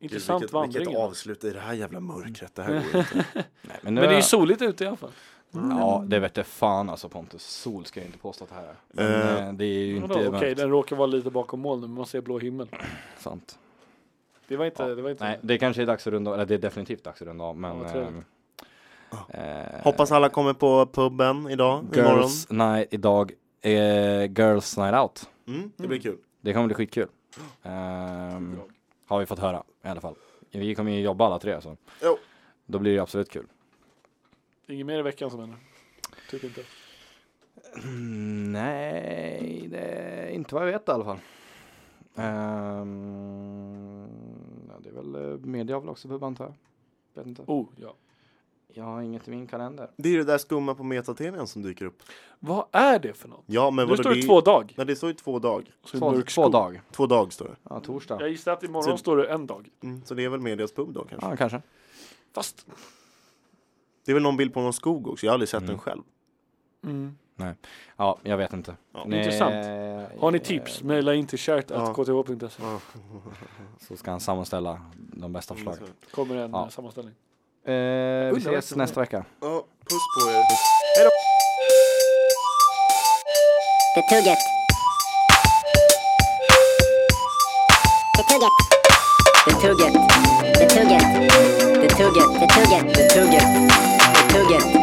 Speaker 1: Gud,
Speaker 2: Intressant
Speaker 1: vilket,
Speaker 2: vandring. Mm.
Speaker 1: vilket avslut i det här jävla mörkret. Det här går ju inte.
Speaker 4: Nej, men, nu
Speaker 2: men det är
Speaker 4: har
Speaker 2: ju
Speaker 4: jag-
Speaker 2: soligt ute i alla fall.
Speaker 4: Ja, det vet jag fan alltså Pontus. Sol ska jag inte påstå att det här är. Men,
Speaker 1: Eh,
Speaker 4: eh, det är ju inte
Speaker 2: Vadå, Okej,
Speaker 4: mörkt.
Speaker 2: den råkar vara lite bakom moln men man ser blå himmel.
Speaker 4: Sant.
Speaker 2: Det var inte...
Speaker 4: Ja,
Speaker 2: det var inte
Speaker 4: Nej, det kanske är dags att runda av, eller det är definitivt dags att runda av, men...
Speaker 2: Ja, vad trevligt.
Speaker 4: ehm, eh,
Speaker 1: Hoppas alla kommer på puben idag, imorgon.
Speaker 4: Girls Night idag, eh, Girls Night Out.
Speaker 1: Mm, det blir kul.
Speaker 4: Det kommer bli skitkul. Ehm, har vi fått höra i alla fall. Vi kommer ju jobba alla tre så.
Speaker 1: Jo.
Speaker 4: Då blir det ju absolut kul.
Speaker 2: Inget mer i veckan som händer. Tycker inte.
Speaker 4: Mm, Nej, det är inte vad jag vet i alla fall. Ehm, ja, det är väl eh, media har väl också pub antar jag. Vet inte.
Speaker 2: Oh, ja.
Speaker 4: Jag har inget i min kalender.
Speaker 1: Det är det där skumma på metatvn som dyker upp.
Speaker 2: Vad är det för något?
Speaker 1: Ja, men
Speaker 2: Nu
Speaker 1: vadå,
Speaker 2: står det två dag.
Speaker 1: Nej, det står ju två dag.
Speaker 2: Så är det
Speaker 4: Två,
Speaker 2: mörk
Speaker 4: två
Speaker 2: skog.
Speaker 4: dag.
Speaker 1: Två dag står det.
Speaker 4: Ja, torsdag.
Speaker 2: Jag gissar att imorgon
Speaker 1: Så-
Speaker 2: står det en dag.
Speaker 1: Mm, så det är väl medias pub då kanske.
Speaker 4: Ja, kanske.
Speaker 2: Fast...
Speaker 1: Det är väl någon bild på någon skog också. Jag har aldrig sett den själv.
Speaker 2: Mm.
Speaker 4: Ja, jag vet inte. eh,
Speaker 1: Ja.
Speaker 4: Nej,
Speaker 2: Intressant. Har ni tips? Mejla in till kärt.kth.se.
Speaker 4: Så ska han sammanställa de bästa förslagen.
Speaker 2: Kommer en
Speaker 4: Ja.
Speaker 2: eh, sammanställning.
Speaker 4: Eh, vi
Speaker 2: Undrar
Speaker 4: ses
Speaker 2: vad-
Speaker 4: nästa vecka.
Speaker 1: Ja, puss på er.
Speaker 3: The Tuget. The Tuget. The Tuget. The Tuget. The Tuget. The Tuget. The Tuget. The Tuget.